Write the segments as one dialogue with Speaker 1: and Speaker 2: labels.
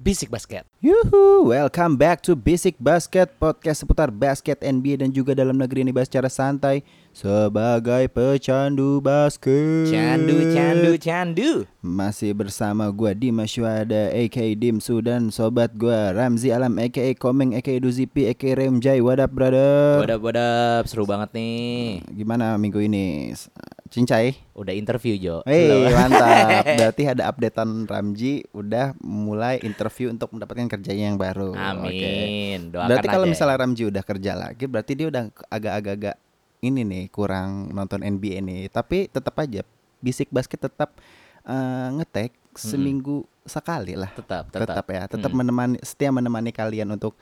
Speaker 1: Bisik Basket.
Speaker 2: Yuhu, welcome back to Basic Basket Podcast seputar basket NBA dan juga dalam negeri ini bahas secara santai sebagai pecandu basket.
Speaker 1: Candu, candu, candu.
Speaker 2: Masih bersama gua Dimas Syuhada aka Dimsu dan sobat gua Ramzi Alam aka Komeng aka Duzipi aka Remjai. What up, brother?
Speaker 1: Wadap, wadap. Seru banget nih.
Speaker 2: Gimana minggu ini? Cincai?
Speaker 1: Udah interview, Jo.
Speaker 2: Hei,
Speaker 1: Belum?
Speaker 2: mantap. Berarti ada updatean Ramji udah mulai interview untuk mendapatkan kerjanya yang baru. Oke.
Speaker 1: Amin. Doakan
Speaker 2: Berarti kalau
Speaker 1: aja. ya.
Speaker 2: misalnya Ramji udah kerja lagi, berarti dia udah agak-agak ini nih kurang nonton NBA nih. Tapi tetap aja bisik basket tetap eh, ngetek seminggu sekali lah.
Speaker 1: tetap, tetap.
Speaker 2: Tetap ya, tetap
Speaker 1: Mm.
Speaker 2: menemani setia menemani kalian untuk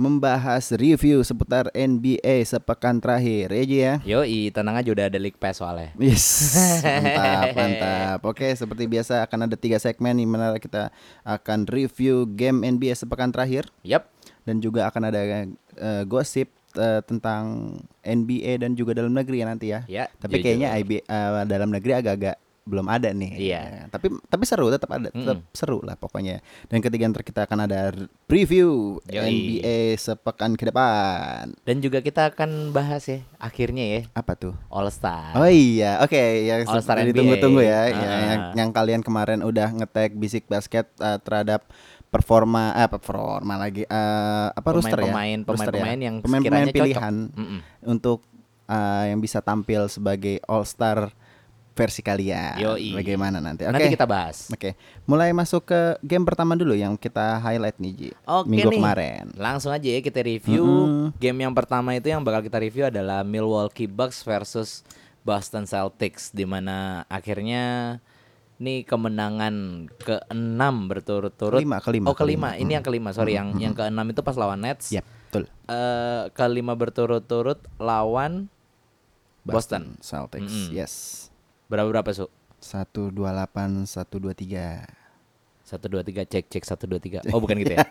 Speaker 2: membahas review seputar NBA sepekan terakhir. Ya, Ji, ya.
Speaker 1: Yoi, tenang aja udah ada leak pass soalnya.
Speaker 2: Yes, mantap, mantap. Oke, seperti biasa akan ada tiga segmen di mana kita akan review game NBA sepekan terakhir
Speaker 1: Yap.
Speaker 2: dan juga akan ada eh, gosip eh, tentang NBA dan juga dalam negeri ya nanti ya.
Speaker 1: Ya.
Speaker 2: Tapi
Speaker 1: jujur.
Speaker 2: kayaknya IB, eh, dalam negeri agak-agak belum ada nih.
Speaker 1: Iya.
Speaker 2: Ya, Tapi tapi seru tetap ada, tetap seru lah pokoknya. Dan ketiga ntar kita akan ada preview
Speaker 1: Yoi.
Speaker 2: NBA sepekan ke depan.
Speaker 1: Dan juga kita akan bahas ya akhirnya ya
Speaker 2: Apa tuh?
Speaker 1: All Star.
Speaker 2: Oh iya, oke yang
Speaker 1: Nah. All Star
Speaker 2: sudah
Speaker 1: NBA.
Speaker 2: ditunggu-tunggu ya, Ya,
Speaker 1: Ah.
Speaker 2: yang, yang kalian kemarin udah ngetek bisik basket eh, terhadap performa eh performa lagi eh, apa rooster ya?
Speaker 1: Pemain-pemain
Speaker 2: Rooster ya?
Speaker 1: pemain-pemain yang
Speaker 2: Pemain-pemain
Speaker 1: sekiranya cocok.
Speaker 2: pilihan
Speaker 1: Mm-mm.
Speaker 2: untuk eh, yang bisa tampil sebagai all star versi kalian.
Speaker 1: Yoi.
Speaker 2: Bagaimana nanti? iya, Oke.
Speaker 1: Nanti kita bahas.
Speaker 2: Oke, mulai masuk ke game pertama dulu yang kita highlight nih Ji.
Speaker 1: Oke
Speaker 2: Minggu
Speaker 1: nih.
Speaker 2: kemarin.
Speaker 1: Langsung aja ya kita review. Game yang pertama itu yang bakal kita review adalah Milwaukee Bucks versus Boston Celtics di mana akhirnya nih kemenangan keenam berturut-turut.
Speaker 2: Kelima, kelima,
Speaker 1: Oh, kelima. Ini yang kelima, sorry. Yang yang keenam itu pas lawan Nets.
Speaker 2: Yap, Ya, betul.
Speaker 1: Eh, kelima berturut-turut lawan Boston.
Speaker 2: Celtics.
Speaker 1: Mm-mm.
Speaker 2: Yes.
Speaker 1: berapa berapa, Su?
Speaker 2: 128 123.
Speaker 1: Satu dua tiga cek cek satu dua tiga. Oh bukan gitu ya?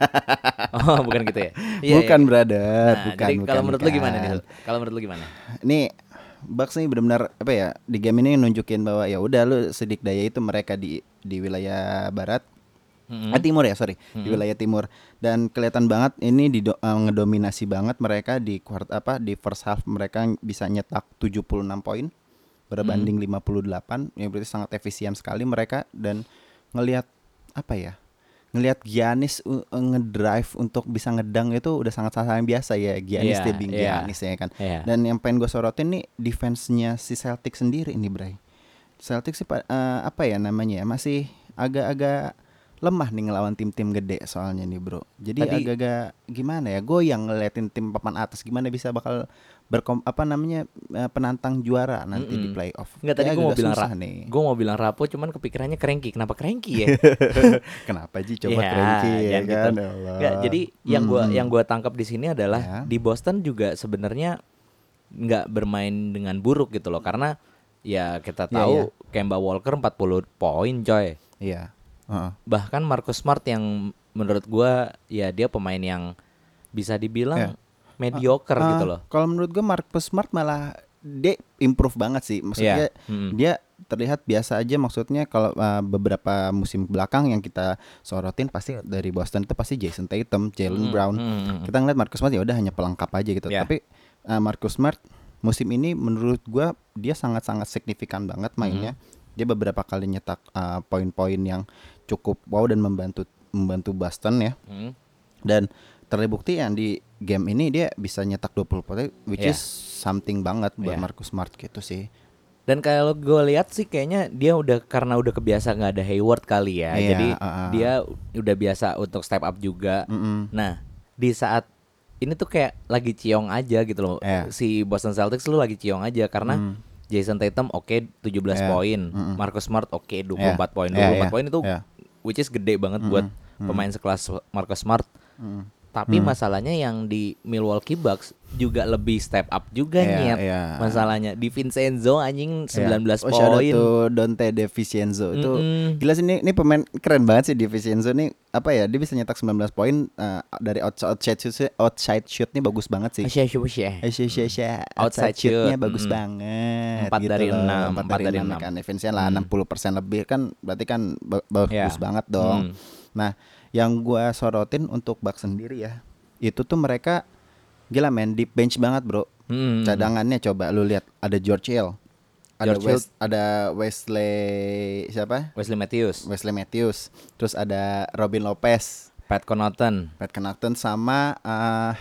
Speaker 1: Oh bukan gitu ya? Iya,
Speaker 2: bukan
Speaker 1: iya.
Speaker 2: brother,
Speaker 1: Nah,
Speaker 2: bukan.
Speaker 1: jadi
Speaker 2: bukan,
Speaker 1: kalau menurut lu gimana nih?
Speaker 2: bukan.
Speaker 1: Su? Kalau menurut lu gimana?
Speaker 2: Nih Bucks nih benar-benar apa ya di game ini nunjukin bahwa ya udah lu sedik daya itu mereka di di wilayah barat,
Speaker 1: Mm-mm.
Speaker 2: ah, timur ya sorry di wilayah timur dan kelihatan banget ini di eh, ngedominasi banget mereka di kuart apa di first half mereka bisa nyetak 76 poin berbanding 58 yang Ya, berarti sangat efisien sekali mereka dan ngelihat apa ya ngelihat Giannis uh, ngedrive untuk bisa ngedang itu udah sangat sangat yang biasa ya Giannis
Speaker 1: Iya,
Speaker 2: dia being
Speaker 1: iya.
Speaker 2: Giannis ya kan
Speaker 1: Iya.
Speaker 2: dan yang pengen gue sorotin nih defense-nya si Celtic sendiri nih Bray. Celtic sih pa- eh, apa ya namanya ya masih agak-agak lemah nih ngelawan tim-tim gede soalnya nih bro. Jadi
Speaker 1: Tadi-
Speaker 2: agak-agak gimana ya? Gue yang ngeliatin tim papan atas gimana bisa bakal berkom apa namanya eh, penantang juara nanti di
Speaker 1: Mm-mm.
Speaker 2: playoff.
Speaker 1: Enggak tadi
Speaker 2: Kayak
Speaker 1: gue mau
Speaker 2: agak
Speaker 1: bilang
Speaker 2: susah
Speaker 1: ra-
Speaker 2: nih.
Speaker 1: Gue mau bilang rapo cuman kepikirannya cranky. Kenapa cranky ya?
Speaker 2: Kenapa Ji coba
Speaker 1: Ya,
Speaker 2: cranky ya
Speaker 1: jangan
Speaker 2: kan?
Speaker 1: gitu.
Speaker 2: Ya Allah.
Speaker 1: Nggak, jadi yang gua
Speaker 2: Mm-mm.
Speaker 1: yang gua tangkap di sini adalah
Speaker 2: Ya.
Speaker 1: di Boston juga sebenarnya nggak bermain dengan buruk gitu loh karena ya kita
Speaker 2: Ya,
Speaker 1: tahu Kemba Walker 40 poin coy.
Speaker 2: iya. Heeh.
Speaker 1: Bahkan Marcus Smart yang menurut gua ya dia pemain yang bisa dibilang
Speaker 2: Ya.
Speaker 1: mediocre
Speaker 2: Ah,
Speaker 1: gitu loh.
Speaker 2: Kalau menurut gue Marcus Smart malah dia improve banget sih. Maksudnya
Speaker 1: Iya, mm-mm.
Speaker 2: dia terlihat biasa aja maksudnya kalau uh, beberapa musim belakang yang kita sorotin pasti dari Boston itu pasti Jason Tatum, Jalen
Speaker 1: Mm,
Speaker 2: Brown.
Speaker 1: mm, mm, mm.
Speaker 2: Kita ngeliat Marcus Smart ya udah hanya pelengkap aja gitu.
Speaker 1: Iya.
Speaker 2: Tapi uh, Marcus Smart musim ini menurut gua dia sangat-sangat signifikan banget mainnya. Dia beberapa kali nyetak uh, poin-poin yang cukup wow dan membantu membantu Boston ya
Speaker 1: Hmm.
Speaker 2: dan terbukti yang di game ini dia bisa nyetak 20 poin which
Speaker 1: Yeah.
Speaker 2: is something banget buat
Speaker 1: Yeah.
Speaker 2: Marcus Smart gitu sih.
Speaker 1: Dan kalau gue lihat sih kayaknya dia udah karena udah kebiasa nggak ada Hayward kali ya,
Speaker 2: Iya,
Speaker 1: jadi
Speaker 2: uh-uh.
Speaker 1: dia udah biasa untuk step up juga.
Speaker 2: Mm-mm.
Speaker 1: Nah di saat ini tuh kayak lagi ciong aja gitu loh,
Speaker 2: Iya. Hmm.
Speaker 1: si Boston Celtics lu lagi ciong aja karena Jason Tatum oke 17
Speaker 2: Iya,
Speaker 1: poin,
Speaker 2: mm-mm.
Speaker 1: Marcus Smart oke 24
Speaker 2: Iya,
Speaker 1: poin, 24
Speaker 2: iya, iya,
Speaker 1: poin itu
Speaker 2: iya. Hmm.
Speaker 1: which is gede banget buat pemain sekelas Marcus Smart.
Speaker 2: Hmm.
Speaker 1: Tapi masalahnya yang di Milwaukee Bucks juga lebih step up juga
Speaker 2: Iya,
Speaker 1: nyet.
Speaker 2: iya.
Speaker 1: Masalahnya di Vincenzo anjing 19
Speaker 2: Yeah. Oh, shout out
Speaker 1: poin.
Speaker 2: to Dante De Vincenzo itu
Speaker 1: Mm-mm.
Speaker 2: gila sih ini, ini pemain keren banget sih De Vincenzo nih apa ya dia bisa nyetak 19 poin eh, dari outside outside shoot outside shoot nih bagus banget sih.
Speaker 1: Asyik, asyik, asyik.
Speaker 2: Eh, sya- sya- sya.
Speaker 1: Outside
Speaker 2: Outside shootnya
Speaker 1: shoot,
Speaker 2: bagus
Speaker 1: mm-mm.
Speaker 2: banget. gitu
Speaker 1: Empat dari
Speaker 2: loh.
Speaker 1: enam,
Speaker 2: Empat
Speaker 1: empat
Speaker 2: dari
Speaker 1: dari
Speaker 2: enam
Speaker 1: enam. Mm.
Speaker 2: kan. Efisiensi lah 60 lebih kan berarti kan ba- bagus
Speaker 1: Yeah.
Speaker 2: banget dong.
Speaker 1: Iya. Mm.
Speaker 2: Nah yang gua sorotin untuk bak sendiri ya itu tuh mereka gila men deep bench banget bro
Speaker 1: Hmm.
Speaker 2: cadangannya coba lu lihat ada George Hill ada
Speaker 1: George
Speaker 2: Wes- ada Wesley siapa
Speaker 1: Wesley Matthews,
Speaker 2: Wesley Matthews terus ada Robin Lopez
Speaker 1: Pat Connaughton.
Speaker 2: Pat Connaughton sama eh,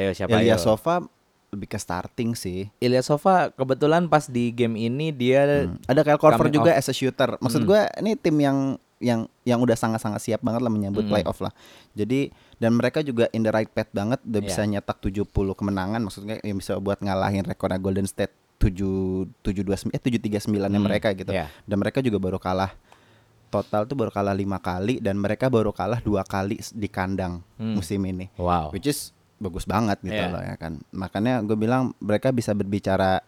Speaker 1: Ayo siapa ya?
Speaker 2: Ilya
Speaker 1: ayo?
Speaker 2: Sova lebih ke starting sih
Speaker 1: Ilya Sova ah, kebetulan pas di game ini dia
Speaker 2: ada Kyle Korver
Speaker 1: Hmm. Coming
Speaker 2: juga as a shooter. Maksud
Speaker 1: Mm.
Speaker 2: gua ini tim yang yang yang udah sangat-sangat siap banget lah menyambut
Speaker 1: Mm.
Speaker 2: playoff lah. Jadi dan mereka juga in the right path banget udah
Speaker 1: Iya.
Speaker 2: bisa nyetak 70 kemenangan maksudnya yang bisa buat ngalahin rekornya Golden State 7 729 eh 739 nya
Speaker 1: Hmm,
Speaker 2: mereka gitu.
Speaker 1: iya.
Speaker 2: Dan mereka juga baru kalah total tuh baru kalah lima kali dan mereka baru kalah dua kali di kandang
Speaker 1: Hmm.
Speaker 2: musim ini
Speaker 1: wow.
Speaker 2: which is bagus banget gitu
Speaker 1: Iya.
Speaker 2: loh ya kan makanya gue bilang mereka bisa berbicara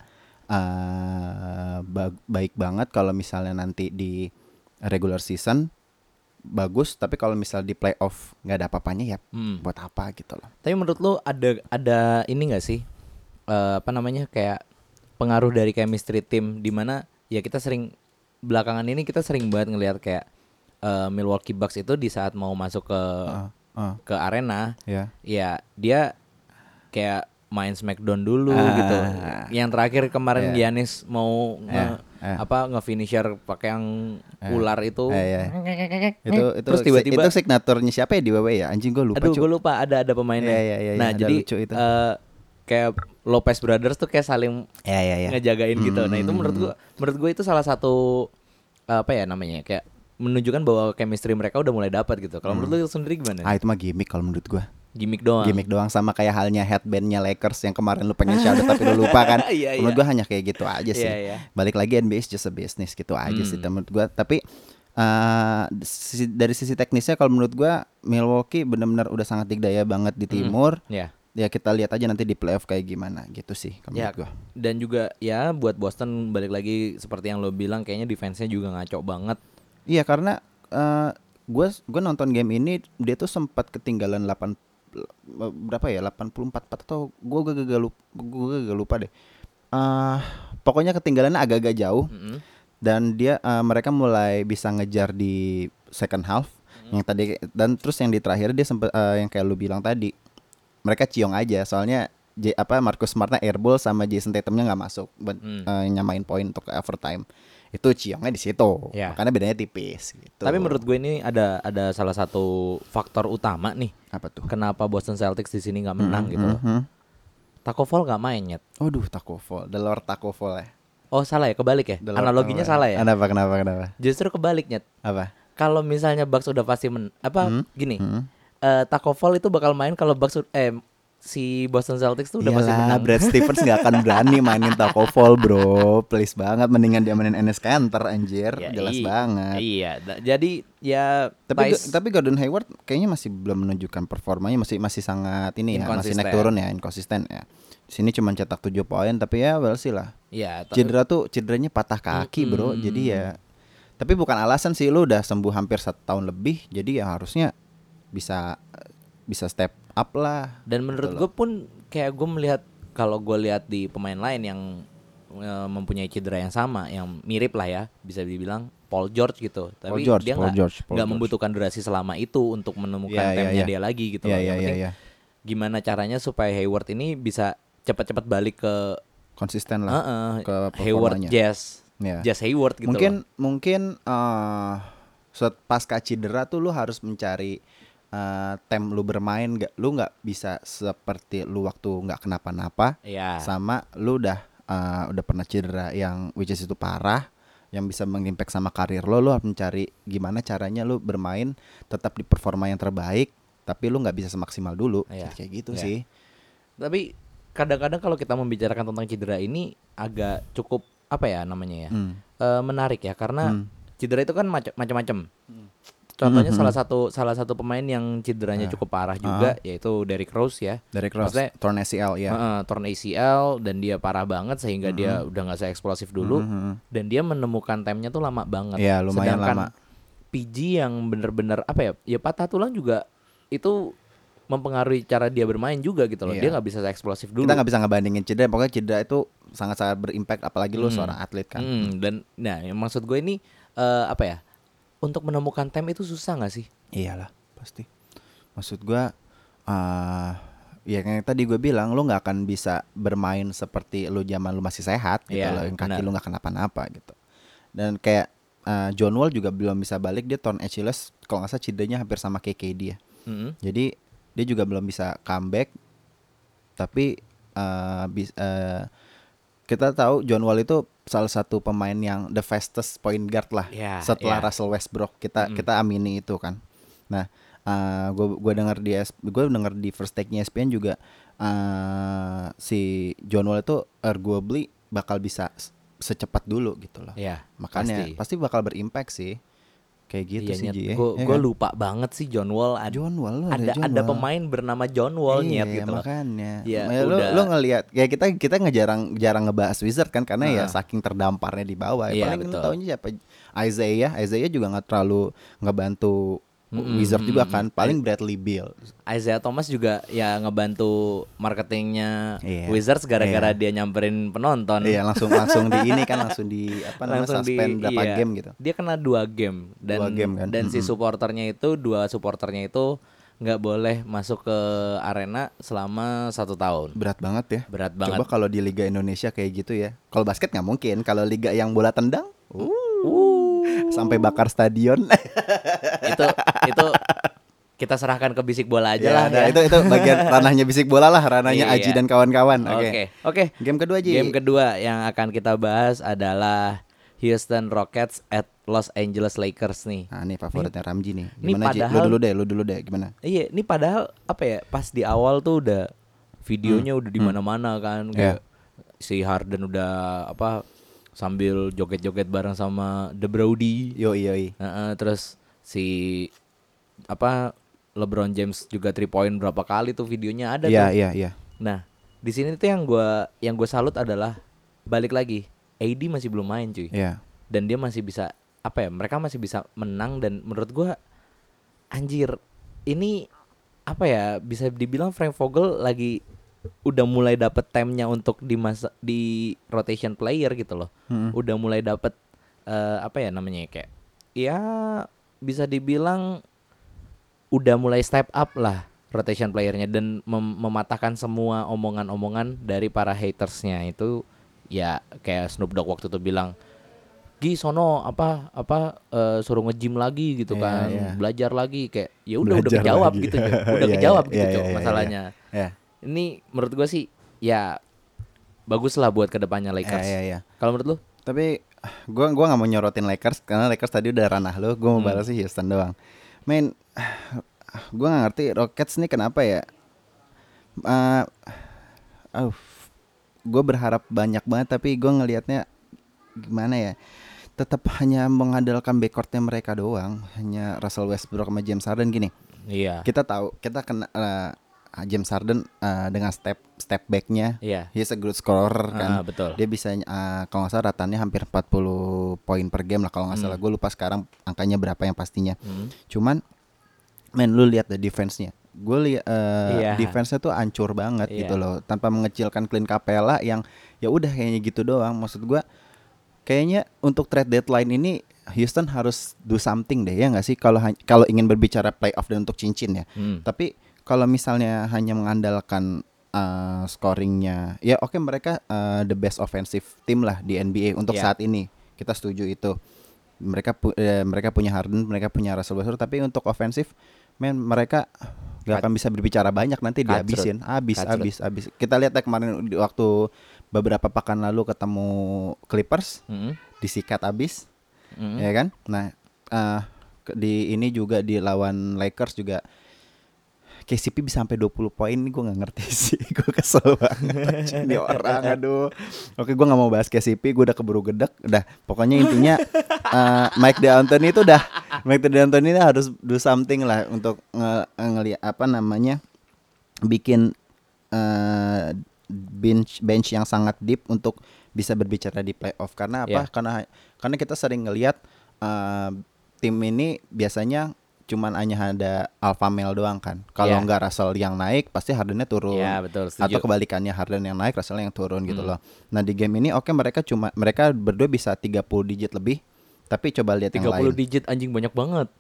Speaker 2: eh, ba- baik banget kalau misalnya nanti di regular season bagus tapi kalau misal di playoff nggak ada apa-apanya ya
Speaker 1: Hmm.
Speaker 2: buat apa gitu loh
Speaker 1: Tapi menurut lu ada ada ini gak sih? Eh, apa namanya kayak pengaruh dari chemistry tim di mana ya kita sering belakangan ini kita sering banget ngelihat kayak eh, Milwaukee Bucks itu di saat mau masuk ke
Speaker 2: Ah,
Speaker 1: ke arena
Speaker 2: ya
Speaker 1: ya dia kayak main smackdown dulu
Speaker 2: Ah.
Speaker 1: gitu. Yang terakhir kemarin
Speaker 2: Iya.
Speaker 1: Giannis mau nge,
Speaker 2: Iya, iya.
Speaker 1: apa nge-finisher pakai yang ular itu.
Speaker 2: Eh, ya. itu itu
Speaker 1: Oh. Eh. Terus tiba-tiba
Speaker 2: itu signaturnya siapa ya di WWE ya anjing gue lupa
Speaker 1: Aduh,
Speaker 2: Cuk.
Speaker 1: gue lupa ada ada pemainnya.
Speaker 2: Iya, iya, iya,
Speaker 1: nah,
Speaker 2: ada
Speaker 1: jadi
Speaker 2: lucu itu.
Speaker 1: eh, kayak Lopez Brothers tuh kayak saling
Speaker 2: ya ya ya
Speaker 1: ngejagain gitu. Nah, itu
Speaker 2: Hmm.
Speaker 1: menurut gua menurut gua itu salah satu apa ya namanya? Kayak menunjukkan bahwa chemistry mereka udah mulai dapat gitu. Kalau menurut lu sendiri gimana?
Speaker 2: ah itu mah gimmick kalau menurut gue
Speaker 1: Gimik doang.
Speaker 2: gimmick doang sama kayak halnya headbandnya Lakers yang kemarin lu pengen shout out tapi lu lupa kan
Speaker 1: Iya,
Speaker 2: menurut
Speaker 1: iya.
Speaker 2: gua hanya kayak gitu aja sih
Speaker 1: Iya, iya.
Speaker 2: balik lagi NBA is just a business gitu aja sih menurut gua tapi eh, sisi- dari sisi teknisnya kalau menurut gua Milwaukee benar-benar udah sangat dikdaya banget di timur
Speaker 1: Ya.
Speaker 2: ya kita lihat aja nanti di playoff kayak gimana gitu sih kalau
Speaker 1: Ya,
Speaker 2: menurut gua
Speaker 1: dan juga ya buat Boston balik lagi seperti yang lo bilang kayaknya defense-nya juga ngaco banget.
Speaker 2: Iya karena eh, gue gue nonton game ini dia tuh sempat ketinggalan 8 berapa ya 84 atau gue gagal lupa, lupa deh. Eh, pokoknya ketinggalannya agak-agak jauh
Speaker 1: Mm-mm.
Speaker 2: dan dia eh, mereka mulai bisa ngejar di second half yang tadi dan terus yang di terakhir dia sempat yang kayak lu bilang tadi mereka ciong aja soalnya J, apa Marcus Smartnya airball sama Jason Tatumnya nggak masuk buat
Speaker 1: Hmm.
Speaker 2: eh, nyamain poin untuk overtime itu ciongnya di situ
Speaker 1: Ya.
Speaker 2: makanya bedanya tipis gitu
Speaker 1: Tapi menurut gue ini ada ada salah satu faktor utama nih
Speaker 2: apa tuh
Speaker 1: kenapa Boston Celtics di sini nggak menang gitu loh.
Speaker 2: Mhm.
Speaker 1: Taco Fall nggak main nyet.
Speaker 2: Aduh Taco Fall, The Lord Taco Fall ya.
Speaker 1: Oh salah ya kebalik ya.
Speaker 2: The Lord
Speaker 1: Analoginya
Speaker 2: Taco Fall.
Speaker 1: salah ya.
Speaker 2: Kenapa kenapa kenapa?
Speaker 1: Justru kebaliknya.
Speaker 2: Apa?
Speaker 1: Kalau misalnya Bucks udah pasti men apa gini.
Speaker 2: Hmm.
Speaker 1: eh, Taco Fall itu bakal main kalau Bucks ud- eh si Boston Celtics tuh udah pasti
Speaker 2: Iyalah,
Speaker 1: menang.
Speaker 2: Brad Stevens nggak akan berani mainin Taco Fall bro Please banget mendingan dia mainin NS Kanter anjir
Speaker 1: Ya,
Speaker 2: Jelas
Speaker 1: i-
Speaker 2: banget
Speaker 1: Iya, da- jadi ya
Speaker 2: tapi
Speaker 1: Thais-
Speaker 2: tapi Gordon Hayward kayaknya masih belum menunjukkan performanya masih masih sangat ini ya masih naik
Speaker 1: Inkonsisten.
Speaker 2: turun ya inkonsisten ya di sini cuma cetak 7 poin tapi ya well sih lah
Speaker 1: ya ta-
Speaker 2: cedera tuh cederanya patah kaki bro jadi ya tapi bukan alasan sih lu udah sembuh hampir satu tahun lebih jadi ya harusnya bisa bisa step up lah
Speaker 1: dan menurut gue pun kayak gue melihat kalau gue lihat di pemain lain yang eh, mempunyai cedera yang sama yang mirip lah ya bisa dibilang Paul George gitu tapi
Speaker 2: George,
Speaker 1: dia
Speaker 2: Paul
Speaker 1: nggak
Speaker 2: George, Paul
Speaker 1: nggak
Speaker 2: George.
Speaker 1: membutuhkan durasi selama itu untuk menemukan
Speaker 2: Iya, iya,
Speaker 1: timnya
Speaker 2: iya.
Speaker 1: dia lagi gitu
Speaker 2: Iya,
Speaker 1: loh. Yang
Speaker 2: iya, iya,
Speaker 1: penting
Speaker 2: iya.
Speaker 1: gimana caranya supaya Hayward ini bisa cepat-cepat balik ke
Speaker 2: konsisten lah
Speaker 1: Heeh,
Speaker 2: ke
Speaker 1: Hayward
Speaker 2: performanya.
Speaker 1: Jazz
Speaker 2: Iya.
Speaker 1: Jazz Hayward gitu
Speaker 2: mungkin
Speaker 1: loh.
Speaker 2: mungkin eh saat pasca cedera tuh lu harus mencari eh tem lu bermain gak lu nggak bisa seperti lu waktu nggak kenapa-napa
Speaker 1: Iya.
Speaker 2: sama lu udah eh, udah pernah cedera yang which is itu parah yang bisa mengimpact sama karir lo lu harus mencari gimana caranya lu bermain tetap di performa yang terbaik tapi lu nggak bisa semaksimal dulu
Speaker 1: Iya.
Speaker 2: kayak gitu
Speaker 1: Iya.
Speaker 2: sih
Speaker 1: tapi kadang-kadang kalau kita membicarakan tentang cedera ini agak cukup apa ya namanya ya
Speaker 2: Hmm.
Speaker 1: eh, menarik ya karena cedera itu kan maca- macam-macam
Speaker 2: Hmm,
Speaker 1: contohnya salah satu salah satu pemain yang
Speaker 2: Ya.
Speaker 1: cederanya cukup parah juga yaitu Derrick Rose ya
Speaker 2: dari cross
Speaker 1: Maksudnya, Ah,
Speaker 2: torn ACL Ah. ya Hmm,
Speaker 1: Heeh, torn ACL dan dia parah banget sehingga dia udah nggak se-eksplosif dulu dan dia menemukan timenya tuh lama banget.
Speaker 2: Iya, lumayan
Speaker 1: Sedangkan
Speaker 2: lama.
Speaker 1: PG yang bener-bener apa ya? Ya patah tulang juga itu mempengaruhi cara dia bermain juga gitu loh.
Speaker 2: Iya.
Speaker 1: Dia nggak bisa se-eksplosif dulu.
Speaker 2: kita nggak bisa ngebandingin cedera pokoknya cedera itu sangat-sangat berimpact apalagi lu seorang atlet kan
Speaker 1: Hmm, dan nah yang maksud gue ini eh, apa ya? Untuk menemukan time itu susah nggak sih?
Speaker 2: iyalah pasti. Maksud gua eh ya kayak tadi gue bilang lu nggak akan bisa bermain seperti lu zaman lu masih sehat gitu
Speaker 1: Iya,
Speaker 2: loh, yang kaki
Speaker 1: benar.
Speaker 2: lu nggak kenapa-napa gitu. Dan kayak eh, John Wall juga belum bisa balik dia torn Achilles kalau nggak salah cedenya hampir sama kayak KD ya.
Speaker 1: Mm-mm.
Speaker 2: Jadi dia juga belum bisa comeback. Tapi eh, bis- eh, kita tahu John Wall itu salah satu pemain yang the fastest point guard lah
Speaker 1: Ya,
Speaker 2: setelah
Speaker 1: ya. Mm.
Speaker 2: Russell Westbrook. Kita
Speaker 1: Mm-mm.
Speaker 2: kita amini itu kan. Nah, gue gua dengar di gue dengar di first take-nya E ESPN juga eh, si John Wall itu arguably bakal bisa se- secepat dulu gitu loh.
Speaker 1: Ya,
Speaker 2: Makanya pasti. bakal berimpact sih. Kayak gitu
Speaker 1: Iya,
Speaker 2: sih Ji, ya.
Speaker 1: Gue
Speaker 2: Ya kan?
Speaker 1: lupa banget sih John Wall ada
Speaker 2: John Wall lu
Speaker 1: ada,
Speaker 2: John
Speaker 1: ada
Speaker 2: Wall.
Speaker 1: pemain bernama John Wall
Speaker 2: Iya,
Speaker 1: nyet gitu. loh.
Speaker 2: makanya.
Speaker 1: Ya,
Speaker 2: Ya, lu,
Speaker 1: udah.
Speaker 2: lu ngelihat ya kita kita ngejarang jarang ngebahas Wizard kan karena ya
Speaker 1: Heeh.
Speaker 2: saking terdamparnya di bawah. Ya,
Speaker 1: Iya,
Speaker 2: Paling
Speaker 1: betul.
Speaker 2: tahunya siapa Isaiah, Isaiah juga nggak terlalu ngebantu
Speaker 1: Mm-mm,
Speaker 2: Wizard juga
Speaker 1: mm-mm.
Speaker 2: kan. Paling Bradley Beal.
Speaker 1: Isaiah Thomas juga ya ngebantu marketingnya
Speaker 2: Iya.
Speaker 1: Wizards gara-gara
Speaker 2: Iya.
Speaker 1: dia nyamperin penonton.
Speaker 2: Iya, langsung langsung di ini kan langsung di apa namanya
Speaker 1: Langsung di-
Speaker 2: suspend berapa
Speaker 1: iya.
Speaker 2: game gitu.
Speaker 1: Dia kena dua game dan
Speaker 2: Dua game kan,
Speaker 1: dan si
Speaker 2: mm-mm.
Speaker 1: supporternya itu dua supporternya itu nggak boleh masuk ke arena selama satu tahun.
Speaker 2: Berat banget ya.
Speaker 1: Berat
Speaker 2: Coba
Speaker 1: banget.
Speaker 2: kalau di Liga Indonesia kayak gitu ya. Kalau basket nggak mungkin. Kalau liga yang bola tendang, uh,
Speaker 1: Uh.
Speaker 2: sampai bakar stadion.
Speaker 1: itu itu kita serahkan ke bisik bola aja
Speaker 2: Ya,
Speaker 1: lah.
Speaker 2: ada.
Speaker 1: ya.
Speaker 2: itu itu bagian ranahnya bisik bola lah, ranahnya
Speaker 1: Iya.
Speaker 2: Aji dan kawan-kawan. Oke.
Speaker 1: Oke. Oke.
Speaker 2: Game kedua Ji.
Speaker 1: Game kedua yang akan kita bahas adalah Houston Rockets at Los Angeles Lakers nih.
Speaker 2: Nah, ini favoritnya Ramji nih.
Speaker 1: Ini
Speaker 2: Gimana Ji? Lu
Speaker 1: padahal-
Speaker 2: dulu deh, lu dulu deh gimana?
Speaker 1: Iya, ini padahal apa ya? Pas di awal tuh udah videonya udah di mana-mana kan kayak si Harden udah apa sambil joget-joget bareng sama The Brody.
Speaker 2: Yoi yoi.
Speaker 1: Heeh, terus si apa LeBron James juga three point berapa kali tuh videonya ada tuh.
Speaker 2: Iya iya iya.
Speaker 1: Nah, di sini tuh yang gua yang gue salut adalah balik lagi. AD masih belum main cuy.
Speaker 2: Iya.
Speaker 1: Dan dia masih bisa apa ya? Mereka masih bisa menang dan menurut gua anjir, ini apa ya? Bisa dibilang Frank Vogel lagi udah mulai dapet timenya untuk di masa di rotation player gitu loh.
Speaker 2: Hmm.
Speaker 1: Udah mulai dapet eh, apa ya namanya kayak ya bisa dibilang udah mulai step up lah rotation playernya dan mem- mematahkan semua omongan-omongan dari para hatersnya itu ya kayak Snoop Dogg waktu itu bilang Gi sono apa apa eh, suruh nge-gym lagi gitu
Speaker 2: Iya,
Speaker 1: kan
Speaker 2: iya.
Speaker 1: belajar lagi kayak ya udah udah
Speaker 2: Belajar
Speaker 1: kejawab
Speaker 2: lagi.
Speaker 1: gitu Cok. udah
Speaker 2: Iya,
Speaker 1: kejawab
Speaker 2: iya,
Speaker 1: gitu
Speaker 2: iya,
Speaker 1: Cok,
Speaker 2: iya, iya.
Speaker 1: masalahnya
Speaker 2: Iya.
Speaker 1: ini menurut gua sih ya bagus lah buat kedepannya
Speaker 2: Iya
Speaker 1: Lakers
Speaker 2: iya iya.
Speaker 1: kalau menurut lu
Speaker 2: Tapi ah, gua gua nggak mau nyorotin Lakers karena Lakers tadi udah ranah lu, gua mau
Speaker 1: Hmm.
Speaker 2: balas sih Houston doang. Main gua nggak ngerti Rockets nih kenapa ya? Eh uh, gue berharap banyak banget tapi gua ngelihatnya gimana ya? Tetap hanya mengandalkan backcourtnya mereka doang, hanya Russell Westbrook sama James Harden gini.
Speaker 1: iya
Speaker 2: Kita tahu, kita kena eh, James Harden eh, dengan step step backnya,
Speaker 1: iya
Speaker 2: he's a good scorer kan
Speaker 1: Ah, betul
Speaker 2: dia bisa eh, kalau nggak salah ratannya hampir 40 poin per game lah kalau nggak salah gue lupa sekarang angkanya berapa yang pastinya
Speaker 1: Hmm.
Speaker 2: cuman men lu lihat deh defense-nya gue lihat
Speaker 1: Iya.
Speaker 2: defense-nya tuh ancur banget
Speaker 1: Iya.
Speaker 2: gitu loh tanpa mengecilkan Clint Capella yang ya udah kayaknya gitu doang maksud gue kayaknya untuk trade deadline ini Houston harus do something deh ya nggak sih kalau hany- kalau ingin berbicara playoff dan untuk cincin ya
Speaker 1: Hmm.
Speaker 2: tapi kalau misalnya hanya mengandalkan uh, scoringnya, ya oke mereka uh, the best offensive team lah di NBA untuk
Speaker 1: Ya.
Speaker 2: saat ini. Kita setuju itu. Mereka pu- eh, mereka punya Harden, mereka punya Russell Westbrook, tapi untuk offensive, men mereka gak akan bisa berbicara banyak nanti
Speaker 1: Kacrut.
Speaker 2: dihabisin, habis,
Speaker 1: Kacrut.
Speaker 2: habis, habis. Kita lihat ya kemarin di waktu beberapa pekan lalu ketemu Clippers,
Speaker 1: Hmm.
Speaker 2: disikat habis,
Speaker 1: Hmm.
Speaker 2: ya kan? Nah, eh, ke- di ini juga di lawan Lakers juga KCP bisa sampai 20 poin gue nggak ngerti sih gue kesel banget anjing, ini orang aduh oke gue nggak mau bahas KCP gue udah keburu gedek udah pokoknya intinya eh, Mike D'Antoni itu udah Mike D'Antoni ini harus do something lah untuk nge- ngeliat apa namanya bikin eh, bench bench yang sangat deep untuk bisa berbicara di playoff karena apa
Speaker 1: Yeah.
Speaker 2: karena karena kita sering ngelihat eh, tim ini biasanya cuman hanya ada alpha male doang kan kalau
Speaker 1: Yeah.
Speaker 2: nggak Russell yang naik pasti Hardennya turun
Speaker 1: ya Iya. betul
Speaker 2: atau
Speaker 1: setuju
Speaker 2: kebalikannya Harden yang naik Russell yang turun gitu
Speaker 1: Hmm.
Speaker 2: loh nah di game ini oke mereka cuma mereka berdua bisa 30 digit lebih tapi coba lihat
Speaker 1: 30
Speaker 2: yang lain Iya
Speaker 1: digit anjing banyak banget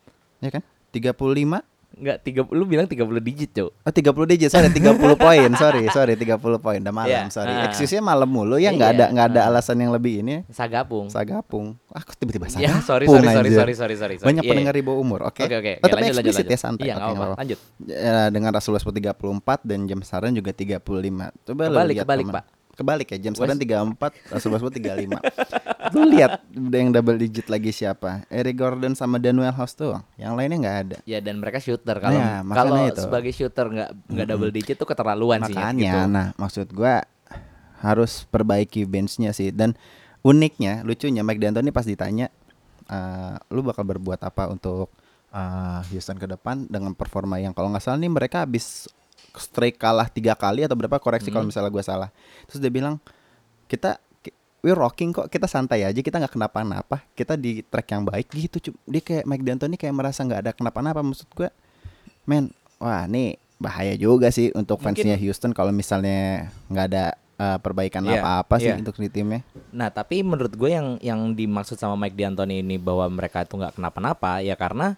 Speaker 2: ya kan 35
Speaker 1: Enggak, tiga, lu bilang 30 digit, Cok.
Speaker 2: Oh 30 digit, sorry 30 poin, sorry, sorry 30 poin, udah malam,
Speaker 1: Iya,
Speaker 2: sorry.
Speaker 1: ah.
Speaker 2: Excuse-nya malam mulu ya, nggak
Speaker 1: Iya,
Speaker 2: ada nggak ada alasan yang lebih ini.
Speaker 1: Sagapung.
Speaker 2: Sagapung, aku tiba-tiba
Speaker 1: Ya,
Speaker 2: sagapung.
Speaker 1: sorry, sorry, sorry,
Speaker 2: anjir.
Speaker 1: sorry, sorry, sorry, sorry.
Speaker 2: Banyak
Speaker 1: Iya,
Speaker 2: pendengar ribu umur, oke.
Speaker 1: Oke, oke.
Speaker 2: Tetap
Speaker 1: lanjut, lanjut,
Speaker 2: eksplisit
Speaker 1: lanjut.
Speaker 2: ya santai.
Speaker 1: Iya,
Speaker 2: oke,
Speaker 1: nggak
Speaker 2: nggak
Speaker 1: apa-apa. Lanjut.
Speaker 2: Ya, dengan Rasulullah Sport 34 dan James Harden juga 35. Coba lu
Speaker 1: Kebalik,
Speaker 2: lihat
Speaker 1: kebalik,
Speaker 2: komen.
Speaker 1: Pak.
Speaker 2: Kebalik ya, James Harden 34, Rasulullah Sport 35. Lu lihat udah yang double digit lagi siapa? Eric Gordon sama Daniel House doang. Yang lainnya nggak ada.
Speaker 1: Ya dan mereka shooter kalau
Speaker 2: Nah, makanya
Speaker 1: kalau
Speaker 2: itu.
Speaker 1: sebagai shooter nggak nggak double digit tuh keterlaluan sih.
Speaker 2: Makanya,
Speaker 1: gitu.
Speaker 2: nah maksud gua harus perbaiki benchnya sih dan uniknya, lucunya Mike D'Antoni pas ditanya, eh, lu bakal berbuat apa untuk eh, Houston ke depan dengan performa yang kalau nggak salah nih mereka habis streak kalah tiga kali atau berapa koreksi
Speaker 1: Hmm.
Speaker 2: kalau misalnya gua salah. Terus dia bilang kita ki- we rocking kok kita santai aja kita nggak kenapa-napa kita di track yang baik gitu Cuk. dia kayak Mike D'Antoni kayak merasa nggak ada kenapa-napa maksud gue men wah nih bahaya juga sih untuk
Speaker 1: Mungkin-
Speaker 2: fansnya Houston kalau misalnya nggak ada uh, perbaikan
Speaker 1: Iya,
Speaker 2: apa-apa sih
Speaker 1: iya.
Speaker 2: untuk di timnya
Speaker 1: Nah tapi menurut gue yang yang dimaksud sama Mike D'Antoni ini bahwa mereka itu nggak kenapa-napa ya karena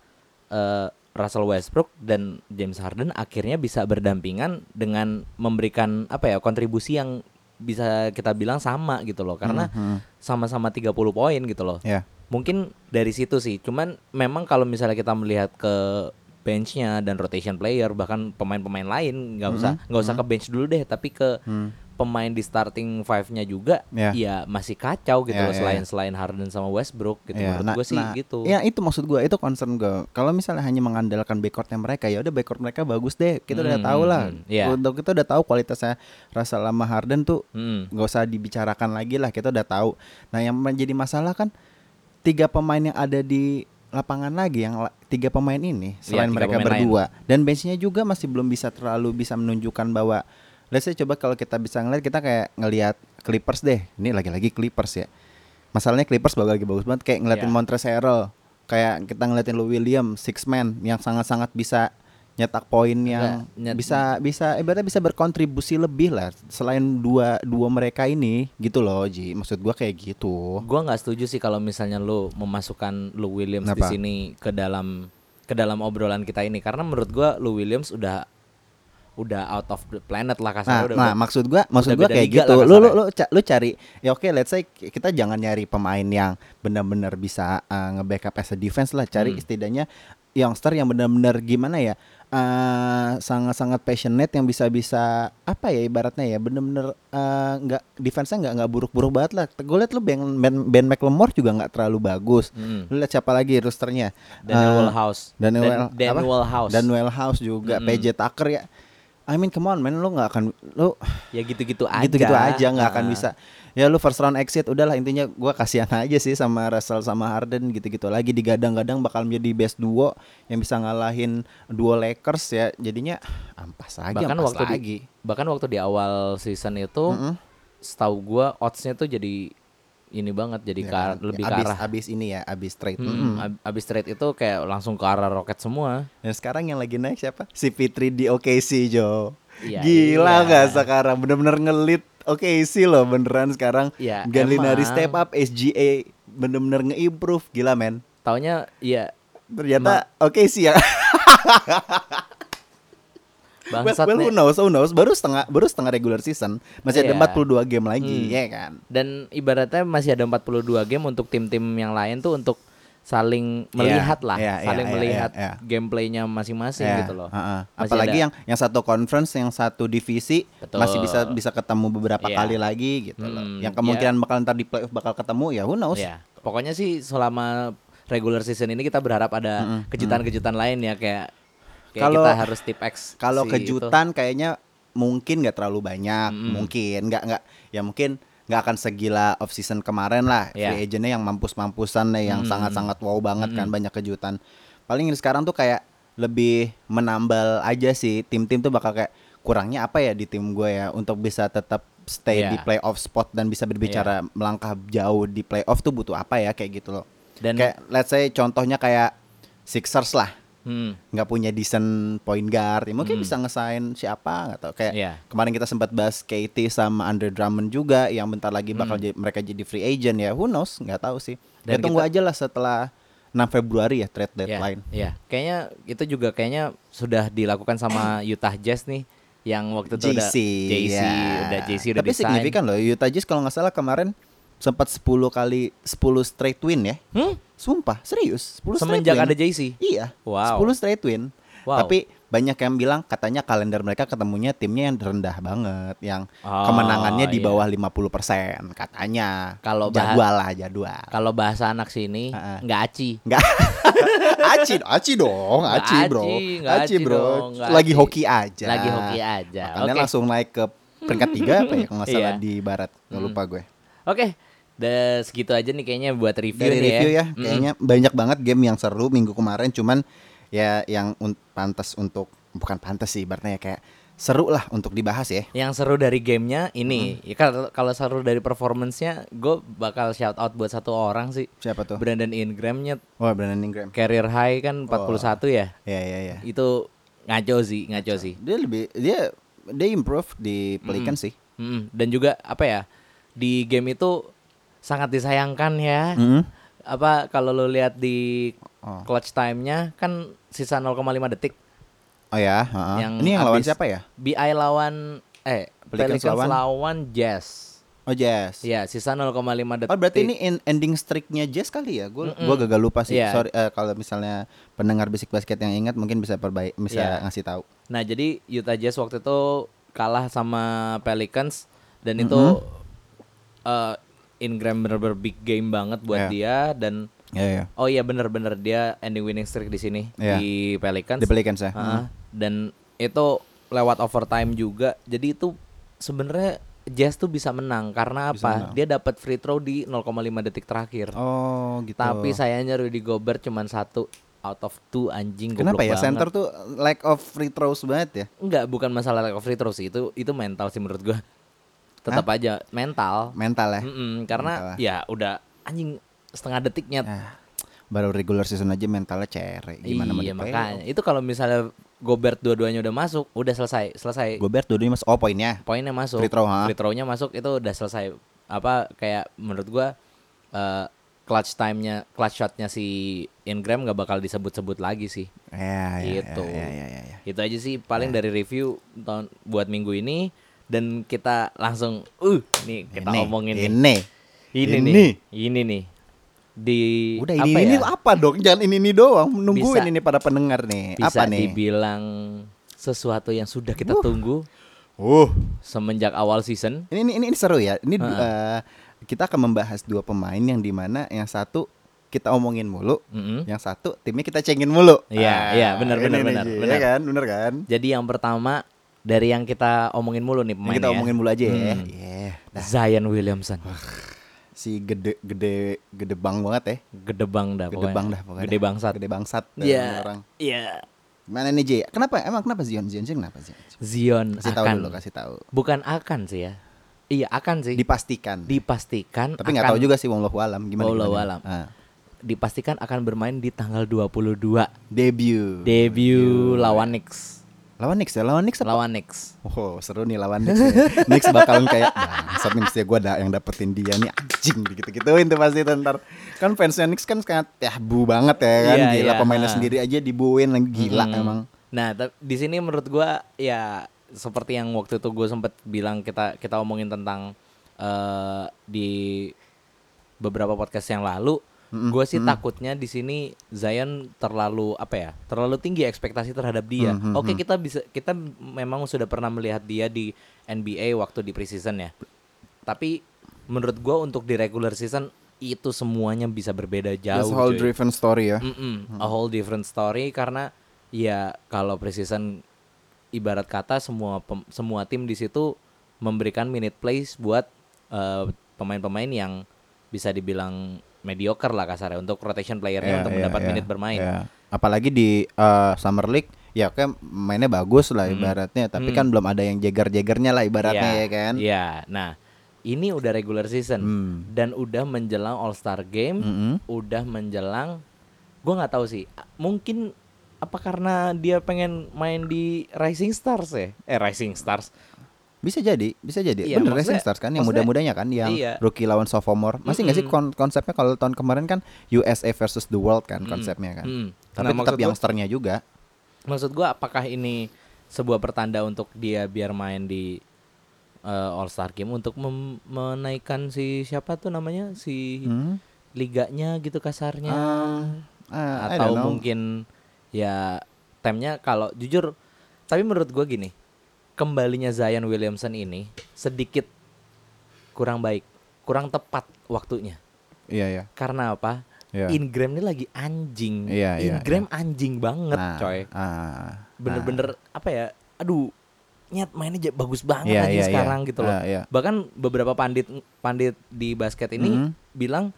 Speaker 1: eh, Russell Westbrook dan James Harden akhirnya bisa berdampingan dengan memberikan apa ya kontribusi yang bisa kita bilang sama gitu loh karena
Speaker 2: Mhm.
Speaker 1: sama-sama 30 poin gitu loh.
Speaker 2: ya
Speaker 1: Mungkin dari situ sih. Cuman memang kalau misalnya kita melihat ke benchnya dan rotation player bahkan pemain-pemain lain nggak usah nggak usah ke bench dulu deh tapi ke
Speaker 2: hmm.
Speaker 1: pemain di starting five-nya juga
Speaker 2: Ya.
Speaker 1: ya masih kacau gitu
Speaker 2: Ya,
Speaker 1: loh
Speaker 2: ya,
Speaker 1: selain selain Harden sama Westbrook gitu
Speaker 2: Ya,
Speaker 1: menurut
Speaker 2: nah-
Speaker 1: gue sih
Speaker 2: nah,
Speaker 1: gitu.
Speaker 2: ya itu maksud gue itu concern gue kalau misalnya hanya mengandalkan backcourtnya mereka ya udah backcourt mereka bagus deh kita udah
Speaker 1: Hmm,
Speaker 2: tahu lah
Speaker 1: hmm, iya.
Speaker 2: untuk kita udah tahu kualitasnya rasa lama Harden tuh
Speaker 1: Mm.
Speaker 2: nggak usah dibicarakan lagi lah kita udah tahu nah yang menjadi masalah kan tiga pemain yang ada di lapangan lagi yang la- tiga pemain ini
Speaker 1: Iya,
Speaker 2: selain
Speaker 1: tiga
Speaker 2: mereka
Speaker 1: pemain lain.
Speaker 2: berdua dan benchnya juga masih belum bisa terlalu bisa menunjukkan bahwa let's say coba kalau kita bisa ngeliat kita kayak ngelihat Clippers deh ini lagi-lagi Clippers ya masalahnya Clippers bagus lagi bagus banget kayak ngeliatin
Speaker 1: Iya.
Speaker 2: Montrezl Harrell kayak kita ngeliatin Lou Williams six man yang sangat-sangat bisa nyetak poin yang
Speaker 1: Enggak, nyet-
Speaker 2: bisa bisa ibaratnya bisa berkontribusi lebih lah selain dua dua mereka ini gitu loh Ji maksud gua kayak gitu
Speaker 1: Gue nggak setuju sih kalau misalnya lu memasukkan Lou Williams di
Speaker 2: Kenapa?
Speaker 1: sini ke dalam ke dalam obrolan kita ini karena menurut gue Lou Williams udah udah out of the planet lah
Speaker 2: nah,
Speaker 1: kasarnya udah
Speaker 2: nah maksud gua maksud
Speaker 1: udah
Speaker 2: gua
Speaker 1: beda
Speaker 2: kayak
Speaker 1: liga
Speaker 2: gitu
Speaker 1: lah
Speaker 2: lu lu
Speaker 1: kasarnya.
Speaker 2: lu, ca- lu cari ya oke let's say kita jangan nyari pemain yang benar-benar bisa eh, nge-backup as a defense lah cari
Speaker 1: Hmm.
Speaker 2: setidaknya youngster yang benar-benar gimana ya eh, sangat-sangat passionate yang bisa-bisa apa ya ibaratnya ya benar-benar eh, nggak defense-nya nggak nggak buruk-buruk banget lah gue liat lu Ben Ben, ben McLemore juga nggak terlalu bagus
Speaker 1: Mm.
Speaker 2: lu liat siapa lagi rosternya Eh,
Speaker 1: Daniel House.
Speaker 2: Daniel
Speaker 1: Dan-
Speaker 2: apa?
Speaker 1: Daniel House.
Speaker 2: Daniel House juga
Speaker 1: Mm-mm.
Speaker 2: PJ Tucker ya I mean come on man lu nggak akan lu
Speaker 1: ya gitu-gitu aja.
Speaker 2: gitu-gitu aja nggak akan
Speaker 1: Ah.
Speaker 2: bisa ya lu first round exit udahlah intinya gua kasihan aja sih sama Russell sama Harden gitu-gitu lagi digadang-gadang bakal menjadi best duo yang bisa ngalahin duo Lakers ya jadinya ah, ampas lagi
Speaker 1: Bahkan
Speaker 2: ampas
Speaker 1: waktu di-
Speaker 2: lagi
Speaker 1: Bahkan waktu di awal season itu
Speaker 2: Mm-mm.
Speaker 1: setahu gua odds-nya tuh jadi ini banget jadi
Speaker 2: Ya
Speaker 1: ke ar-
Speaker 2: kan?
Speaker 1: lebih ke
Speaker 2: abis,
Speaker 1: arah Hmm.
Speaker 2: abis ini ya abis trade
Speaker 1: Mm-mm,
Speaker 2: Mm-mm.
Speaker 1: ab- abis trade itu kayak langsung ke arah roket semua.
Speaker 2: Dan Nah, sekarang yang lagi naik siapa? Si Fitri di OKC, Jo.
Speaker 1: Iya,
Speaker 2: Gila
Speaker 1: iya.
Speaker 2: nggak sekarang? Bener-bener ngelit OKC loh beneran sekarang.
Speaker 1: Iya,
Speaker 2: Gallinari
Speaker 1: emang.
Speaker 2: step up, SGA bener-bener nge-improve. Gila, men.
Speaker 1: Taunya ya
Speaker 2: Ternyata OKC ya.
Speaker 1: bangsat
Speaker 2: well, who
Speaker 1: nih.
Speaker 2: knows, who knows. Baru setengah baru setengah regular season. Masih
Speaker 1: Iya.
Speaker 2: ada 42 game lagi,
Speaker 1: Hmm.
Speaker 2: ya kan?
Speaker 1: Dan ibaratnya masih ada 42 game untuk tim-tim yang lain tuh untuk saling melihat lah,
Speaker 2: iya, iya,
Speaker 1: saling
Speaker 2: iya,
Speaker 1: melihat
Speaker 2: iya, iya.
Speaker 1: gameplaynya masing-masing
Speaker 2: Ya,
Speaker 1: gitu loh.
Speaker 2: heeh.
Speaker 1: Masih
Speaker 2: Apalagi
Speaker 1: ada-
Speaker 2: yang yang satu conference, yang satu divisi
Speaker 1: Betul.
Speaker 2: masih bisa bisa ketemu beberapa
Speaker 1: Iya.
Speaker 2: kali lagi gitu loh.
Speaker 1: Hmm,
Speaker 2: Yang kemungkinan bakal ntar di playoff bakal ketemu ya, who knows.
Speaker 1: Ya, pokoknya sih selama regular season ini kita berharap ada kejutan-kejutan lain ya kayak kayak
Speaker 2: Kalau-
Speaker 1: kita harus tip X. si
Speaker 2: Kalau
Speaker 1: itu.
Speaker 2: kejutan kayaknya mungkin nggak terlalu banyak, mungkin nggak nggak ya mungkin nggak akan segila off season kemarin lah.
Speaker 1: Ya.
Speaker 2: Free agentnya yang mampus-mampusan lah,
Speaker 1: Mm.
Speaker 2: yang sangat-sangat wow banget kan banyak kejutan. Paling sekarang tuh kayak lebih menambal aja sih tim-tim tuh bakal kayak kurangnya apa ya di tim gue ya untuk bisa tetap stay
Speaker 1: Ya.
Speaker 2: di playoff spot dan bisa berbicara melangkah jauh di playoff tuh butuh apa ya kayak gitu loh.
Speaker 1: Dan-
Speaker 2: kayak let's say contohnya kayak Sixers lah
Speaker 1: Hmm,
Speaker 2: nggak punya decent point guard ya mungkin bisa ngesain siapa nggak tahu kayak
Speaker 1: Iya.
Speaker 2: kemarin kita sempat bahas KT sama Andre Drummond juga yang bentar lagi bakal jadi- mereka jadi free agent ya who knows nggak tahu sih
Speaker 1: Hmm. Dan
Speaker 2: ya tunggu aja lah setelah 6 Februari ya trade deadline.
Speaker 1: Iya, kayaknya itu juga kayaknya sudah dilakukan sama Utah Jazz nih yang waktu itu udah JC
Speaker 2: ya.
Speaker 1: udah JC udah
Speaker 2: Tapi
Speaker 1: disign.
Speaker 2: signifikan loh Utah Jazz kalau nggak salah kemarin sempat 10 kali 10 straight win ya.
Speaker 1: Hmm?
Speaker 2: Sumpah, serius. 10
Speaker 1: Semenjak
Speaker 2: straight win.
Speaker 1: ada JC.
Speaker 2: Iya.
Speaker 1: Wow.
Speaker 2: 10 straight win.
Speaker 1: Wow.
Speaker 2: Tapi banyak yang bilang katanya kalender mereka ketemunya timnya yang rendah banget, yang
Speaker 1: Oh,
Speaker 2: kemenangannya di
Speaker 1: iya.
Speaker 2: bawah 50% katanya.
Speaker 1: Kalau bahas-
Speaker 2: jadwal lah jadwal.
Speaker 1: Kalau bahasa anak sini
Speaker 2: Ah, ah.
Speaker 1: nggak aci.
Speaker 2: Enggak. aci, aci dong,
Speaker 1: Nggak
Speaker 2: aci bro.
Speaker 1: aci, nggak
Speaker 2: Aci
Speaker 1: aci
Speaker 2: bro.
Speaker 1: dong, nggak
Speaker 2: Lagi
Speaker 1: aci.
Speaker 2: hoki aja.
Speaker 1: Lagi hoki aja.
Speaker 2: Makanya
Speaker 1: Oke.
Speaker 2: langsung naik ke peringkat tiga apa ya kalau nggak salah
Speaker 1: Iya.
Speaker 2: di barat. Nggak lupa gue.
Speaker 1: Oke, udah segitu aja nih kayaknya buat review
Speaker 2: Dari
Speaker 1: nih
Speaker 2: review
Speaker 1: ya.
Speaker 2: ya, kayaknya banyak banget game yang seru minggu kemarin. Cuman ya yang un- pantas untuk bukan pantas sih, ibaratnya ya kayak seru lah untuk dibahas ya.
Speaker 1: Yang seru dari gamenya
Speaker 2: Hmm.
Speaker 1: ini, ya kalau kalau seru dari performance-nya, gue bakal shout out buat satu orang sih.
Speaker 2: Siapa tuh?
Speaker 1: Brandon Ingram-nya
Speaker 2: Oh Brandon Ingram.
Speaker 1: career high kan 41 ya.
Speaker 2: Ya ya ya.
Speaker 1: Itu ngaco sih, ngaco sih.
Speaker 2: Dia lebih dia dia improve di Pelican sih.
Speaker 1: Mm, dan juga apa ya di game itu sangat disayangkan ya.
Speaker 2: Mm.
Speaker 1: Apa kalau lu lihat di
Speaker 2: Oh.
Speaker 1: clutch time-nya kan sisa 0,5 detik.
Speaker 2: Oh ya. ha-ha.
Speaker 1: Yang
Speaker 2: Ini yang lawan
Speaker 1: abis-
Speaker 2: siapa ya?
Speaker 1: BI lawan eh
Speaker 2: Pelicans
Speaker 1: Pelicans,
Speaker 2: lawan-
Speaker 1: lawan, Jazz.
Speaker 2: Oh Jazz.
Speaker 1: Ya, sisa 0,5 detik.
Speaker 2: Oh berarti ini en- ending streaknya Jazz kali ya? Gue gua gagal lupa sih.
Speaker 1: Iya.
Speaker 2: Sorry eh, kalau misalnya pendengar bisik basket yang ingat mungkin bisa perbaik, bisa
Speaker 1: Iya.
Speaker 2: ngasih tahu.
Speaker 1: Nah, jadi Utah Jazz waktu itu kalah sama Pelicans dan itu
Speaker 2: Mm-hmm.
Speaker 1: eh, Ingram bener-bener big game banget buat
Speaker 2: Iya.
Speaker 1: dia dan
Speaker 2: Ya ya.
Speaker 1: oh iya bener-bener dia ending winning streak di sini
Speaker 2: Iya.
Speaker 1: di Pelicans.
Speaker 2: Di Pelicans ya.
Speaker 1: Heeh. Dan itu lewat overtime juga. Jadi itu sebenarnya Jazz tuh bisa menang karena apa? Dia dapat free throw di 0,5 detik terakhir.
Speaker 2: Oh gitu.
Speaker 1: Tapi sayangnya Rudy Gobert cuman satu out of two anjing
Speaker 2: Kenapa
Speaker 1: goblok
Speaker 2: ya
Speaker 1: banget.
Speaker 2: center tuh lack of free throws banget ya?
Speaker 1: Enggak, bukan masalah lack of free throw sih. Itu itu mental sih menurut gua. Tetap aja mental.
Speaker 2: Mental ya.
Speaker 1: Mm-mm, karena
Speaker 2: Mental.
Speaker 1: ya udah anjing setengah detiknya.
Speaker 2: Ah, baru regular season aja mentalnya cere. Gimana mau
Speaker 1: iya,
Speaker 2: di
Speaker 1: makanya. Itu kalau misalnya Gobert dua-duanya udah masuk, udah selesai, selesai.
Speaker 2: playoff? Gobert dua-duanya mas oh poinnya.
Speaker 1: poinnya masuk
Speaker 2: Free throw, ha?
Speaker 1: free throw-nya masuk itu udah selesai apa kayak menurut gua eh, clutch time-nya clutch shot-nya si Ingram nggak bakal disebut-sebut lagi sih
Speaker 2: Ya, ya,
Speaker 1: Gitu.
Speaker 2: Ya, ya, ya, ya.
Speaker 1: itu aja sih paling dari review tahun buat minggu ini dan kita langsung uh nih kita
Speaker 2: Ini,
Speaker 1: omongin nih.
Speaker 2: ini.
Speaker 1: ini
Speaker 2: ini.
Speaker 1: nih ini nih di
Speaker 2: Udah
Speaker 1: apa
Speaker 2: ini
Speaker 1: ya
Speaker 2: ini apa dong? Jangan ini ini doang. Nungguin
Speaker 1: Bisa-
Speaker 2: ini para pendengar nih.
Speaker 1: bisa
Speaker 2: apa nih?
Speaker 1: dibilang sesuatu yang sudah kita tunggu
Speaker 2: Uh,
Speaker 1: semenjak awal season
Speaker 2: ini ini, ini ini seru ya. Ini eh, kita akan membahas dua pemain yang dimana yang satu kita omongin mulu,
Speaker 1: Mm-mm.
Speaker 2: yang satu timnya kita cengin mulu. Ah,
Speaker 1: Iya, iya, benar,
Speaker 2: ini
Speaker 1: benar,
Speaker 2: nih,
Speaker 1: benar,
Speaker 2: iya
Speaker 1: benar.
Speaker 2: kan, benar kan.
Speaker 1: Jadi yang pertama dari yang kita omongin mulu nih
Speaker 2: Ini
Speaker 1: pemainnya.
Speaker 2: kita omongin mulu aja ya.
Speaker 1: Hmm.
Speaker 2: Iya. Nah,
Speaker 1: Zion Williamson.
Speaker 2: si gede gede gede bang banget ya.
Speaker 1: Gedebang dah
Speaker 2: Gede
Speaker 1: pokoknya.
Speaker 2: bang dah pokoknya.
Speaker 1: Gede bangsat.
Speaker 2: Gede bangsat dah
Speaker 1: Iya.
Speaker 2: orang.
Speaker 1: Iya.
Speaker 2: Mana nih Jay? Kenapa? Emang kenapa Zion Zion Zion kenapa Zion?
Speaker 1: Zion
Speaker 2: Kasih tahu
Speaker 1: akan
Speaker 2: dulu, kasih tahu.
Speaker 1: bukan akan sih ya. Iya, akan sih.
Speaker 2: Dipastikan.
Speaker 1: dipastikan
Speaker 2: Tapi nggak
Speaker 1: akan-
Speaker 2: tahu juga sih wallahu alam gimana.
Speaker 1: Wallahu
Speaker 2: gimana.
Speaker 1: alam.
Speaker 2: Ah.
Speaker 1: Dipastikan akan bermain di tanggal 22
Speaker 2: Debut.
Speaker 1: debut lawan Knicks.
Speaker 2: lawan Knicks ya, lawan Knicks apa?
Speaker 1: Lawan Knicks.
Speaker 2: Oh, seru nih lawan Knicks. ya. Knicks bakalan kayak bangsat nih mesti gua ada yang dapetin dia nih anjing gitu-gituin tuh pasti tuh ntar. Kan fansnya Knicks kan sangat ya bu banget ya kan.
Speaker 1: Iya,
Speaker 2: gila
Speaker 1: iya,
Speaker 2: pemainnya
Speaker 1: ah.
Speaker 2: sendiri aja dibuin lagi gila
Speaker 1: Mm.
Speaker 2: emang.
Speaker 1: Nah, tap- di sini menurut gua ya seperti yang waktu itu gue sempet bilang kita kita omongin tentang eh, di beberapa podcast yang lalu, gue sih takutnya di sini Zion terlalu apa ya? Terlalu tinggi ekspektasi terhadap dia.
Speaker 2: Mm-hmm,
Speaker 1: Oke, kita bisa kita memang sudah pernah melihat dia di NBA waktu di preseason ya. Tapi menurut gua untuk di regular season itu semuanya bisa berbeda jauh.
Speaker 2: That's whole
Speaker 1: cuy.
Speaker 2: driven story ya.
Speaker 1: Mm-mm, a whole different story karena ya kalau preseason ibarat kata semua pem- semua tim di situ memberikan minute plays buat eh, pemain-pemain yang bisa dibilang mediocre lah kasarnya untuk rotation playernya
Speaker 2: Iya,
Speaker 1: untuk
Speaker 2: iya,
Speaker 1: mendapat
Speaker 2: iya,
Speaker 1: menit bermain.
Speaker 2: iya. Apalagi di eh, Summer League ya kan mainnya bagus lah ibaratnya, tapi kan belum ada yang jeger-jegernya lah
Speaker 1: Iya,
Speaker 2: ibaratnya ya kan. Hmm.
Speaker 1: Iya. Nah, ini udah regular season dan udah menjelang All Star Game, udah menjelang gua nggak tahu sih. a- Mungkin apa karena dia pengen main di Rising Stars ya? Eh Rising Stars.
Speaker 2: Bisa jadi, bisa jadi.
Speaker 1: Iya,
Speaker 2: Bener
Speaker 1: maksudnya-
Speaker 2: Racing Stars kan yang
Speaker 1: maksudnya-
Speaker 2: muda-mudanya kan yang
Speaker 1: iya.
Speaker 2: rookie lawan sophomore. Masih nggak sih kon- konsepnya kalau tahun kemarin kan USA versus the world kan konsepnya kan.
Speaker 1: Mm.
Speaker 2: Tapi
Speaker 1: Nah,
Speaker 2: tetap
Speaker 1: maksud gua-
Speaker 2: youngsternya juga.
Speaker 1: Maksud gua apakah ini sebuah pertanda untuk dia biar main di eh, All Star Game untuk mem- menaikkan si siapa tuh namanya si
Speaker 2: Hmm.
Speaker 1: liganya gitu kasarnya
Speaker 2: Ah, I
Speaker 1: atau
Speaker 2: don't know.
Speaker 1: mungkin ya timnya kalau jujur tapi menurut gua gini kembalinya Zion Williamson ini sedikit kurang baik kurang tepat waktunya
Speaker 2: Iya ya.
Speaker 1: karena apa
Speaker 2: Iya.
Speaker 1: Ingram ini lagi anjing
Speaker 2: Iya, iya,
Speaker 1: Ingram anjing banget
Speaker 2: Nah,
Speaker 1: coy
Speaker 2: ah,
Speaker 1: bener-bener apa ya aduh nyet mainnya j- bagus banget
Speaker 2: Iya,
Speaker 1: anjing
Speaker 2: iya, iya.
Speaker 1: sekarang gitu loh
Speaker 2: Ah, iya.
Speaker 1: bahkan beberapa pandit pandit di basket ini
Speaker 2: Mhm.
Speaker 1: bilang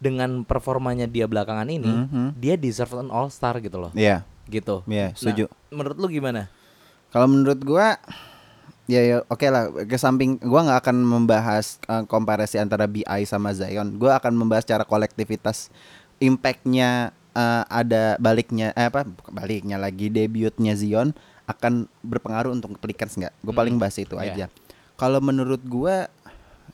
Speaker 1: dengan performanya dia belakangan ini
Speaker 2: Mhm.
Speaker 1: dia deserve an all star gitu loh
Speaker 2: Iya.
Speaker 1: gitu
Speaker 2: Iya,
Speaker 1: Nah,
Speaker 2: setuju.
Speaker 1: menurut lu gimana
Speaker 2: Kalau menurut gua ya ya oke lah ke samping gua nggak akan membahas eh, komparasi antara BI sama Zion. Gua akan membahas secara kolektivitas impactnya eh, ada baliknya eh apa bukan baliknya lagi debutnya Zion akan berpengaruh untuk Pelicans nggak? Gue paling bahas
Speaker 1: Iya.
Speaker 2: itu gitu aja. Kalau menurut gua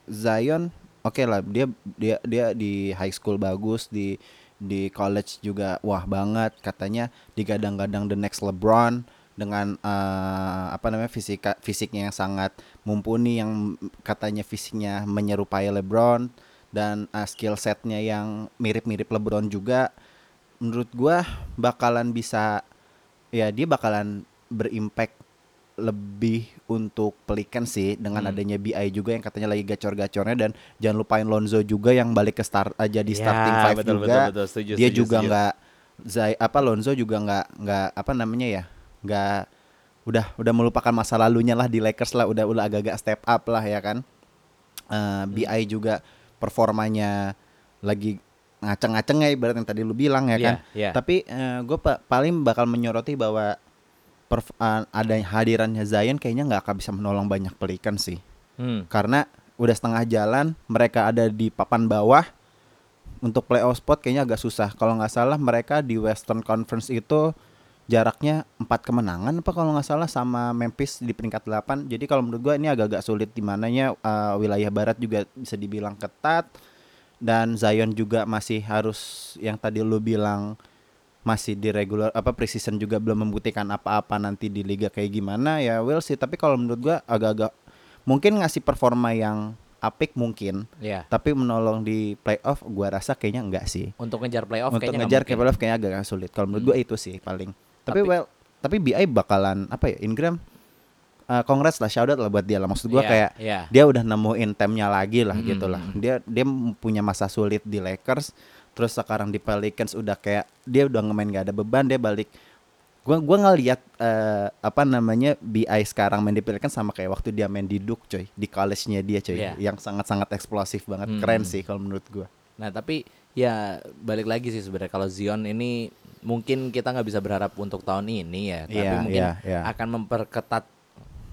Speaker 2: Zion oke lah dia dia dia di high school bagus di di college juga wah banget katanya digadang-gadang the next LeBron dengan eh, apa namanya fisika fisiknya yang sangat mumpuni yang katanya fisiknya menyerupai LeBron dan eh, skill setnya yang mirip-mirip LeBron juga menurut gua bakalan bisa ya dia bakalan berimpact lebih untuk pelikan sih dengan
Speaker 1: Hmm.
Speaker 2: adanya BI juga yang katanya lagi gacor-gacornya dan jangan lupain Lonzo juga yang balik ke start aja di
Speaker 1: Ya,
Speaker 2: starting five
Speaker 1: betul,
Speaker 2: juga
Speaker 1: betul, betul. Setuju,
Speaker 2: dia
Speaker 1: setuju,
Speaker 2: juga
Speaker 1: setuju.
Speaker 2: nggak Zai apa Lonzo juga nggak nggak apa namanya ya nggak udah udah melupakan masa lalunya lah di Lakers lah udah udah agak-agak step up lah ya kan Eh, BI
Speaker 1: Hmm.
Speaker 2: juga performanya lagi ngaceng-ngaceng ya ibarat yang tadi lu bilang ya kan.
Speaker 1: Iya, iya.
Speaker 2: Tapi gue paling bakal menyoroti bahwa perf- eh, ada hadirannya Zion kayaknya nggak akan bisa menolong banyak pelikan sih.
Speaker 1: hmm.
Speaker 2: Karena udah setengah jalan mereka ada di papan bawah untuk playoff spot kayaknya agak susah. Kalau nggak salah mereka di Western Conference itu jaraknya empat kemenangan apa kalau nggak salah sama Memphis di peringkat 8. Jadi kalau menurut gua ini agak-agak sulit di mananya uh, wilayah barat juga bisa dibilang ketat dan Zion juga masih harus yang tadi lu bilang masih di regular apa preseason juga belum membuktikan apa-apa nanti di liga kayak gimana ya will sih tapi kalau menurut gua agak-agak mungkin ngasih performa yang apik mungkin
Speaker 1: ya
Speaker 2: tapi menolong di playoff gua rasa kayaknya enggak sih
Speaker 1: untuk ngejar playoff
Speaker 2: untuk
Speaker 1: kayaknya nggak
Speaker 2: ngejar ke
Speaker 1: mungkin. Hmm.
Speaker 2: playoff kayaknya agak agak sulit kalau menurut gua itu sih paling tapi,
Speaker 1: Tapi-
Speaker 2: well tapi BI bakalan apa ya Ingram eh, congrats lah shout out lah buat dia lah maksud gua
Speaker 1: Iya,
Speaker 2: kayak
Speaker 1: iya.
Speaker 2: dia udah nemuin temnya lagi lah
Speaker 1: Hmm.
Speaker 2: gitu lah dia dia punya masa sulit di Lakers terus sekarang di Pelicans udah kayak dia udah ngemain gak ada beban dia balik gua gua ngelihat eh, apa namanya BI sekarang main di Pelicans sama kayak waktu dia main di Duke coy di college-nya dia coy
Speaker 1: Iya.
Speaker 2: yang sangat-sangat eksplosif banget
Speaker 1: Hmm.
Speaker 2: keren sih kalau menurut gua
Speaker 1: Nah tapi ya balik lagi sih sebenarnya kalau Zion ini mungkin kita nggak bisa berharap untuk tahun ini ya, tapi
Speaker 2: Iya,
Speaker 1: mungkin
Speaker 2: iya, iya.
Speaker 1: akan memperketat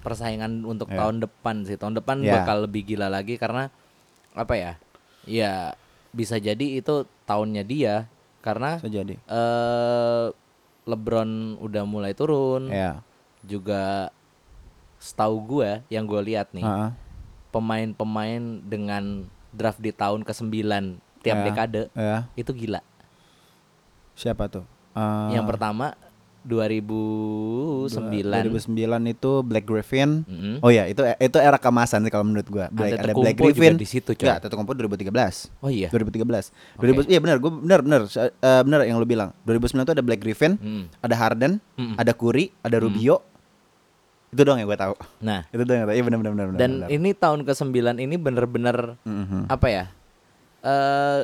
Speaker 1: persaingan untuk
Speaker 2: Iya.
Speaker 1: tahun depan sih. Tahun depan
Speaker 2: Iya.
Speaker 1: bakal lebih gila lagi karena apa ya? Ya bisa jadi itu tahunnya dia karena
Speaker 2: bisa jadi
Speaker 1: eh LeBron udah mulai turun,
Speaker 2: ya
Speaker 1: juga setahu gua yang gue lihat nih
Speaker 2: Heeh.
Speaker 1: pemain-pemain dengan draft di tahun ke-9 tiap
Speaker 2: Ya.
Speaker 1: dekade
Speaker 2: ya
Speaker 1: itu gila.
Speaker 2: siapa tuh Eh,
Speaker 1: Yang pertama 2009
Speaker 2: 2009 itu Black Griffin.
Speaker 1: Mm-mm.
Speaker 2: Oh ya, itu itu era kemasan sih kalau menurut gua. Black, ada
Speaker 1: Antetokounmpo
Speaker 2: Black
Speaker 1: Mm-hmm. juga
Speaker 2: Griffin.
Speaker 1: di situ, coy.
Speaker 2: Enggak, Antetokounmpo 2013.
Speaker 1: Oh iya.
Speaker 2: 2013. 2000 Iya benar, gua benar benar eh, benar yang lu bilang. 2009 itu ada Black Griffin,
Speaker 1: Mm.
Speaker 2: ada Harden,
Speaker 1: Mm-mm.
Speaker 2: ada Curry, ada Rubio. Itu doang yang gua tahu.
Speaker 1: Nah,
Speaker 2: Itu doang yang gua tahu. Iya benar benar benar. benar,
Speaker 1: dan
Speaker 2: benar.
Speaker 1: ini tahun ke-9 ini bener-bener
Speaker 2: Mhm.
Speaker 1: apa ya? Eh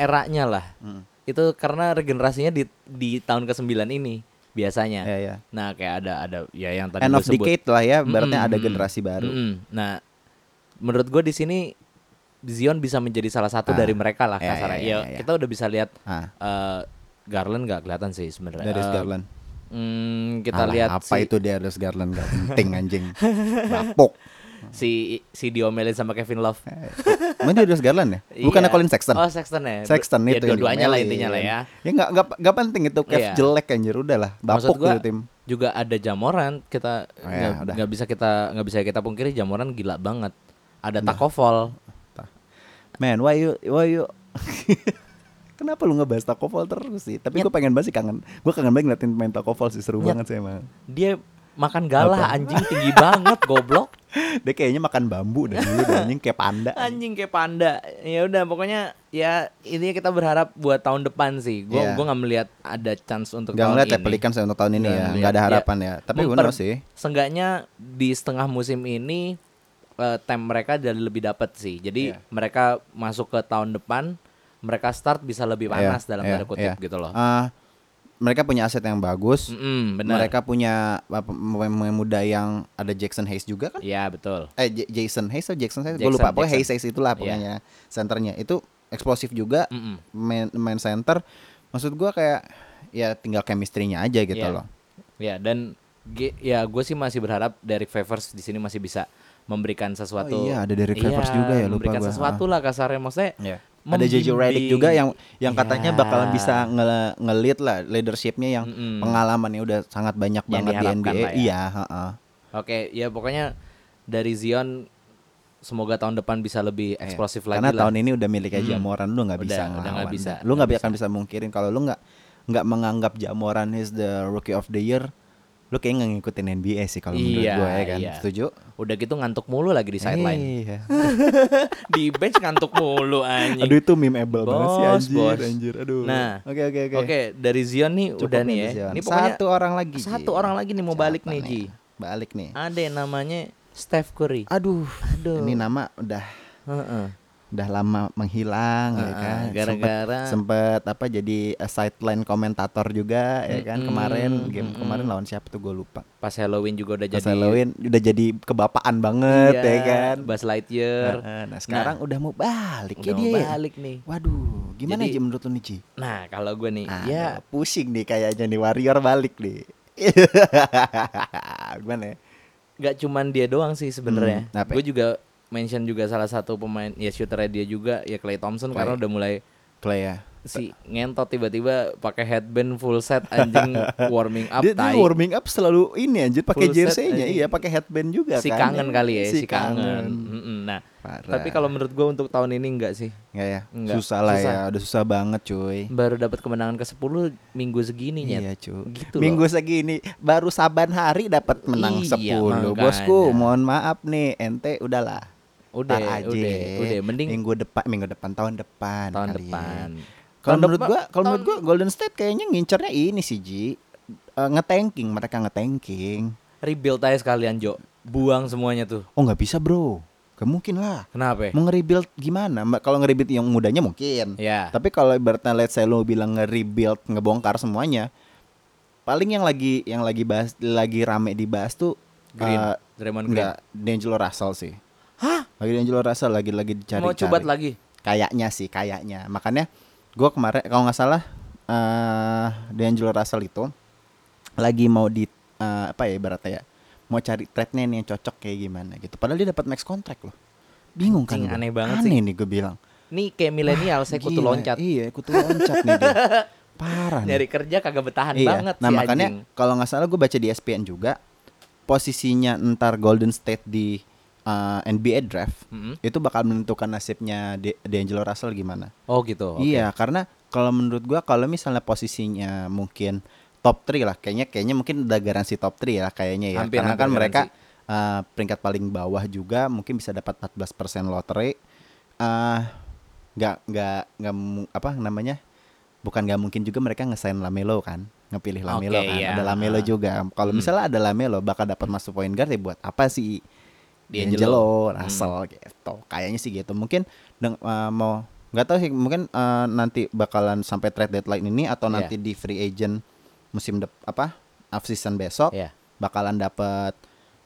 Speaker 1: eranya lah.
Speaker 2: Hmm.
Speaker 1: Itu karena regenerasinya di di tahun ke-9 ini biasanya.
Speaker 2: Iya, iya.
Speaker 1: Nah, kayak ada ada ya yang tadi
Speaker 2: End
Speaker 1: gua
Speaker 2: of
Speaker 1: sebut.
Speaker 2: decade lah ya, berarti
Speaker 1: Mm-mm,
Speaker 2: ada
Speaker 1: mm-mm.
Speaker 2: generasi baru.
Speaker 1: Mm-mm. Nah, menurut gue di sini Zion bisa menjadi salah satu dari mereka lah
Speaker 2: ya,
Speaker 1: kasarnya.
Speaker 2: ya,
Speaker 1: Ya,
Speaker 2: ya, ya.
Speaker 1: kita udah bisa lihat
Speaker 2: Ah.
Speaker 1: eh, Garland nggak kelihatan sih sebenarnya.
Speaker 2: Darius
Speaker 1: Eh,
Speaker 2: Garland.
Speaker 1: mm, kita
Speaker 2: Alah,
Speaker 1: lihat
Speaker 2: apa
Speaker 1: si,
Speaker 2: itu Darius Garland gak penting anjing. Bapok.
Speaker 1: si si diomelin sama Kevin Love.
Speaker 2: Mana dia Darius Eh, Garland ya? Bukannya
Speaker 1: Iya.
Speaker 2: Colin Sexton.
Speaker 1: Oh, Sexton ya.
Speaker 2: Sexton
Speaker 1: Ya,
Speaker 2: itu Iya, yang
Speaker 1: dua-duanya lah
Speaker 2: diomelin.
Speaker 1: intinya lah ya.
Speaker 2: Ya enggak enggak penting itu Cavs
Speaker 1: Iya.
Speaker 2: jelek anjir udah lah.
Speaker 1: Maksud
Speaker 2: Bapuk
Speaker 1: gua,
Speaker 2: itu tim.
Speaker 1: juga ada Jamoran kita
Speaker 2: Oh ya,
Speaker 1: nggak
Speaker 2: udah.
Speaker 1: nggak bisa kita nggak bisa kita pungkiri Jamoran gila banget ada Takovol
Speaker 2: Man, why you why you Kenapa lu ngebahas Takovol terus sih? Tapi gue pengen banget sih kangen. Gue kangen banget ngeliatin main Takovol sih seru
Speaker 1: Nyet.
Speaker 2: banget sih emang.
Speaker 1: dia makan galah anjing tinggi banget goblok
Speaker 2: Dia kayaknya makan bambu dan dulu dan anjing kayak panda.
Speaker 1: anjing kayak panda ya udah pokoknya ya intinya kita berharap buat tahun depan sih gue
Speaker 2: Iya.
Speaker 1: gua nggak melihat ada chance untuk
Speaker 2: Gak
Speaker 1: tahun
Speaker 2: ngeliat ya
Speaker 1: ini
Speaker 2: pelikan saya untuk tahun ini
Speaker 1: Nggak
Speaker 2: ya.
Speaker 1: ngeliat.
Speaker 2: Gak ada
Speaker 1: Ya,
Speaker 2: harapan ya. Tapi gue
Speaker 1: memper-
Speaker 2: sih.
Speaker 1: Seenggaknya di setengah musim ini eh, time mereka jadi lebih dapat sih. Jadi
Speaker 2: Iya.
Speaker 1: mereka masuk ke tahun depan, mereka start bisa lebih panas dalam
Speaker 2: Iya,
Speaker 1: tanda kutip
Speaker 2: iya.
Speaker 1: gitu loh.
Speaker 2: Ah, mereka punya aset yang bagus.
Speaker 1: Mm-mm, benar.
Speaker 2: Mereka punya apa, pemain-pemain muda yang ada Jackson Hayes juga kan?
Speaker 1: Iya, betul.
Speaker 2: Eh J- Jason Hayes atau Jackson Hayes? Gue
Speaker 1: Jackson,
Speaker 2: lupa. Pokoknya Hayes
Speaker 1: Jackson.
Speaker 2: Hayes itulah
Speaker 1: Iya.
Speaker 2: pokoknya senternya. Itu eksplosif juga.
Speaker 1: Mm-mm.
Speaker 2: Main, main center. Maksud gue kayak ya tinggal chemistry-nya aja gitu
Speaker 1: Iya.
Speaker 2: loh.
Speaker 1: Ya, dan ge- ya gue sih masih berharap Derek Favors di sini masih bisa memberikan sesuatu.
Speaker 2: Oh iya, ada Derek Favors juga ya, lupa
Speaker 1: memberikan
Speaker 2: gua. Iya.
Speaker 1: sesuatu lah kasarnya maksudnya.
Speaker 2: Ada JJ Redick
Speaker 1: membimbing.
Speaker 2: juga yang yang katanya
Speaker 1: Iya.
Speaker 2: bakalan bisa nge- ngelit lah leadershipnya yang
Speaker 1: Mm-mm.
Speaker 2: pengalamannya udah sangat banyak
Speaker 1: Yang
Speaker 2: banget di
Speaker 1: diharapkan
Speaker 2: NBA.
Speaker 1: lah ya.
Speaker 2: Iya, heeh.
Speaker 1: Oke, ya pokoknya dari Zion semoga tahun depan bisa lebih eksplosif lagi
Speaker 2: Iya, Eh, Karena
Speaker 1: lah.
Speaker 2: tahun ini udah miliknya
Speaker 1: Mm.
Speaker 2: Jamoran, lu nggak
Speaker 1: Udah,
Speaker 2: bisa
Speaker 1: udah nggak
Speaker 2: ngelawan.
Speaker 1: bisa,
Speaker 2: Lu
Speaker 1: nggak
Speaker 2: nggak akan bisa mungkirin kalau lu nggak nggak menganggap Jamoran is the rookie of the year, lu kayaknya nggak ngikutin NBA sih kalau menurut
Speaker 1: Iya,
Speaker 2: gue ya kan.
Speaker 1: iya.
Speaker 2: Setuju?
Speaker 1: Udah gitu ngantuk mulu lagi di sideline.
Speaker 2: Iya.
Speaker 1: di bench ngantuk mulu anjing.
Speaker 2: Aduh itu memeable banget sih
Speaker 1: Bos,
Speaker 2: anjir,
Speaker 1: bos.
Speaker 2: anjir. Aduh.
Speaker 1: Nah.
Speaker 2: Oke oke oke.
Speaker 1: Oke, dari Zion nih
Speaker 2: Cukup
Speaker 1: udah nih ya.
Speaker 2: Zion.
Speaker 1: Ini pokoknya
Speaker 2: satu orang lagi. Ji.
Speaker 1: satu orang lagi nih mau
Speaker 2: Siapa
Speaker 1: balik nih, Ji.
Speaker 2: Balik nih.
Speaker 1: Ada yang namanya Steph Curry.
Speaker 2: Aduh,
Speaker 1: Aduh.
Speaker 2: Ini nama udah
Speaker 1: Heeh.
Speaker 2: udah lama menghilang ya
Speaker 1: Heeh,
Speaker 2: kan. Sempet-
Speaker 1: Ah, gara-gara-
Speaker 2: sempet, apa jadi eh, sideline komentator juga ya kan
Speaker 1: Mm-mm,
Speaker 2: kemarin game
Speaker 1: mm-mm.
Speaker 2: kemarin lawan siapa tuh gue lupa.
Speaker 1: Pas Halloween juga udah
Speaker 2: Pas
Speaker 1: jadi
Speaker 2: Halloween udah jadi kebapaan banget
Speaker 1: Iya,
Speaker 2: ya kan.
Speaker 1: Buzz
Speaker 2: Nah,
Speaker 1: Lightyear.
Speaker 2: eh, nah, sekarang udah mau balik
Speaker 1: Udah
Speaker 2: ya
Speaker 1: mau
Speaker 2: dia. ya?
Speaker 1: balik nih.
Speaker 2: Waduh, gimana
Speaker 1: Jadi-
Speaker 2: Ji menurut lu nih Ji?
Speaker 1: Nah, kalau gue nih,
Speaker 2: Ah,
Speaker 1: ya
Speaker 2: pusing nih kayaknya nih Warrior balik nih. gimana ya?
Speaker 1: gak cuman dia doang sih sebenarnya.
Speaker 2: Hmm, apa?
Speaker 1: Gue juga mention juga salah satu pemain ya shooternya dia juga ya Clay Thompson
Speaker 2: Clay.
Speaker 1: karena udah mulai
Speaker 2: Play ya.
Speaker 1: si ngentot tiba-tiba pakai headband full set anjing warming up
Speaker 2: dia, dia
Speaker 1: tai.
Speaker 2: warming up selalu ini anjir
Speaker 1: Full
Speaker 2: pakai
Speaker 1: set,
Speaker 2: jersey-nya,
Speaker 1: anjing.
Speaker 2: iya pakai headband juga
Speaker 1: si
Speaker 2: kan.
Speaker 1: kangen kali ya, si, kangen. Mm-mm, Nah,
Speaker 2: Parah.
Speaker 1: tapi kalau menurut gue untuk tahun ini enggak sih.
Speaker 2: Nggak ya?
Speaker 1: Nggak,
Speaker 2: Susah lah
Speaker 1: susah.
Speaker 2: ya, udah susah banget cuy.
Speaker 1: Baru dapat kemenangan ke-10 minggu segini Nyet.
Speaker 2: Iya cuy.
Speaker 1: Gitu
Speaker 2: Minggu
Speaker 1: loh.
Speaker 2: segini baru saban hari dapat menang
Speaker 1: Iya,
Speaker 2: 10.
Speaker 1: makanya.
Speaker 2: Bosku, mohon maaf nih, ente udahlah.
Speaker 1: Udah,
Speaker 2: Ntar aja.
Speaker 1: udah, udah. Mending
Speaker 2: minggu depan, minggu depan, tahun depan
Speaker 1: tahun
Speaker 2: kali ya.
Speaker 1: depan.
Speaker 2: Kalau
Speaker 1: Tahun
Speaker 2: menurut
Speaker 1: depan-
Speaker 2: gua, kalau menurut
Speaker 1: tahun-
Speaker 2: gua Golden State kayaknya ngincernya ini sih Ji. Eh, ngetanking, mereka ngetanking.
Speaker 1: Rebuild aja sekalian, Jo. Buang semuanya tuh.
Speaker 2: Oh nggak bisa bro, gak mungkin lah.
Speaker 1: Kenapa?
Speaker 2: Mau nge-rebuild gimana? Ma- Kalau nge-rebuild yang mudanya mungkin.
Speaker 1: Ya.
Speaker 2: Tapi kalau ibaratnya let's say lu bilang nge-rebuild, ngebongkar semuanya, paling yang lagi yang lagi bahas lagi rame dibahas tuh
Speaker 1: Green,
Speaker 2: eh,
Speaker 1: Draymond Green.
Speaker 2: enggak D'Angelo Russell sih.
Speaker 1: Hah?
Speaker 2: Lagi D'Angelo Russell lagi lagi dicari.
Speaker 1: Mau coba lagi?
Speaker 2: Kayaknya sih, kayaknya. Makanya gua kemarin kalau nggak salah eh D'Angelo Russell itu lagi mau di eh, apa ya ibaratnya ya mau cari trade-nya nih yang cocok kayak gimana gitu. Padahal dia dapat max contract loh. Bingung kan?
Speaker 1: Anjing,
Speaker 2: gua.
Speaker 1: aneh banget
Speaker 2: aneh
Speaker 1: sih.
Speaker 2: nih gue bilang.
Speaker 1: Nih kayak milenial saya kutu
Speaker 2: Gila,
Speaker 1: loncat.
Speaker 2: Iya, kutu loncat nih dia. Parah nih.
Speaker 1: Nyari kerja kagak bertahan banget
Speaker 2: Nah,
Speaker 1: si
Speaker 2: makanya
Speaker 1: anjing.
Speaker 2: kalau nggak salah gue baca di ESPN juga posisinya entar Golden State di uh, NBA draft
Speaker 1: Mm-mm.
Speaker 2: itu bakal menentukan nasibnya De- D'Angelo Russell gimana.
Speaker 1: Oh gitu. oke.
Speaker 2: Iya, karena kalau menurut gua kalau misalnya posisinya mungkin top 3 lah, kayaknya kayaknya mungkin udah garansi top 3 ya kayaknya ya.
Speaker 1: Hampir,
Speaker 2: karena
Speaker 1: hampir
Speaker 2: kan mereka uh, peringkat paling bawah juga mungkin bisa dapat 14% lottery. Eh nggak nggak nggak mu- apa namanya? Bukan nggak mungkin juga mereka ngesain Lamelo kan, ngepilih Lamelo
Speaker 1: Oke,
Speaker 2: kan.
Speaker 1: iya.
Speaker 2: Ada Lamelo
Speaker 1: Ah.
Speaker 2: juga. Kalau misalnya ada Lamelo bakal dapat masuk point guard ya buat apa sih?
Speaker 1: D'Angelo. Hmm.
Speaker 2: D'Angelo, Russell gitu. Kayaknya sih gitu. Mungkin deng- eh, mau nggak tahu sih mungkin eh, nanti bakalan sampai trade deadline ini atau
Speaker 1: Iya.
Speaker 2: nanti di free agent musim dep apa off season besok
Speaker 1: Iya.
Speaker 2: bakalan dapat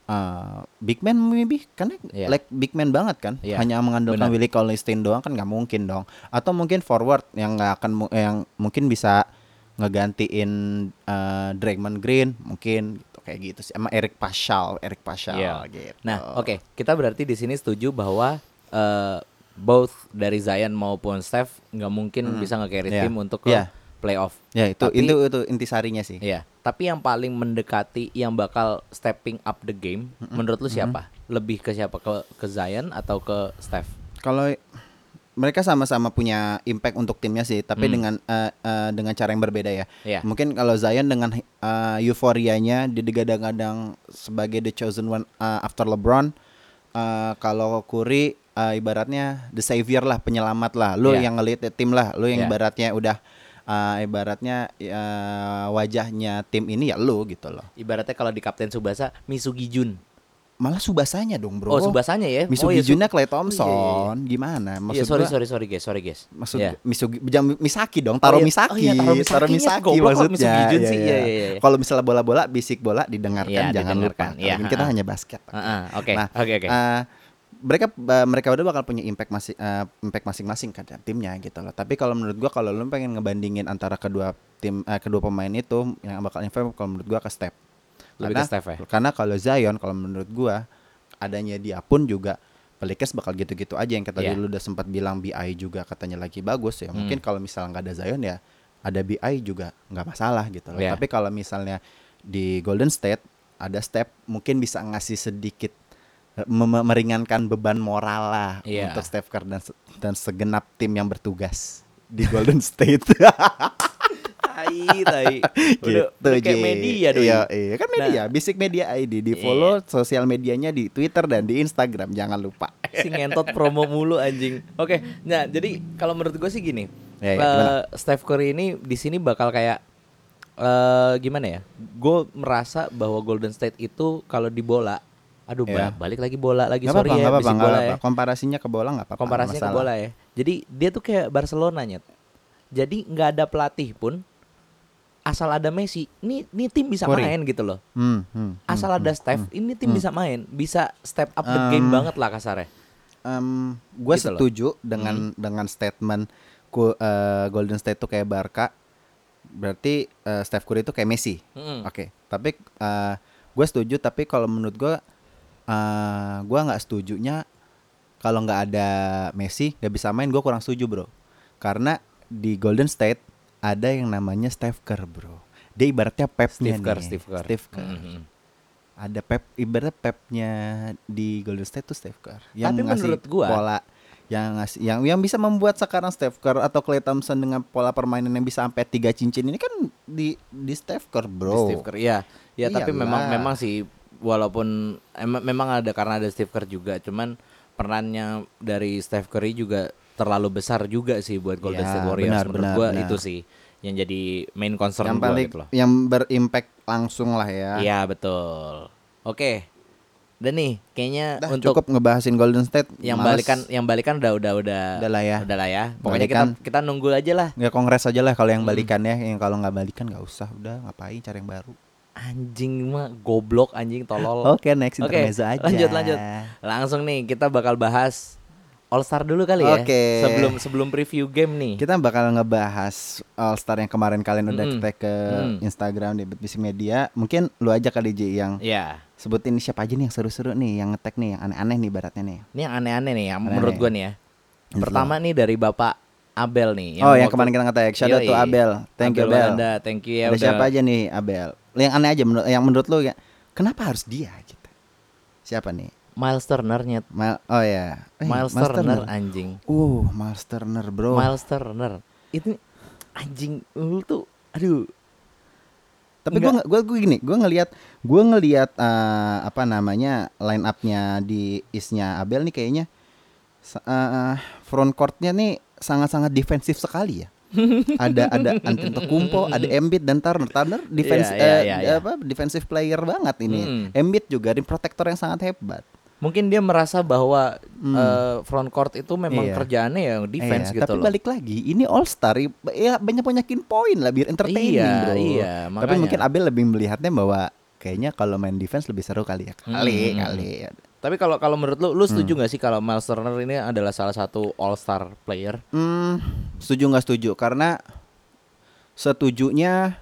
Speaker 2: eh, big man maybe karena
Speaker 1: Iya.
Speaker 2: like big man banget kan
Speaker 1: Iya.
Speaker 2: hanya mengandalkan
Speaker 1: Benar.
Speaker 2: Willie Cauley-Stein doang kan nggak mungkin dong atau mungkin forward yang nggak akan mu- yang mungkin bisa ngegantiin eh, Draymond Green mungkin gitu kayak gitu sih sama Eric Paschal Eric Paschal
Speaker 1: Iya.
Speaker 2: gitu
Speaker 1: Nah, oke, kita berarti di sini setuju bahwa eh, both dari Zion maupun Steph nggak mungkin bisa nge-carry
Speaker 2: Iya.
Speaker 1: tim untuk ke
Speaker 2: Iya.
Speaker 1: playoff.
Speaker 2: Ya itu
Speaker 1: Tapi-
Speaker 2: itu itu intisarinya sih.
Speaker 1: Iya. Tapi yang paling mendekati yang bakal stepping up the game, menurut lu siapa? Lebih ke siapa? Ke ke Zion atau ke Steph?
Speaker 2: Kalau mereka sama-sama punya impact untuk timnya sih, tapi dengan eh, eh, dengan cara yang berbeda ya.
Speaker 1: Iya.
Speaker 2: Mungkin kalau Zion dengan eh, euforianya dia digadang-gadang sebagai the chosen one eh, after LeBron. Eh, kalau Curry eh, ibaratnya the savior lah, penyelamat lah. Lu
Speaker 1: Iya.
Speaker 2: yang ngelit tim lah, lu yang
Speaker 1: Iya.
Speaker 2: ibaratnya udah eh, ibaratnya eh, wajahnya tim ini ya lu gitu loh.
Speaker 1: Ibaratnya kalau di Kapten Subasa, Misugi Jun.
Speaker 2: Malah Subasanya dong, Bro.
Speaker 1: Oh, Subasanya ya.
Speaker 2: Misugi
Speaker 1: oh, iya, Su-
Speaker 2: Junnya
Speaker 1: Oh, iya,
Speaker 2: Clay
Speaker 1: iya,
Speaker 2: Thompson, gimana? Maksud
Speaker 1: Iya, sorry
Speaker 2: gua-
Speaker 1: sorry sorry guys, sorry guys.
Speaker 2: maksud
Speaker 1: Iya.
Speaker 2: Misugi jangan Misaki dong, taruh
Speaker 1: Oh iya,
Speaker 2: Misaki,
Speaker 1: oh iya, taruh Misaki
Speaker 2: taruh
Speaker 1: ya,
Speaker 2: Misaki
Speaker 1: goblok, kok
Speaker 2: maksudnya.
Speaker 1: Misugi Jun
Speaker 2: Iya,
Speaker 1: sih?
Speaker 2: iya.
Speaker 1: Iya, iya, iya.
Speaker 2: Kalau misalnya bola-bola, bisik bola didengarkan,
Speaker 1: Iya,
Speaker 2: jangan
Speaker 1: didengarkan.
Speaker 2: lupa.
Speaker 1: Iya,
Speaker 2: Kalau kita
Speaker 1: ha-ha.
Speaker 2: hanya basket.
Speaker 1: Heeh, Oke
Speaker 2: Nah,
Speaker 1: oke oke.
Speaker 2: eh, mereka eh, mereka udah bakal punya impact masih eh, impact masing-masing kan dan timnya gitu loh. Tapi kalau menurut gua kalau lu pengen ngebandingin antara kedua tim eh, kedua pemain itu yang bakal impact kalau menurut gua ke step.
Speaker 1: Lebih ke Steph ya?
Speaker 2: Karena kalau Zion kalau menurut gua adanya dia pun juga Pelikers bakal gitu-gitu aja yang kita
Speaker 1: Iya. Hmm.
Speaker 2: dulu udah sempat bilang BI juga katanya lagi bagus ya. Mungkin kalau misalnya nggak ada Zion ya ada BI juga nggak masalah gitu loh.
Speaker 1: Iya.
Speaker 2: Tapi kalau misalnya di Golden State ada step mungkin bisa ngasih sedikit mem- meringankan beban moral lah
Speaker 1: Iya.
Speaker 2: untuk Steph Curry dan, se- dan segenap tim yang bertugas di Golden State.
Speaker 1: Tai tai.
Speaker 2: gitu.
Speaker 1: Udah, udah kayak
Speaker 2: Ji.
Speaker 1: media doi. Nah. Iya.
Speaker 2: Iya, iya. kan media, Basic Media ID di follow sosial medianya di Twitter dan di Instagram jangan lupa.
Speaker 1: si ngentot promo mulu anjing. Oke, nah jadi kalau menurut gue sih gini, eh,
Speaker 2: Ya, ya, gimana?
Speaker 1: Steph Curry ini di sini bakal kayak eh gimana ya? Gue merasa bahwa Golden State itu kalau di bola, aduh
Speaker 2: Ya.
Speaker 1: ba- balik lagi bola lagi
Speaker 2: Gak
Speaker 1: sorry
Speaker 2: apa-apa,
Speaker 1: ya,
Speaker 2: gak apa-apa,
Speaker 1: bisik
Speaker 2: nggak
Speaker 1: bola
Speaker 2: apa-apa.
Speaker 1: ya.
Speaker 2: Komparasinya ke bola nggak apa-apa. nggak
Speaker 1: Komparasinya ke
Speaker 2: masalah.
Speaker 1: bola ya. Jadi dia tuh kayak Barcelona nyet. Jadi nggak ada pelatih pun asal ada Messi, ini ini tim bisa
Speaker 2: Curry.
Speaker 1: main gitu loh.
Speaker 2: Hmm, hmm. Hmm.
Speaker 1: Asal ada Steph, ini tim bisa main, bisa step up the game banget lah kasarnya.
Speaker 2: gue
Speaker 1: Gitu loh.
Speaker 2: setuju dengan dengan statement ku- eh, Golden State itu kayak Barca, berarti eh, Steph Curry itu kayak Messi.
Speaker 1: Mm-mm.
Speaker 2: Oke, tapi gue setuju. Tapi kalau menurut gue, eh gue nggak setujunya kalau nggak ada Messi nggak bisa main. Gue kurang setuju bro, karena di Golden State ada yang namanya Steph Curry bro. Dia ibaratnya Pepnya
Speaker 1: Steve Kerr,
Speaker 2: nih.
Speaker 1: Steve Kerr.
Speaker 2: Steve Kerr.
Speaker 1: Mhm.
Speaker 2: Ada Pep, ibaratnya Pepnya di Golden State tuh Steph Curry. Yang
Speaker 1: Tapi
Speaker 2: ngasih
Speaker 1: menurut gua-
Speaker 2: pola yang ngasih yang yang bisa membuat sekarang Steph Curry atau Klay Thompson dengan pola permainan yang bisa sampai tiga cincin ini kan di di Steph Curry
Speaker 1: Di
Speaker 2: bro.
Speaker 1: Steve Kerr. Iya. Ya, tapi
Speaker 2: Iyalah.
Speaker 1: memang memang sih walaupun em- memang ada karena ada Steve Kerr juga, cuman perannya dari Steph Curry juga terlalu besar juga sih buat Golden
Speaker 2: Ya,
Speaker 1: State Warriors
Speaker 2: benar,
Speaker 1: menurut
Speaker 2: benar,
Speaker 1: gua
Speaker 2: benar.
Speaker 1: itu sih yang jadi main concern
Speaker 2: yang
Speaker 1: gua
Speaker 2: paling
Speaker 1: gitu loh.
Speaker 2: yang berimpact langsung lah ya.
Speaker 1: Iya, betul. Oke. Dan nih, kayaknya
Speaker 2: Dah,
Speaker 1: untuk
Speaker 2: cukup ngebahasin Golden State.
Speaker 1: yang
Speaker 2: males.
Speaker 1: balikan yang balikan udah udah udah
Speaker 2: Udah lah ya.
Speaker 1: Udah lah ya. Pokoknya kita
Speaker 2: Balikan.
Speaker 1: kita nunggu aja lah.
Speaker 2: ya kongres aja lah kalau
Speaker 1: Hmm.
Speaker 2: yang balikan ya. Yang kalau nggak balikan nggak usah. Udah ngapain cari yang baru.
Speaker 1: Anjing mah goblok anjing tolol.
Speaker 2: Oke next
Speaker 1: Oh. Oke,
Speaker 2: intermezzo aja.
Speaker 1: Lanjut lanjut. Langsung nih kita bakal bahas All Star dulu kali ya.
Speaker 2: Oke.
Speaker 1: Sebelum sebelum preview game nih.
Speaker 2: Kita bakal ngebahas All Star yang kemarin kalian udah
Speaker 1: Mm-mm.
Speaker 2: tag ke
Speaker 1: Mm.
Speaker 2: Instagram di Bisik Media. Mungkin lu aja kali Ji yang
Speaker 1: Ya,
Speaker 2: sebutin siapa aja nih yang seru-seru nih, yang ngetek nih, yang aneh-aneh nih baratnya nih.
Speaker 1: ini yang aneh-aneh nih yang
Speaker 2: Aneh-aneh.
Speaker 1: menurut gue nih ya. Pertama nih dari Bapak Abel nih.
Speaker 2: oh, yang
Speaker 1: waktu-
Speaker 2: kemarin kita nge-tag. Shout out to
Speaker 1: Yoi.
Speaker 2: Abel. Thank you Abel.
Speaker 1: Walanda, Thank you ya
Speaker 2: Ada
Speaker 1: udah.
Speaker 2: siapa aja nih Abel? Yang aneh aja menurut yang menurut lu ya. Kenapa harus dia gitu? Siapa nih?
Speaker 1: Miles Turner nyet.
Speaker 2: Mal- oh ya. Eh, Oh.
Speaker 1: Miles Turner anjing.
Speaker 2: Uh, Miles Turner, Bro.
Speaker 1: Miles Turner. Itu anjing lu tuh aduh.
Speaker 2: Tapi gue gua gua gini, gue ngelihat gue ngelihat eh, apa namanya line up-nya di isnya Abel nih kayaknya sa- eh, front court-nya nih sangat-sangat defensif sekali ya. ada ada Antetokounmpo, ada Embiid dan Turner. Turner defense
Speaker 1: Iya, iya,
Speaker 2: eh,
Speaker 1: iya,
Speaker 2: d-
Speaker 1: iya.
Speaker 2: apa defensive player banget ini.
Speaker 1: Mm.
Speaker 2: Embiid juga rim protector yang sangat hebat. Hmm.
Speaker 1: Mungkin dia merasa bahwa eh, front court itu memang
Speaker 2: Iya.
Speaker 1: kerjaannya ya defense
Speaker 2: Iya,
Speaker 1: gitu
Speaker 2: tapi
Speaker 1: loh.
Speaker 2: balik lagi, ini All Star ya banyak banyakin poin lah biar entertaining
Speaker 1: Iya,
Speaker 2: bro.
Speaker 1: iya,
Speaker 2: Tapi
Speaker 1: makanya.
Speaker 2: mungkin Abel lebih melihatnya bahwa kayaknya kalau main defense lebih seru kali ya. Kali,
Speaker 1: Hmm.
Speaker 2: kali.
Speaker 1: Tapi kalau kalau menurut lu,
Speaker 2: Hmm.
Speaker 1: lu setuju nggak sih kalau Miles Turner ini adalah salah satu All Star player?
Speaker 2: Hmm, setuju nggak setuju? Karena setujunya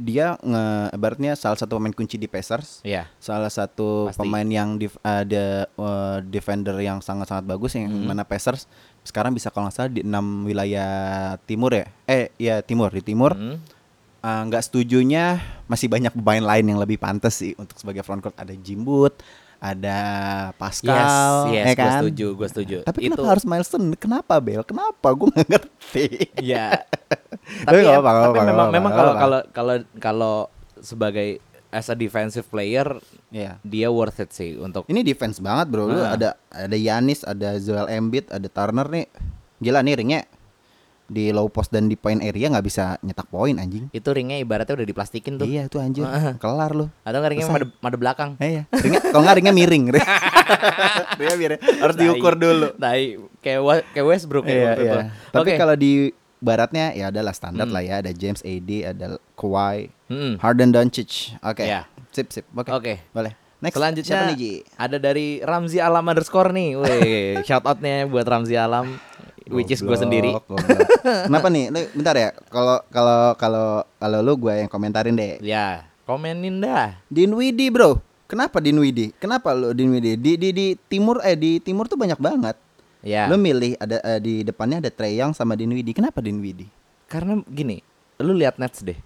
Speaker 2: dia nge ibaratnya salah satu pemain kunci di Pacers
Speaker 1: Iya.
Speaker 2: salah satu
Speaker 1: Pasti.
Speaker 2: pemain yang dif- ada uh, defender yang sangat-sangat bagus yang
Speaker 1: Hmm.
Speaker 2: mana Pacers sekarang bisa kalau nggak salah di enam wilayah timur ya eh ya timur di timur
Speaker 1: Hmm.
Speaker 2: uh, nggak setujunya masih banyak pemain lain yang lebih pantas sih untuk sebagai front court ada Jimbut ada Pascal
Speaker 1: yes, yes, gue
Speaker 2: ya kan
Speaker 1: setuju, gue setuju.
Speaker 2: tapi
Speaker 1: itu
Speaker 2: kenapa harus Milestone kenapa Bel kenapa gue nggak ngerti
Speaker 1: ya.
Speaker 2: Tapi
Speaker 1: tapi
Speaker 2: nggak
Speaker 1: ya,
Speaker 2: apa-apa, nggak
Speaker 1: tapi
Speaker 2: apa-apa,
Speaker 1: memang
Speaker 2: nggak
Speaker 1: memang kalau
Speaker 2: apa-apa.
Speaker 1: kalau kalau kalau sebagai as a defensive player
Speaker 2: Iya.
Speaker 1: dia worth it sih untuk
Speaker 2: Ini defense banget bro. Lu
Speaker 1: Ah.
Speaker 2: ada ada Yanis, ada Joel Embiid, ada Turner nih. Gila nih ringnya di low post dan di point area nggak bisa nyetak poin anjing.
Speaker 1: itu ringnya ibaratnya udah diplastikin tuh.
Speaker 2: Iya tuh anjir,
Speaker 1: Ah.
Speaker 2: kelar lu.
Speaker 1: Atau nggak ringnya
Speaker 2: Selesai.
Speaker 1: made, made belakang.
Speaker 2: Eh, Iya, ringnya kalau nggak ringnya miring. ringnya miring.
Speaker 1: Nah,
Speaker 2: Harus
Speaker 1: iya.
Speaker 2: diukur dulu.
Speaker 1: Tai kayak Wa- kayak Westbrook ya
Speaker 2: Iya,
Speaker 1: waktu
Speaker 2: iya.
Speaker 1: itu.
Speaker 2: Tapi
Speaker 1: Oke. Hmm.
Speaker 2: kalau di baratnya ya adalah standar lah ya, ada James AD, ada Kawhi,
Speaker 1: Mm-mm.
Speaker 2: Harden Doncic. Oke.
Speaker 1: Hmm. Iya.
Speaker 2: Sip, sip. Oke.
Speaker 1: Oke.
Speaker 2: Boleh. Next.
Speaker 1: Selanjutnya
Speaker 2: siapa nih, Ji?
Speaker 1: ada dari Ramzi Alam underscore nih. Wih, shout outnya buat Ramzi Alam, which is gue
Speaker 2: Goblok,
Speaker 1: sendiri.
Speaker 2: goblok. Kenapa nih? Lu bentar ya. Kalau kalau kalau kalau lu gue yang komentarin deh.
Speaker 1: Ya, komenin dah.
Speaker 2: Dinwiddie, Bro. Kenapa Dinwiddie? Kenapa lu Dinwiddie? Di di di timur eh di timur tuh banyak banget.
Speaker 1: Ya.
Speaker 2: Lu milih ada eh, di depannya ada Trey Young sama Dinwiddie. Kenapa Dinwiddie?
Speaker 1: Karena gini, lu lihat Nets deh.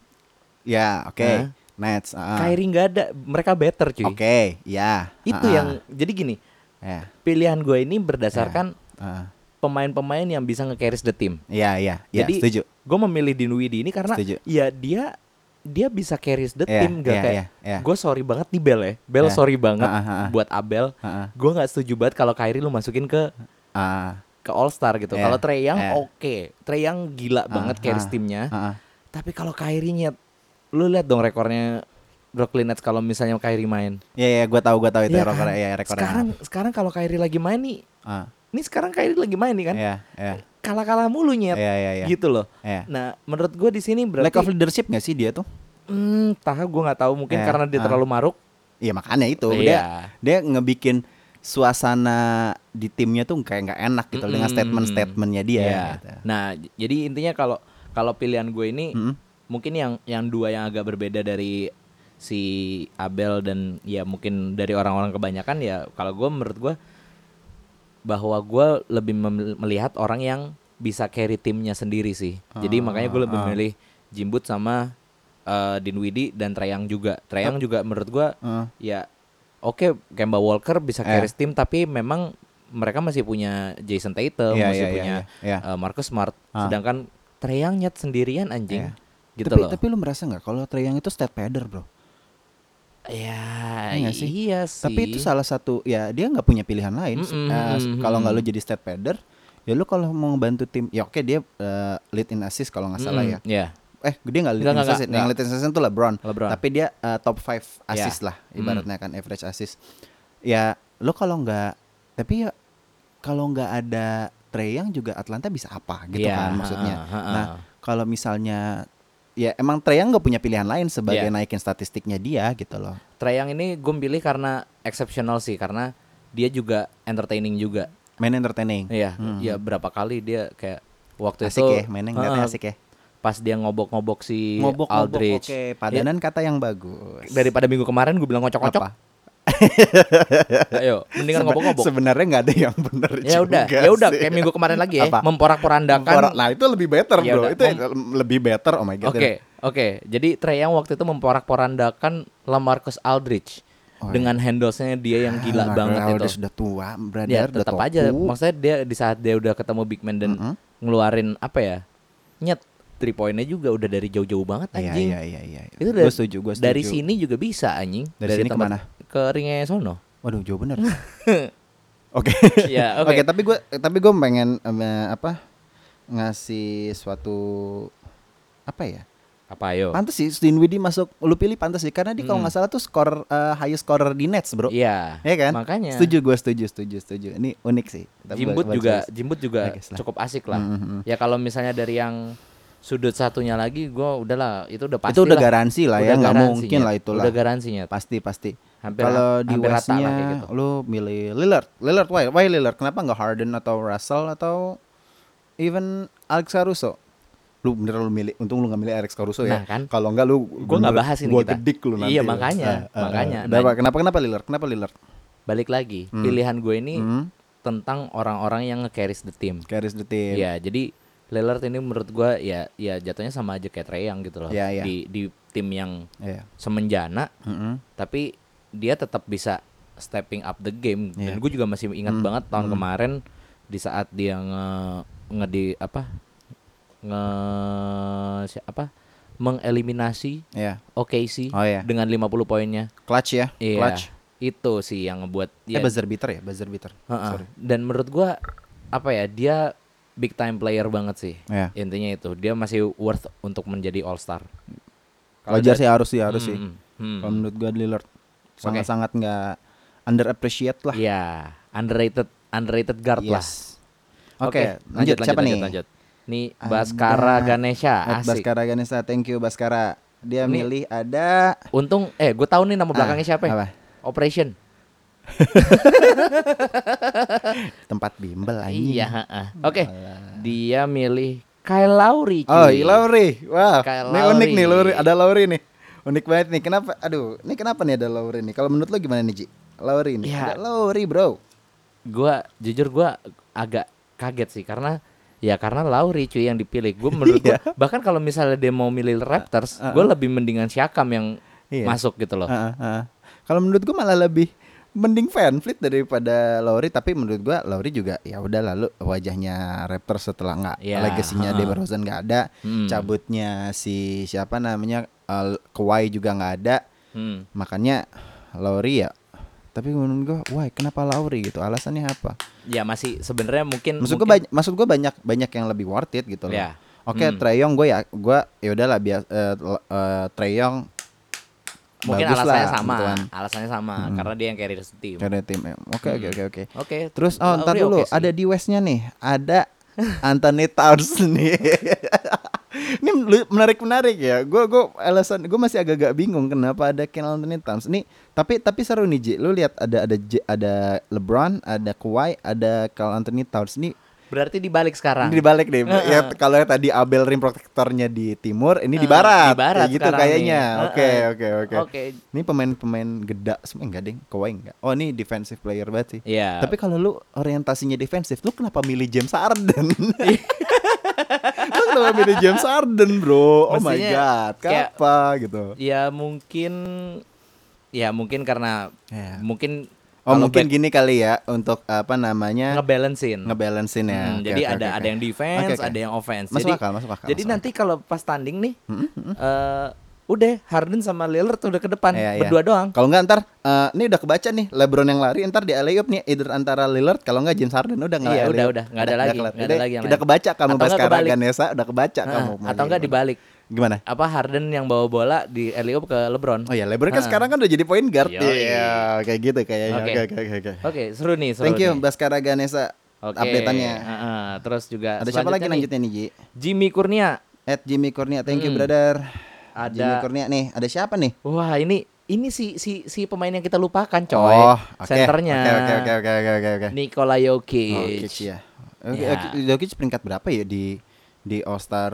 Speaker 2: Ya, oke.
Speaker 1: Hah?
Speaker 2: Nets. ah.
Speaker 1: Kyrie nggak ada, mereka better
Speaker 2: Oke,
Speaker 1: cuy.
Speaker 2: ya.
Speaker 1: Itu
Speaker 2: ah,
Speaker 1: yang jadi gini,
Speaker 2: ya.
Speaker 1: pilihan gue ini berdasarkan
Speaker 2: ah.
Speaker 1: pemain-pemain yang bisa nge-carries the team.
Speaker 2: Ya, ya, ya,
Speaker 1: Jadi
Speaker 2: setuju.
Speaker 1: gue memilih Dinwiddie ini karena
Speaker 2: Setuju.
Speaker 1: ya dia dia bisa carries the
Speaker 2: Iya,
Speaker 1: team gak
Speaker 2: iya,
Speaker 1: kayak
Speaker 2: iya, iya.
Speaker 1: gue sorry banget nih Bel ya Bel
Speaker 2: Iya.
Speaker 1: sorry banget
Speaker 2: Ah, ah, ah.
Speaker 1: buat Abel
Speaker 2: Ah, ah.
Speaker 1: gue nggak setuju banget kalau Kyrie lu masukin ke
Speaker 2: Ah,
Speaker 1: ke All Star gitu
Speaker 2: Iya,
Speaker 1: kalau Trey Young
Speaker 2: iya.
Speaker 1: oke Trey Young gila banget carries
Speaker 2: ah,
Speaker 1: timnya
Speaker 2: ah, ah.
Speaker 1: tapi kalau Kyrie nyet lu lihat dong rekornya Brooklyn Nets kalau misalnya Kyrie main
Speaker 2: Ya, ya, gua tahu, gua tahu itu
Speaker 1: Iya kan?
Speaker 2: rekornya, ya, rekornya.
Speaker 1: sekarang sekarang kalau Kyrie lagi main nih
Speaker 2: ah,
Speaker 1: ini sekarang Kyrie lagi main nih kan
Speaker 2: ya, ya.
Speaker 1: kalah-kalah mulu nyet
Speaker 2: Iya, iya, iya.
Speaker 1: gitu loh
Speaker 2: Iya.
Speaker 1: nah menurut gue di sini berarti
Speaker 2: Lack of leadership gak sih dia tuh?
Speaker 1: Hmm, tahu gue nggak tahu mungkin
Speaker 2: Ya,
Speaker 1: karena dia
Speaker 2: ah.
Speaker 1: terlalu maruk.
Speaker 2: Iya makanya itu
Speaker 1: Iya.
Speaker 2: dia dia ngebikin suasana di timnya tuh kayak nggak enak gitu
Speaker 1: Mm-mm.
Speaker 2: dengan statement-statementnya dia.
Speaker 1: Iya.
Speaker 2: gitu.
Speaker 1: Nah, j- jadi intinya kalau kalau pilihan gue ini
Speaker 2: Mm-mm.
Speaker 1: mungkin yang yang dua yang agak berbeda dari si Abel dan ya mungkin dari orang-orang kebanyakan ya kalau gue menurut gue bahwa gue lebih mem- melihat orang yang bisa carry timnya sendiri sih.
Speaker 2: Ah,
Speaker 1: Jadi makanya gue lebih memilih Jimbut sama eh, Dinwiddie dan Treyang juga. Treyang juga menurut gue
Speaker 2: Heeh.
Speaker 1: ya oke Kemba Walker bisa
Speaker 2: Eh.
Speaker 1: carry tim tapi memang mereka masih punya Jason Tatum
Speaker 2: Iya,
Speaker 1: masih
Speaker 2: iya,
Speaker 1: punya
Speaker 2: iya, iya.
Speaker 1: eh, Marcus Smart
Speaker 2: Ah.
Speaker 1: sedangkan Treyang nyet sendirian anjing
Speaker 2: Iya.
Speaker 1: gitu
Speaker 2: tapi
Speaker 1: loh
Speaker 2: tapi lu merasa nggak kalau Trae Young itu stat padder, Bro?
Speaker 1: ya
Speaker 2: Iya nggak sih?
Speaker 1: iya sih
Speaker 2: Tapi itu salah satu ya dia nggak punya pilihan lain.
Speaker 1: Mm-mm,
Speaker 2: Eh,
Speaker 1: mm-mm.
Speaker 2: kalau nggak lu jadi stat padder, ya lu kalau mau ngebantu tim, ya oke dia eh, lead in assist kalau nggak salah ya.
Speaker 1: Mm-mm, ya
Speaker 2: Eh, dia nggak
Speaker 1: Nggak,
Speaker 2: lead in
Speaker 1: nggak,
Speaker 2: assist,
Speaker 1: nggak.
Speaker 2: yang lead in assist itu LeBron.
Speaker 1: LeBron. Ya. Mm.
Speaker 2: Tapi dia eh, top 5 assist lah ibaratnya kan average assist. Ya, lo kalau nggak tapi ya kalau nggak ada Trey Young juga Atlanta bisa apa gitu
Speaker 1: Iya,
Speaker 2: kan maksudnya.
Speaker 1: ha, ha, ha.
Speaker 2: Nah, kalau misalnya ya emang Trey Young nggak punya pilihan lain sebagai
Speaker 1: Iya.
Speaker 2: naikin statistiknya dia gitu loh.
Speaker 1: Treyang ini gue pilih karena exceptional sih karena dia juga entertaining juga
Speaker 2: Main entertaining.
Speaker 1: Iya, ya berapa kali dia kayak waktu
Speaker 2: Hmm. Asik
Speaker 1: itu
Speaker 2: ya, mainnya ngeliatnya
Speaker 1: Heeh, Iya,
Speaker 2: asik ya.
Speaker 1: Pas dia ngobok-ngobok si
Speaker 2: Ngobok-ngobok oke,
Speaker 1: Aldridge. Ya,
Speaker 2: padanan kata yang bagus.
Speaker 1: Daripada minggu kemarin gue bilang ngocok-ngocok.
Speaker 2: Apa?
Speaker 1: Ayo, mendingan
Speaker 2: Sebe-
Speaker 1: ngobok-ngobok.
Speaker 2: Sebenarnya nggak ada yang bener
Speaker 1: Ya
Speaker 2: juga
Speaker 1: udah, ya udah
Speaker 2: sih.
Speaker 1: kayak minggu kemarin lagi ya,
Speaker 2: Apa? Memporak-
Speaker 1: memporak-porandakan.
Speaker 2: nah itu lebih better
Speaker 1: Ya
Speaker 2: bro,
Speaker 1: udah,
Speaker 2: itu lebih better. Oh my god.
Speaker 1: Oke, oke. Jadi Trey Young waktu itu memporak-porandakan LaMarcus Aldridge
Speaker 2: Oh,
Speaker 1: dengan handlesnya dia yang gila
Speaker 2: Nah,
Speaker 1: banget
Speaker 2: kalau
Speaker 1: itu.
Speaker 2: Udah sudah tua, brother.
Speaker 1: Ya
Speaker 2: udah
Speaker 1: tetap
Speaker 2: tua.
Speaker 1: aja, maksudnya dia di saat dia udah ketemu big man dan
Speaker 2: Mm-mm.
Speaker 1: ngeluarin apa ya? Nyet three pointnya juga udah dari jauh-jauh banget
Speaker 2: Iya
Speaker 1: anjing.
Speaker 2: iya iya iya.
Speaker 1: Itu
Speaker 2: Gua
Speaker 1: dari,
Speaker 2: setuju, gua setuju.
Speaker 1: dari sini juga bisa anjing.
Speaker 2: Dari sini
Speaker 1: tempat-
Speaker 2: kemana?
Speaker 1: Ke ringnya sono.
Speaker 2: Waduh, jauh bener. Oke.
Speaker 1: Iya, oke.
Speaker 2: Oke, tapi gue tapi gue pengen em, eh, apa ngasih suatu apa ya?
Speaker 1: Apa yo?
Speaker 2: Pantes sih Dinwiddie masuk lu pilih pantes sih karena dia kalau nggak salah tuh skor eh, highest scorer di Nets, Bro.
Speaker 1: Hmm. Iya.
Speaker 2: Iya kan?
Speaker 1: Makanya.
Speaker 2: Setuju gue setuju setuju setuju. Ini unik sih. Tapi
Speaker 1: Jimbut
Speaker 2: gua- gua
Speaker 1: juga
Speaker 2: serius.
Speaker 1: Jimbut juga
Speaker 2: Oke, silakan.
Speaker 1: cukup asik lah.
Speaker 2: Mm, mm, mm.
Speaker 1: Ya kalau misalnya dari yang sudut satunya lagi gua udahlah itu udah pasti
Speaker 2: itu udah
Speaker 1: lah.
Speaker 2: garansi lah ya,
Speaker 1: Udah
Speaker 2: nggak
Speaker 1: garansi,
Speaker 2: mungkin
Speaker 1: Nyet.
Speaker 2: lah itulah.
Speaker 1: Udah garansinya.
Speaker 2: Pasti pasti.
Speaker 1: Hampir-
Speaker 2: Kalau di
Speaker 1: hampir rata lah
Speaker 2: Westnya
Speaker 1: kayak gitu.
Speaker 2: lu milih Lillard, Lillard why? Why Lillard? Kenapa nggak Harden atau Russell atau even Alex Caruso? lu bener lu milih untung lu nggak milih Alex Caruso ya
Speaker 1: Nah, kan.
Speaker 2: kalau enggak lu
Speaker 1: Gua nggak
Speaker 2: bener-
Speaker 1: bahas ini
Speaker 2: gua
Speaker 1: kita.
Speaker 2: gedik lu nanti
Speaker 1: Iya,
Speaker 2: lu.
Speaker 1: makanya, makanya.
Speaker 2: udah,
Speaker 1: Nah,
Speaker 2: Pak, kenapa kenapa Lillard kenapa Lillard
Speaker 1: Balik lagi,
Speaker 2: Mm.
Speaker 1: pilihan gue ini tentang orang-orang yang nge-carries the team.
Speaker 2: Garis the team
Speaker 1: Iya, jadi Lillard ini menurut gue ya ya jatuhnya sama aja kayak Trae Young gitu loh.
Speaker 2: Iya, iya.
Speaker 1: Di di tim yang
Speaker 2: Iya.
Speaker 1: semenjana
Speaker 2: Mm-mm.
Speaker 1: tapi dia tetap bisa stepping up the game dan
Speaker 2: Iya. Hmm.
Speaker 1: gue juga masih ingat banget tahun kemarin di saat dia nge, nge di apa nge si- apa mengeliminasi
Speaker 2: Iya.
Speaker 1: OKC
Speaker 2: Oh, iya.
Speaker 1: dengan 50 poinnya
Speaker 2: clutch ya
Speaker 1: Iya,
Speaker 2: clutch
Speaker 1: itu sih yang ngebuat ya,
Speaker 2: eh buzzer beater ya buzzer beater
Speaker 1: heeh.
Speaker 2: sorry
Speaker 1: dan menurut gua apa ya dia big time player banget sih
Speaker 2: Iya.
Speaker 1: intinya itu dia masih worth untuk menjadi all star Kalau
Speaker 2: wajar
Speaker 1: dari-
Speaker 2: sih harus sih harus sih
Speaker 1: Hmm, hmm.
Speaker 2: kalau menurut gua Lillard sangat-sangat nggak underappreciate lah
Speaker 1: Iya, underrated underrated guard lah.
Speaker 2: Yes. Oke, lanjut, siapa nih? Ah,
Speaker 1: Lanjut, Nih Baskara
Speaker 2: Ada
Speaker 1: Ganesha,
Speaker 2: At
Speaker 1: asik.
Speaker 2: Baskara Ganesha, thank you Baskara. Dia
Speaker 1: Ini-
Speaker 2: milih ada
Speaker 1: Untung eh gue tahu nih nama belakangnya
Speaker 2: Ah,
Speaker 1: siapa. ya?
Speaker 2: apa?
Speaker 1: Operation.
Speaker 2: tempat bimbel anjing.
Speaker 1: Iya, heeh. Oke. Dia milih Kyle Lowry.
Speaker 2: Oh,
Speaker 1: cuy.
Speaker 2: iya, Lauri. Wah,
Speaker 1: Kayak
Speaker 2: ini
Speaker 1: Lauri.
Speaker 2: unik nih Lauri. Ada Lauri nih. Unik banget nih. Kenapa? Aduh, ini kenapa nih ada Lauri nih? Kalau menurut lo gimana nih, Ji? Lauri nih.
Speaker 1: Ya.
Speaker 2: Ada Lauri, Bro.
Speaker 1: Gua jujur gua agak kaget sih karena ya karena Lowry cuy yang dipilih. Gue menurut
Speaker 2: Iya.
Speaker 1: gua, bahkan kalau misalnya dia mau milih Raptors, gue lebih mendingan Siakam yang
Speaker 2: Ah, Iya.
Speaker 1: masuk gitu loh.
Speaker 2: Heeh, heeh. Kalau menurut gua malah lebih mending Van Fleet daripada Lauri tapi menurut gua Lauri juga ya udah lalu wajahnya Raptor setelah nggak
Speaker 1: Iya,
Speaker 2: legasinya
Speaker 1: heeh.
Speaker 2: DeMar DeRozan nggak ada
Speaker 1: Hmm.
Speaker 2: cabutnya si siapa namanya uh, Kawhi juga nggak ada
Speaker 1: Hmm.
Speaker 2: makanya Lauri ya tapi menurut gua why kenapa Lauri gitu alasannya apa
Speaker 1: Ya masih sebenarnya mungkin
Speaker 2: maksud
Speaker 1: Hmm,
Speaker 2: gua
Speaker 1: mungkin-
Speaker 2: banyak maksud gua banyak banyak yang lebih worth it gitu loh
Speaker 1: Ya.
Speaker 2: oke
Speaker 1: Hmm.
Speaker 2: Trae Young gua ya gua ya udahlah bias eh, l- eh, Trae Young
Speaker 1: mungkin
Speaker 2: bagus
Speaker 1: alasannya
Speaker 2: lah,
Speaker 1: sama
Speaker 2: gitu kan.
Speaker 1: alasannya sama karena dia yang carry the team oke
Speaker 2: Karena tim. eh, Oke
Speaker 1: Hmm.
Speaker 2: oke oke oke.
Speaker 1: terus
Speaker 2: Terus oh ntar dulu ada di Westnya nih ada Anthony Towns nih. Ini menarik menarik ya. Gue gue alasan gue masih agak-agak bingung kenapa ada Ken Anthony Towns nih. Tapi tapi seru nih Ji. Lu lihat ada ada J- ada LeBron, ada Kawhi, ada Ken Anthony Towns nih.
Speaker 1: berarti dibalik sekarang
Speaker 2: Ini dibalik deh. Ya kalau yang tadi Abel rim protectornya di timur, ini di
Speaker 1: di
Speaker 2: barat.
Speaker 1: barat
Speaker 2: Kayak gitu
Speaker 1: sekarang nih.
Speaker 2: kayaknya. Oke
Speaker 1: Heeh.
Speaker 2: oke oke.
Speaker 1: Oke.
Speaker 2: Ini pemain-pemain geda semua enggak deh, Kawhi enggak. Oh, ini defensive player banget sih.
Speaker 1: Iya.
Speaker 2: Tapi kalau lu orientasinya defensif, lu kenapa milih James Harden?
Speaker 1: Iya.
Speaker 2: lu kenapa milih James Harden, Bro? Oh my
Speaker 1: Mestinya
Speaker 2: god,
Speaker 1: kayak-
Speaker 2: kenapa gitu.
Speaker 1: ya mungkin ya mungkin karena
Speaker 2: Ya.
Speaker 1: mungkin
Speaker 2: Oh,
Speaker 1: kalau
Speaker 2: mungkin
Speaker 1: back
Speaker 2: gini kali ya untuk apa namanya?
Speaker 1: ngebalancein
Speaker 2: ngebalancein ya.
Speaker 1: Hmm,
Speaker 2: Oke,
Speaker 1: jadi
Speaker 2: oke,
Speaker 1: ada
Speaker 2: oke,
Speaker 1: ada
Speaker 2: oke.
Speaker 1: yang defense,
Speaker 2: Oke, oke.
Speaker 1: ada yang offense.
Speaker 2: Masuk
Speaker 1: jadi
Speaker 2: akal, masuk akal,
Speaker 1: jadi nah,
Speaker 2: masuk
Speaker 1: nanti kalau pas tanding nih, eh, udah Harden sama Lillard udah ke depan
Speaker 2: Iya, iya.
Speaker 1: Kan berdua doang.
Speaker 2: Kalau nggak ntar, eh, ini udah kebaca nih, LeBron yang lari, ntar di alley nih, either antara Lillard, kalau nggak James Harden udah nggak
Speaker 1: Iya,
Speaker 2: alley-oop.
Speaker 1: udah, udah. Nggak ada lagi,
Speaker 2: kelar.
Speaker 1: nggak ada
Speaker 2: Udah,
Speaker 1: lagi yang
Speaker 2: Udah
Speaker 1: lain.
Speaker 2: kebaca kamu
Speaker 1: Atau nggak
Speaker 2: Baskara
Speaker 1: kebalik.
Speaker 2: Ganesa, udah kebaca
Speaker 1: Nah,
Speaker 2: Ya, kamu.
Speaker 1: atau enggak
Speaker 2: Gimana?
Speaker 1: dibalik
Speaker 2: Gimana?
Speaker 1: apa Harden yang bawa bola di alley ke LeBron.
Speaker 2: Oh ya, LeBron kan sekarang kan udah jadi point guard.
Speaker 1: Yoi.
Speaker 2: Iya, kayak gitu kayaknya.
Speaker 1: Ah. Oke.
Speaker 2: Oke, oke, oke, oke.
Speaker 1: Oke, seru nih, seru
Speaker 2: Thank you
Speaker 1: nih.
Speaker 2: Baskara Ganesa
Speaker 1: Oke.
Speaker 2: update-annya.
Speaker 1: Heeh, terus juga
Speaker 2: Ada siapa lagi
Speaker 1: selanjutnya
Speaker 2: lanjutnya nih, Ji?
Speaker 1: nih, Jimmy Kurnia.
Speaker 2: At Jimmy Kurnia, thank you brother.
Speaker 1: Hmm. Ada-
Speaker 2: Jimmy Kurnia nih, ada siapa nih?
Speaker 1: Wah, ini ini si si si pemain yang kita lupakan, coy.
Speaker 2: Oh, oke.
Speaker 1: Senternya.
Speaker 2: Oke, oke, oke, oke, oke, oke, oke.
Speaker 1: Nikola Jokic.
Speaker 2: Jokic ya. Oke,
Speaker 1: Ya.
Speaker 2: oke, Jokic peringkat berapa ya di di All Star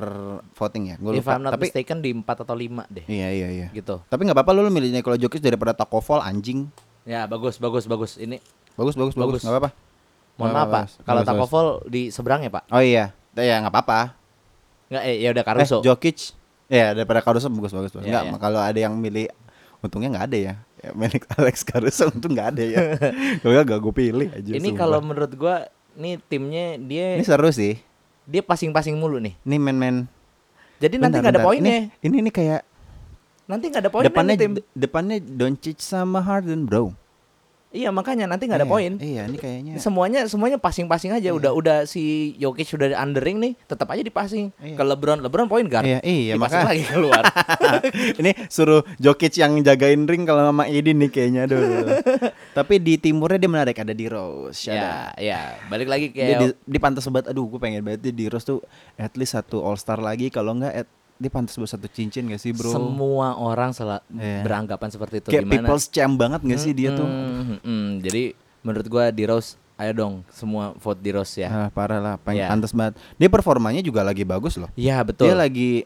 Speaker 2: voting ya? Gue
Speaker 1: If
Speaker 2: lupa.
Speaker 1: I'm not
Speaker 2: Tapi
Speaker 1: mistaken di 4 atau 5 deh.
Speaker 2: iya iya iya.
Speaker 1: Gitu.
Speaker 2: Tapi nggak apa-apa lu, lu milih Nikola Jokic daripada Takovol anjing.
Speaker 1: Ya, bagus bagus bagus. Ini
Speaker 2: Bagus bagus
Speaker 1: Bagus.
Speaker 2: bagus, nggak apa-apa.
Speaker 1: mohon
Speaker 2: Nggak
Speaker 1: maaf,
Speaker 2: apa-apa,
Speaker 1: Pak. Kalau
Speaker 2: bagus, bagus.
Speaker 1: Takovol di seberang ya, Pak?
Speaker 2: Oh iya, ya nggak apa-apa.
Speaker 1: Enggak, eh ya udah Caruso.
Speaker 2: Eh, Jokic. Ya, daripada Caruso bagus bagus. bagus.
Speaker 1: Iya,
Speaker 2: Enggak,
Speaker 1: iya.
Speaker 2: kalau ada yang milih untungnya nggak ada ya. ya milik Alex Caruso untung nggak ada ya. Kalau nggak, gak gue pilih aja.
Speaker 1: ini
Speaker 2: sumpah.
Speaker 1: kalau menurut gua nih timnya dia
Speaker 2: ini seru sih.
Speaker 1: dia passing-passing mulu nih.
Speaker 2: Ini men-men.
Speaker 1: Jadi nanti
Speaker 2: Bentar,
Speaker 1: nggak ada
Speaker 2: bentar. Ini-
Speaker 1: poinnya.
Speaker 2: Ini ini kayak
Speaker 1: Nanti nggak ada poinnya
Speaker 2: depannya
Speaker 1: nih tim.
Speaker 2: d- depannya Doncic sama Harden, Bro.
Speaker 1: Iya makanya nanti nggak ada
Speaker 2: Iya,
Speaker 1: poin.
Speaker 2: Iya, ini kayaknya. Iya.
Speaker 1: Semuanya semuanya passing-passing aja. Udah udah si Jokic sudah di undering nih, tetap aja di passing
Speaker 2: Iya.
Speaker 1: ke LeBron. LeBron poin guard.
Speaker 2: Iya, iya,
Speaker 1: Dipassing
Speaker 2: maka-
Speaker 1: lagi keluar.
Speaker 2: ini suruh Jokic yang jagain ring kalau sama Edin nih kayaknya aduh. Tapi di timurnya dia menarik ada di Rose. Shout out.
Speaker 1: ya, ya. Balik lagi ke
Speaker 2: dia di, di pantas banget aduh gue pengen banget dia di Rose tuh at least satu all star lagi kalau enggak at, dia pantas buat satu cincin gak sih bro
Speaker 1: semua orang salah
Speaker 2: Iya.
Speaker 1: beranggapan seperti itu
Speaker 2: kayak
Speaker 1: gimana?
Speaker 2: people's champ banget gak sih dia tuh
Speaker 1: Hmm, hmm, hmm. Jadi menurut gua di Rose Ayo dong semua vote di Rose ya.
Speaker 2: Ah, parah lah,
Speaker 1: Ya.
Speaker 2: pengen pantas banget. Dia performanya juga lagi bagus loh.
Speaker 1: Iya betul.
Speaker 2: Dia lagi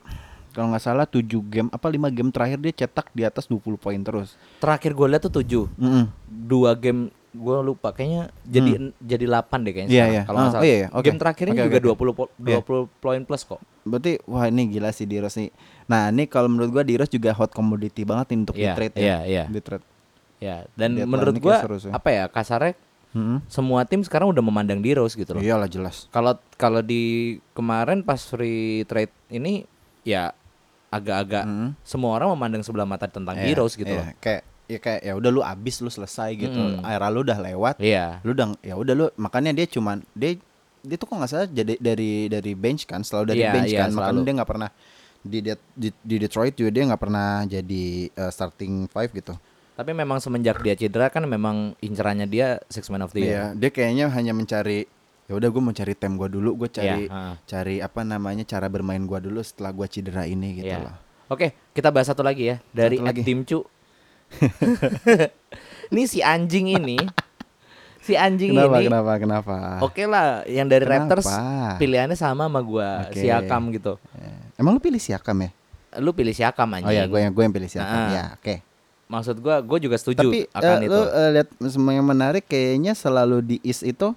Speaker 2: kalau nggak salah 7 game apa 5 game terakhir dia cetak di atas 20 poin terus.
Speaker 1: Terakhir gue lihat tuh 7
Speaker 2: Mm-mm.
Speaker 1: dua game gue lupa kayaknya jadi jadi 8 deh kayaknya
Speaker 2: Hmm. Iya,
Speaker 1: sekarang,
Speaker 2: iya.
Speaker 1: kalau nggak
Speaker 2: Ah,
Speaker 1: salah.
Speaker 2: oh iya, iya, oke.
Speaker 1: Game terakhirnya
Speaker 2: Oke, Iya.
Speaker 1: juga
Speaker 2: oke, oke.
Speaker 1: 20 po- 20 poin plus kok.
Speaker 2: Berarti wah ini gila sih Diros nih. Nah, ini kalau menurut gua Diros juga hot commodity banget nih untuk
Speaker 1: Iya,
Speaker 2: di trade
Speaker 1: iya,
Speaker 2: ya.
Speaker 1: iya.
Speaker 2: Di trade.
Speaker 1: Ya, dan
Speaker 2: Deadline-nya
Speaker 1: menurut
Speaker 2: kayak
Speaker 1: gue
Speaker 2: seru sih.
Speaker 1: apa ya kasarnya
Speaker 2: Mm-mm.
Speaker 1: semua tim sekarang udah memandang di Rose gitu loh.
Speaker 2: Iyalah jelas.
Speaker 1: Kalau kalau di kemarin pas free trade ini ya agak-agak
Speaker 2: Mm.
Speaker 1: semua orang memandang sebelah mata tentang di
Speaker 2: Iya,
Speaker 1: Rose gitu
Speaker 2: iya.
Speaker 1: loh.
Speaker 2: Kayak ya kayak ya udah lu abis lu selesai gitu.
Speaker 1: Mm.
Speaker 2: Era lu udah lewat.
Speaker 1: Iya.
Speaker 2: Lu udah ya udah lu makanya dia cuman dia dia tuh kok nggak salah jadi dari dari bench kan selalu dari
Speaker 1: Iya,
Speaker 2: bench
Speaker 1: iya,
Speaker 2: kan makanya
Speaker 1: selalu.
Speaker 2: dia nggak pernah di, Det- di di Detroit juga dia nggak pernah jadi eh, starting five gitu.
Speaker 1: Tapi memang semenjak dia cedera kan memang incerannya dia six man of the year.
Speaker 2: Iya, dia kayaknya hanya mencari ya udah gue mau cari tem gue dulu, gue cari
Speaker 1: Iya, ha.
Speaker 2: cari apa namanya cara bermain gue dulu setelah gue cedera ini gitu
Speaker 1: Iya.
Speaker 2: lah.
Speaker 1: Oke, kita bahas satu lagi ya dari
Speaker 2: Satu lagi.
Speaker 1: Dimcu. Ini si anjing ini, si anjing
Speaker 2: Kenapa
Speaker 1: ini.
Speaker 2: kenapa kenapa?
Speaker 1: Oke lah, yang dari
Speaker 2: Kenapa?
Speaker 1: Raptors pilihannya sama sama gua
Speaker 2: Oke.
Speaker 1: Siakam gitu.
Speaker 2: Eh, Emang lu pilih siakam ya?
Speaker 1: Lu pilih Siakam anjing.
Speaker 2: Oh ya, gue yang gue yang pilih
Speaker 1: Ah.
Speaker 2: siakam ya. Oke.
Speaker 1: Maksud gua, gua juga setuju
Speaker 2: Tapi
Speaker 1: akan
Speaker 2: eh,
Speaker 1: itu.
Speaker 2: lu eh, lihat semua yang menarik kayaknya selalu di East itu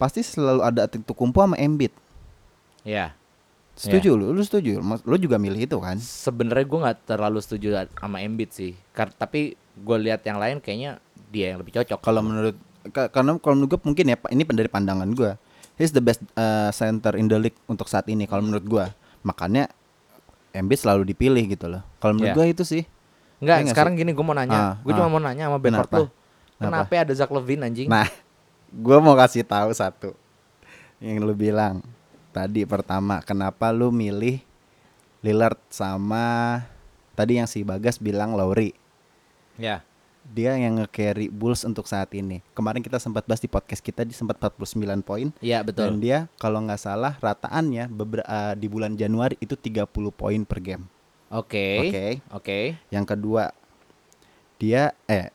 Speaker 2: pasti selalu ada Antetokounmpo sama Embiid.
Speaker 1: Ya,
Speaker 2: Setuju
Speaker 1: Iya.
Speaker 2: lu? Lu setuju? Mas- Lu juga milih itu kan?
Speaker 1: sebenarnya gua nggak terlalu setuju sama Embiid sih. Kar- tapi gua lihat yang lain kayaknya dia yang lebih cocok.
Speaker 2: Kalau menurut ka- karena kalau menurut gue mungkin ya Pak, ini dari pandangan gue. He's the best eh, center in the league untuk saat ini kalau menurut gue. Makanya Embiid selalu dipilih gitu loh. Kalau
Speaker 1: Iya.
Speaker 2: menurut gue itu sih.
Speaker 1: Enggak,
Speaker 2: Iya nggak
Speaker 1: sekarang gini gua mau
Speaker 2: Ah,
Speaker 1: nanya. Gua
Speaker 2: ah.
Speaker 1: cuma mau nanya sama Benford
Speaker 2: Kenapa?
Speaker 1: lu. Kenapa? ada Zach Levine anjing?
Speaker 2: Nah, gue mau kasih tahu satu yang lu bilang tadi pertama, kenapa lu milih Lillard sama tadi yang si Bagas bilang Lauri.
Speaker 1: Ya.
Speaker 2: Dia yang nge-carry Bulls untuk saat ini. Kemarin kita sempat bahas di podcast kita di sempat 49 poin.
Speaker 1: Iya, betul.
Speaker 2: Dan dia kalau nggak salah rataannya beber- eh, di bulan Januari itu 30 poin per game.
Speaker 1: Oke.
Speaker 2: Oke.
Speaker 1: Oke.
Speaker 2: Yang kedua, dia eh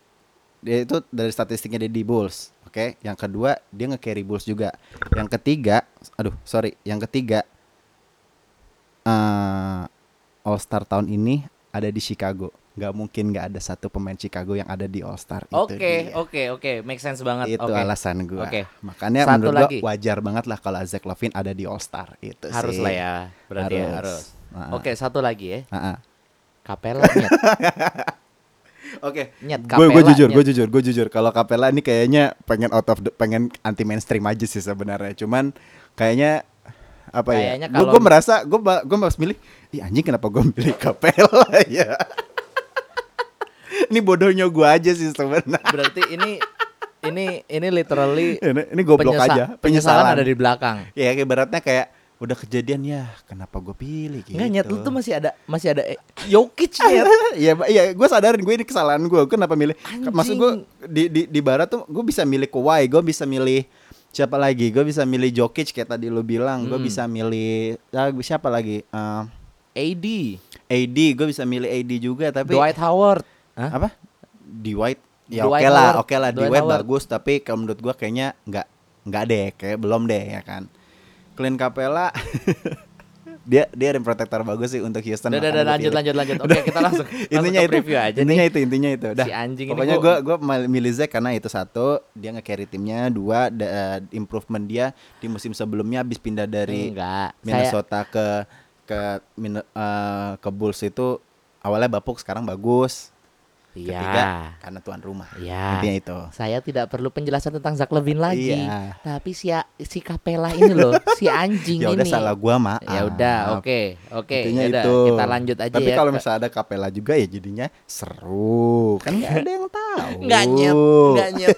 Speaker 2: dia itu dari statistiknya dia di Bulls, oke? Yang kedua, dia nge-carry Bulls juga. Yang ketiga, aduh, sorry, yang ketiga eh All Star tahun ini ada di Chicago. Gak mungkin gak ada satu pemain Chicago yang ada di All Star. Itu
Speaker 1: Oke,
Speaker 2: dia.
Speaker 1: oke, oke. Make sense banget.
Speaker 2: Itu
Speaker 1: Oke.
Speaker 2: alasan gua
Speaker 1: Oke.
Speaker 2: Makanya
Speaker 1: Satu
Speaker 2: menurut
Speaker 1: lagi.
Speaker 2: gua wajar banget lah kalau Zach Lavin ada di All Star. Itu
Speaker 1: Harus
Speaker 2: sih.
Speaker 1: lah ya. Berarti ya,
Speaker 2: Harus.
Speaker 1: harus.
Speaker 2: Ah.
Speaker 1: Oke, satu lagi ya.
Speaker 2: Ah, ah.
Speaker 1: Kapela nyet.
Speaker 2: Oke,
Speaker 1: Nyet,
Speaker 2: gue gue
Speaker 1: Capella,
Speaker 2: jujur, gue
Speaker 1: nyet.
Speaker 2: jujur, gue jujur. Kalau Capella ini kayaknya pengen out of the, pengen anti mainstream aja sih sebenarnya. Cuman kayaknya apa
Speaker 1: Kayaknya
Speaker 2: ya? Gue
Speaker 1: kalau-
Speaker 2: gue merasa gue gue harus milih. Ih anjing kenapa gue milih Capella ya? ini bodohnya gue aja sih sebenarnya.
Speaker 1: Berarti ini ini ini literally
Speaker 2: Ini, ini goblok
Speaker 1: penyesa-
Speaker 2: aja.
Speaker 1: penyesalan,
Speaker 2: Penyesalan.
Speaker 1: ada di belakang.
Speaker 2: Ya ibaratnya kayak udah kejadian ya. Kenapa gue pilih gitu?
Speaker 1: Enggak nyet lu tuh masih ada masih ada eh, Jokic nyet.
Speaker 2: Iya, ba- iya, gue sadarin gue ini kesalahan gue. Kenapa milih?
Speaker 1: Anjing.
Speaker 2: Maksud gue di di di barat tuh gue bisa milih Kawhi, gue bisa milih siapa lagi? Gue bisa milih Jokic kayak tadi lu bilang.
Speaker 1: Hmm.
Speaker 2: Gue bisa milih ah, gua siapa lagi? Eh,
Speaker 1: AD,
Speaker 2: AD, gue bisa milih AD juga. Tapi
Speaker 1: Dwight Howard. Hah?
Speaker 2: apa? Dwight. Ya oke
Speaker 1: Dwight
Speaker 2: lah,
Speaker 1: Howard.
Speaker 2: oke lah.
Speaker 1: Dwight
Speaker 2: Dwight
Speaker 1: Howard.
Speaker 2: bagus, tapi kalau menurut gue kayaknya nggak nggak deh, kayak belum deh ya kan. Clint Capella dia dia rim protector bagus sih untuk Houston.
Speaker 1: Udah, udah,
Speaker 2: makanya
Speaker 1: udah,
Speaker 2: gua
Speaker 1: lanjut,
Speaker 2: pilih.
Speaker 1: lanjut, lanjut. Oke,
Speaker 2: Udah.
Speaker 1: kita langsung- langsung
Speaker 2: intinya
Speaker 1: ke
Speaker 2: itu
Speaker 1: preview aja
Speaker 2: intinya itu intinya itu udah
Speaker 1: Si anjing ini
Speaker 2: pokoknya
Speaker 1: gua-
Speaker 2: gue gue milih Zach karena itu satu dia nge-carry timnya dua da- eh, improvement dia di musim sebelumnya habis pindah dari
Speaker 1: Enggak. Saya
Speaker 2: Minnesota ke ke Min- eh, ke Bulls itu awalnya bapuk sekarang bagus ketiga
Speaker 1: Iya.
Speaker 2: karena tuan rumah
Speaker 1: Iya.
Speaker 2: intinya itu
Speaker 1: Saya tidak perlu penjelasan tentang Zach Levine lagi.
Speaker 2: Iya.
Speaker 1: Tapi si si Kapela ini loh, si anjing
Speaker 2: ya
Speaker 1: ini.
Speaker 2: udah salah gua maaf
Speaker 1: Ya udah, oke, oke.
Speaker 2: Intinya
Speaker 1: ya udah,
Speaker 2: itu.
Speaker 1: kita lanjut aja
Speaker 2: Tapi
Speaker 1: ya.
Speaker 2: kalau misalnya ada kapela juga ya jadinya seru. Kan nggak ada yang tahu.
Speaker 1: Nggak nyet, nggak nyet.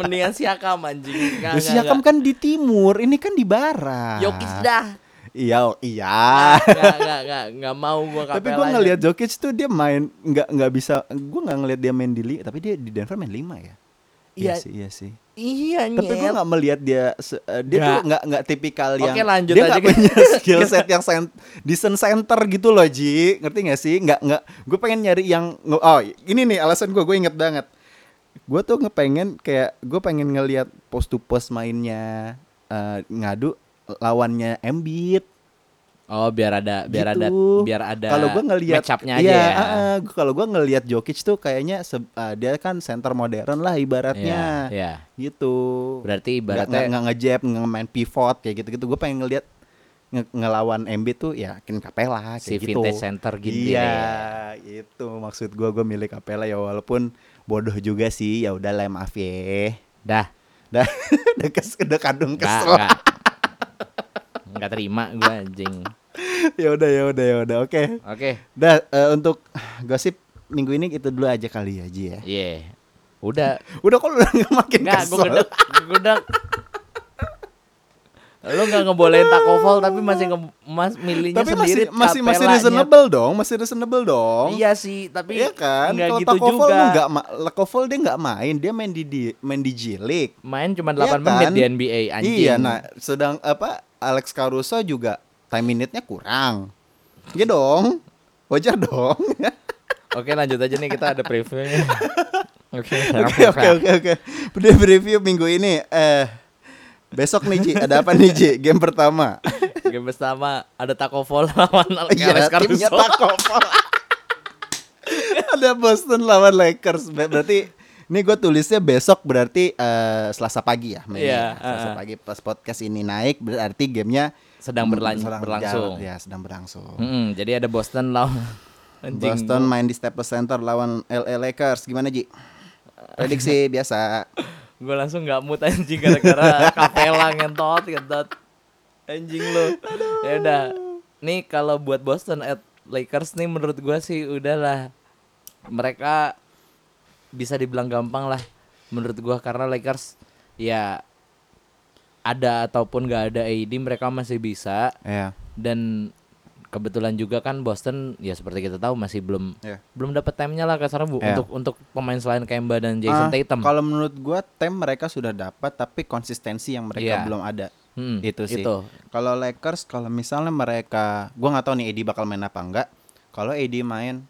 Speaker 1: Mendingan siakam anjing. Nggak,
Speaker 2: Lu
Speaker 1: nggak,
Speaker 2: Siakam
Speaker 1: nggak.
Speaker 2: kan di timur, ini kan di barat.
Speaker 1: Jokic dah. Ah,
Speaker 2: Iya, oh, iya.
Speaker 1: Enggak, enggak, enggak, enggak mau gua Kapela.
Speaker 2: tapi gua ngelihat Jokic tuh dia main nggak nggak bisa gua nggak ngelihat dia main di li- tapi dia di Denver main 5 ya. Iya
Speaker 1: Iya.
Speaker 2: sih, iya sih.
Speaker 1: Iya, nyet.
Speaker 2: Tapi gua nggak melihat dia se- eh, dia tuh
Speaker 1: Nggak.
Speaker 2: nggak nggak tipikal
Speaker 1: Oke,
Speaker 2: yang
Speaker 1: lanjut
Speaker 2: dia
Speaker 1: aja
Speaker 2: nggak
Speaker 1: kita.
Speaker 2: punya skill set yang sen- decent center gitu loh, Ji. Ngerti nggak sih? Nggak nggak gua pengen nyari yang oh, ini nih alasan gua, gua inget banget. gue tuh ngepengen kayak gue pengen ngelihat post to post mainnya eh, ngadu lawannya Embiid
Speaker 1: Oh, biar ada biar ada
Speaker 2: Gitu.
Speaker 1: biar ada
Speaker 2: kalau gua ngelihat
Speaker 1: match up-nya aja
Speaker 2: iya,
Speaker 1: ya.
Speaker 2: ah, ah, kalau gua ngelihat Jokic tuh kayaknya se- ah, dia kan center modern lah
Speaker 1: Iya,
Speaker 2: ibaratnya
Speaker 1: iya.
Speaker 2: gitu
Speaker 1: Berarti
Speaker 2: nggak
Speaker 1: ibaratnya
Speaker 2: nggak nggak ngejab nggak main pivot kayak gitu gitu gue pengen ngelihat nge- ngelawan MB tuh ya Ken Capella kayak
Speaker 1: si
Speaker 2: gitu
Speaker 1: vintage center gitu
Speaker 2: iya
Speaker 1: ya.
Speaker 2: itu maksud gua gue milik Capella ya walaupun bodoh juga sih ya udah lah maaf ya
Speaker 1: Dah,
Speaker 2: dah udah kes udah kadung
Speaker 1: enggak
Speaker 2: kesel
Speaker 1: enggak. Enggak terima gua anjing.
Speaker 2: ya udah ya udah ya udah oke
Speaker 1: Oke.
Speaker 2: dah eh, untuk gosip minggu ini itu dulu aja kali ya Ji ya
Speaker 1: Iya. Udah.
Speaker 2: Udah kok lu nggak makin
Speaker 1: Enggak,
Speaker 2: kesel?
Speaker 1: gua gedek, gedek. Lu enggak ngebolehin takovol tapi masih nge mas milihnya
Speaker 2: Tapi masih
Speaker 1: sendiri.
Speaker 2: masih masih
Speaker 1: capellanya.
Speaker 2: reasonable dong, masih reasonable dong.
Speaker 1: Iya sih, tapi
Speaker 2: Iya kan?
Speaker 1: nggak
Speaker 2: Kalau
Speaker 1: gitu
Speaker 2: Takovol
Speaker 1: juga.
Speaker 2: lu nggak ma- Takovol dia nggak main, dia main di, di main di J League.
Speaker 1: Main cuma 8
Speaker 2: Iya
Speaker 1: menit
Speaker 2: kan?
Speaker 1: di NBA anjing.
Speaker 2: Iya, nah sedang apa Alex Caruso juga time minute-nya kurang. Iya dong. Wajar dong.
Speaker 1: Oke, lanjut aja nih kita ada previewnya. Oke.
Speaker 2: Oke oke oke oke. Udah review minggu ini eh besok nih Ji, ada apa nih Ji? Game pertama.
Speaker 1: Game pertama ada Takovol lawan
Speaker 2: Iya,
Speaker 1: Alex
Speaker 2: timnya
Speaker 1: Caruso.
Speaker 2: Takovol. Ada Boston lawan Lakers. Ber- Berarti ini gue tulisnya besok berarti eh, Selasa pagi ya. mainnya.
Speaker 1: Iya,
Speaker 2: Selasa
Speaker 1: eh.
Speaker 2: pagi pas podcast ini naik berarti gamenya
Speaker 1: Sedang berlan- berlangsung.
Speaker 2: Ya sedang berlangsung.
Speaker 1: Mm-mm, jadi ada Boston lawan Hmm, anjing.
Speaker 2: Boston main di Staples Center lawan LA Lakers. Gimana Ji? Prediksi biasa.
Speaker 1: Gue langsung nggak mood anjing gara-gara kapela ngentot ngentot. Anjing lu. Ya udah. Nih kalau buat Boston at Lakers nih menurut gua sih udahlah. Mereka bisa dibilang gampang lah menurut gua karena Lakers ya ada ataupun nggak ada AD mereka masih bisa
Speaker 2: Ya.
Speaker 1: dan kebetulan juga kan Boston ya seperti kita tahu masih belum
Speaker 2: Iya.
Speaker 1: belum dapat timenya lah kasarnya bu
Speaker 2: Iya.
Speaker 1: untuk untuk pemain selain Kemba dan Jason
Speaker 2: Ah,
Speaker 1: Tatum.
Speaker 2: Kalau menurut gua tem mereka sudah dapat tapi konsistensi yang
Speaker 1: Iya.
Speaker 2: mereka belum ada.
Speaker 1: Mm,
Speaker 2: itu sih.
Speaker 1: Itu.
Speaker 2: Kalau Lakers kalau misalnya mereka gua nggak tahu nih AD bakal main apa enggak. Kalau AD main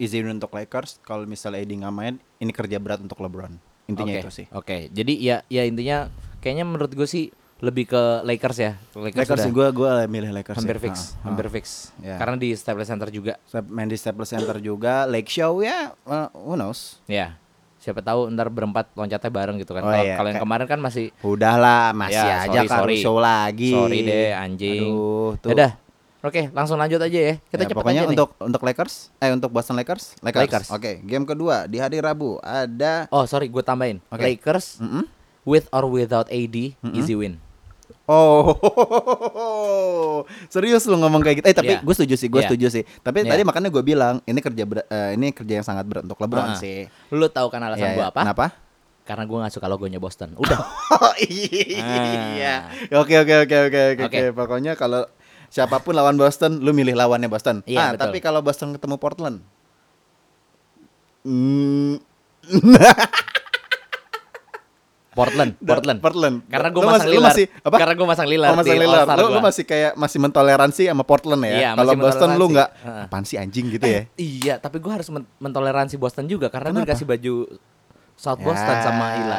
Speaker 2: izin untuk Lakers, kalau misalnya AD nggak main ini kerja berat untuk LeBron. Intinya
Speaker 1: Oke,
Speaker 2: itu sih.
Speaker 1: Oke. Jadi ya ya intinya kayaknya menurut gue sih lebih ke Lakers ya. Lakers,
Speaker 2: Lakers
Speaker 1: sudah
Speaker 2: gue gua milih Lakers.
Speaker 1: hampir
Speaker 2: sih. Ah,
Speaker 1: fix,
Speaker 2: Ha, ha.
Speaker 1: hampers hampir fix.
Speaker 2: Iya.
Speaker 1: Karena di Staples Center juga.
Speaker 2: Sa- Main di Staples Center juga, Lake Show ya, eh, who knows.
Speaker 1: Ya. Siapa tahu ntar berempat loncatnya bareng gitu kan.
Speaker 2: Oh,
Speaker 1: Kalau
Speaker 2: iya.
Speaker 1: kalau yang
Speaker 2: Kayak-
Speaker 1: kemarin kan masih
Speaker 2: Udahlah, masih
Speaker 1: Ya,
Speaker 2: aja
Speaker 1: sorry,
Speaker 2: kalau
Speaker 1: sorry.
Speaker 2: show lagi.
Speaker 1: sorry deh anjing.
Speaker 2: Aduh, tuh.
Speaker 1: Udah. Oke, langsung lanjut aja ya. Kita
Speaker 2: Ya,
Speaker 1: cepet
Speaker 2: pokoknya
Speaker 1: aja nih.
Speaker 2: untuk untuk Lakers, eh untuk Boston Lakers, Lakers.
Speaker 1: Lakers.
Speaker 2: Oke, game kedua di hari Rabu ada
Speaker 1: Oh, sorry gue tambahin.
Speaker 2: Oke.
Speaker 1: Lakers
Speaker 2: Mm-mm.
Speaker 1: with or without AD easy win.
Speaker 2: Oh, serius lu ngomong kayak gitu? Eh tapi
Speaker 1: Iya.
Speaker 2: gue setuju sih, gue
Speaker 1: Iya.
Speaker 2: setuju sih. Tapi
Speaker 1: Iya.
Speaker 2: tadi makanya gue bilang ini kerja ber- eh, ini kerja yang sangat berat untuk LeBron
Speaker 1: Ah.
Speaker 2: sih.
Speaker 1: Lu tahu kan alasan
Speaker 2: Iya,
Speaker 1: gue
Speaker 2: iya.
Speaker 1: apa? Ah.
Speaker 2: Kenapa?
Speaker 1: Karena gue nggak suka logonya Boston. Udah.
Speaker 2: Oh iya. Oke oke oke oke
Speaker 1: Oke.
Speaker 2: oke. oke. Pokoknya kalau siapapun lawan Boston, lu milih lawannya Boston.
Speaker 1: Iya,
Speaker 2: ah,
Speaker 1: betul.
Speaker 2: tapi kalau Boston ketemu Portland, Hmm,
Speaker 1: Portland,
Speaker 2: da-
Speaker 1: Portland.
Speaker 2: Portland.
Speaker 1: Karena gue
Speaker 2: Lu
Speaker 1: masang
Speaker 2: masih- lu
Speaker 1: Lillard.
Speaker 2: masih- apa?
Speaker 1: Karena gue masang Lillard.
Speaker 2: Oh, masih
Speaker 1: di
Speaker 2: Lillard.
Speaker 1: All-Star
Speaker 2: Lu, lu
Speaker 1: gua.
Speaker 2: masih kayak masih mentoleransi sama Portland ya.
Speaker 1: Iya,
Speaker 2: kalau
Speaker 1: masih
Speaker 2: Boston lu
Speaker 1: mentoleransi.
Speaker 2: nggak
Speaker 1: Heeh.
Speaker 2: apaan sih anjing gitu ya.
Speaker 1: Iya, tapi gue harus men- mentoleransi Boston juga karena gue
Speaker 2: Kenapa? Ya.
Speaker 1: dikasih baju South Boston sama Ila.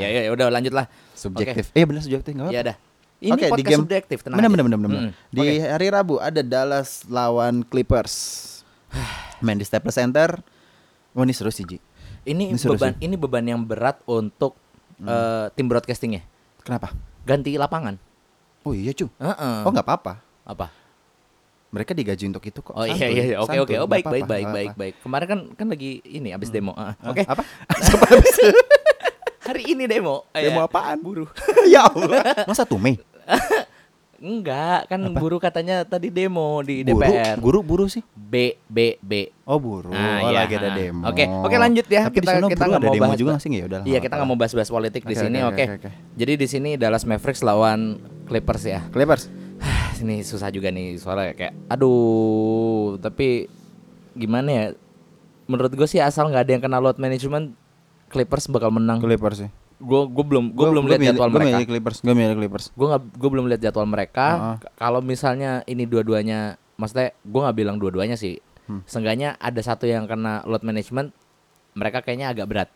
Speaker 1: ya, ya, ya udah lanjut lah.
Speaker 2: subjektif. Eh bener subjektif enggak
Speaker 1: Oke,
Speaker 2: apa-apa.
Speaker 1: Ya dah. Ini
Speaker 2: Oke,
Speaker 1: podcast subjektif, tenang.
Speaker 2: Bener,
Speaker 1: aja.
Speaker 2: bener, bener, bener.
Speaker 1: Mm-mm.
Speaker 2: Di
Speaker 1: Oke.
Speaker 2: hari Rabu ada Dallas lawan Clippers. Main di Staples Center. Wah ini seru sih Ji.
Speaker 1: Ini,
Speaker 2: Ini seru Mm.
Speaker 1: beban ini beban yang berat untuk eh, tim broadcastingnya.
Speaker 2: Kenapa?
Speaker 1: Ganti lapangan.
Speaker 2: Oh iya cu.
Speaker 1: Heeh.
Speaker 2: Oh nggak apa-apa.
Speaker 1: Apa?
Speaker 2: Mereka digaji untuk itu kok.
Speaker 1: Oh iya
Speaker 2: Santuy,
Speaker 1: iya iya. oke
Speaker 2: santuy,
Speaker 1: oke oh
Speaker 2: nggak
Speaker 1: baik
Speaker 2: apa-apa,
Speaker 1: baik baik
Speaker 2: nggak
Speaker 1: baik
Speaker 2: apa-apa.
Speaker 1: baik kemarin kan kan lagi ini abis demo Ah, ah.
Speaker 2: Hah?
Speaker 1: oke
Speaker 2: Apa?
Speaker 1: hari ini demo Ah,
Speaker 2: Demo
Speaker 1: ya.
Speaker 2: apaan? Buruh. ya Allah. Masa tuh Mei?
Speaker 1: enggak kan buruh katanya tadi demo di
Speaker 2: Buruh,
Speaker 1: DPR
Speaker 2: buruh, buruh sih.
Speaker 1: B B B
Speaker 2: Oh buruh.
Speaker 1: Ah,
Speaker 2: oh
Speaker 1: iya,
Speaker 2: lagi ada
Speaker 1: ah.
Speaker 2: demo.
Speaker 1: Oke, oke, lanjut ya.
Speaker 2: Tapi
Speaker 1: Kita-
Speaker 2: di sono
Speaker 1: kita
Speaker 2: buruh
Speaker 1: nggak
Speaker 2: ada
Speaker 1: mau
Speaker 2: demo
Speaker 1: bahas-
Speaker 2: juga nggak sih nggak ya udah.
Speaker 1: Iya, kita nggak mau bahas-bahas politik di
Speaker 2: Oke,
Speaker 1: sini,
Speaker 2: oke,
Speaker 1: oke.
Speaker 2: oke, oke.
Speaker 1: Jadi di sini Dallas Mavericks lawan Clippers ya.
Speaker 2: Clippers.
Speaker 1: ini susah juga nih soalnya kayak aduh, tapi gimana ya? Menurut gue sih asal nggak ada yang kena load management Clippers bakal menang.
Speaker 2: Clippers sih.
Speaker 1: Gue gue belum gue belum lihat jadwal
Speaker 2: Gue
Speaker 1: mereka.
Speaker 2: milih Clippers, gue milih Clippers.
Speaker 1: Gue nggak gue belum lihat jadwal mereka.
Speaker 2: Heeh.
Speaker 1: K- Kalau misalnya ini dua-duanya, maksudnya gue nggak bilang
Speaker 2: Hmm.
Speaker 1: dua-duanya sih. Seenggaknya ada satu yang kena load management, mereka kayaknya agak berat.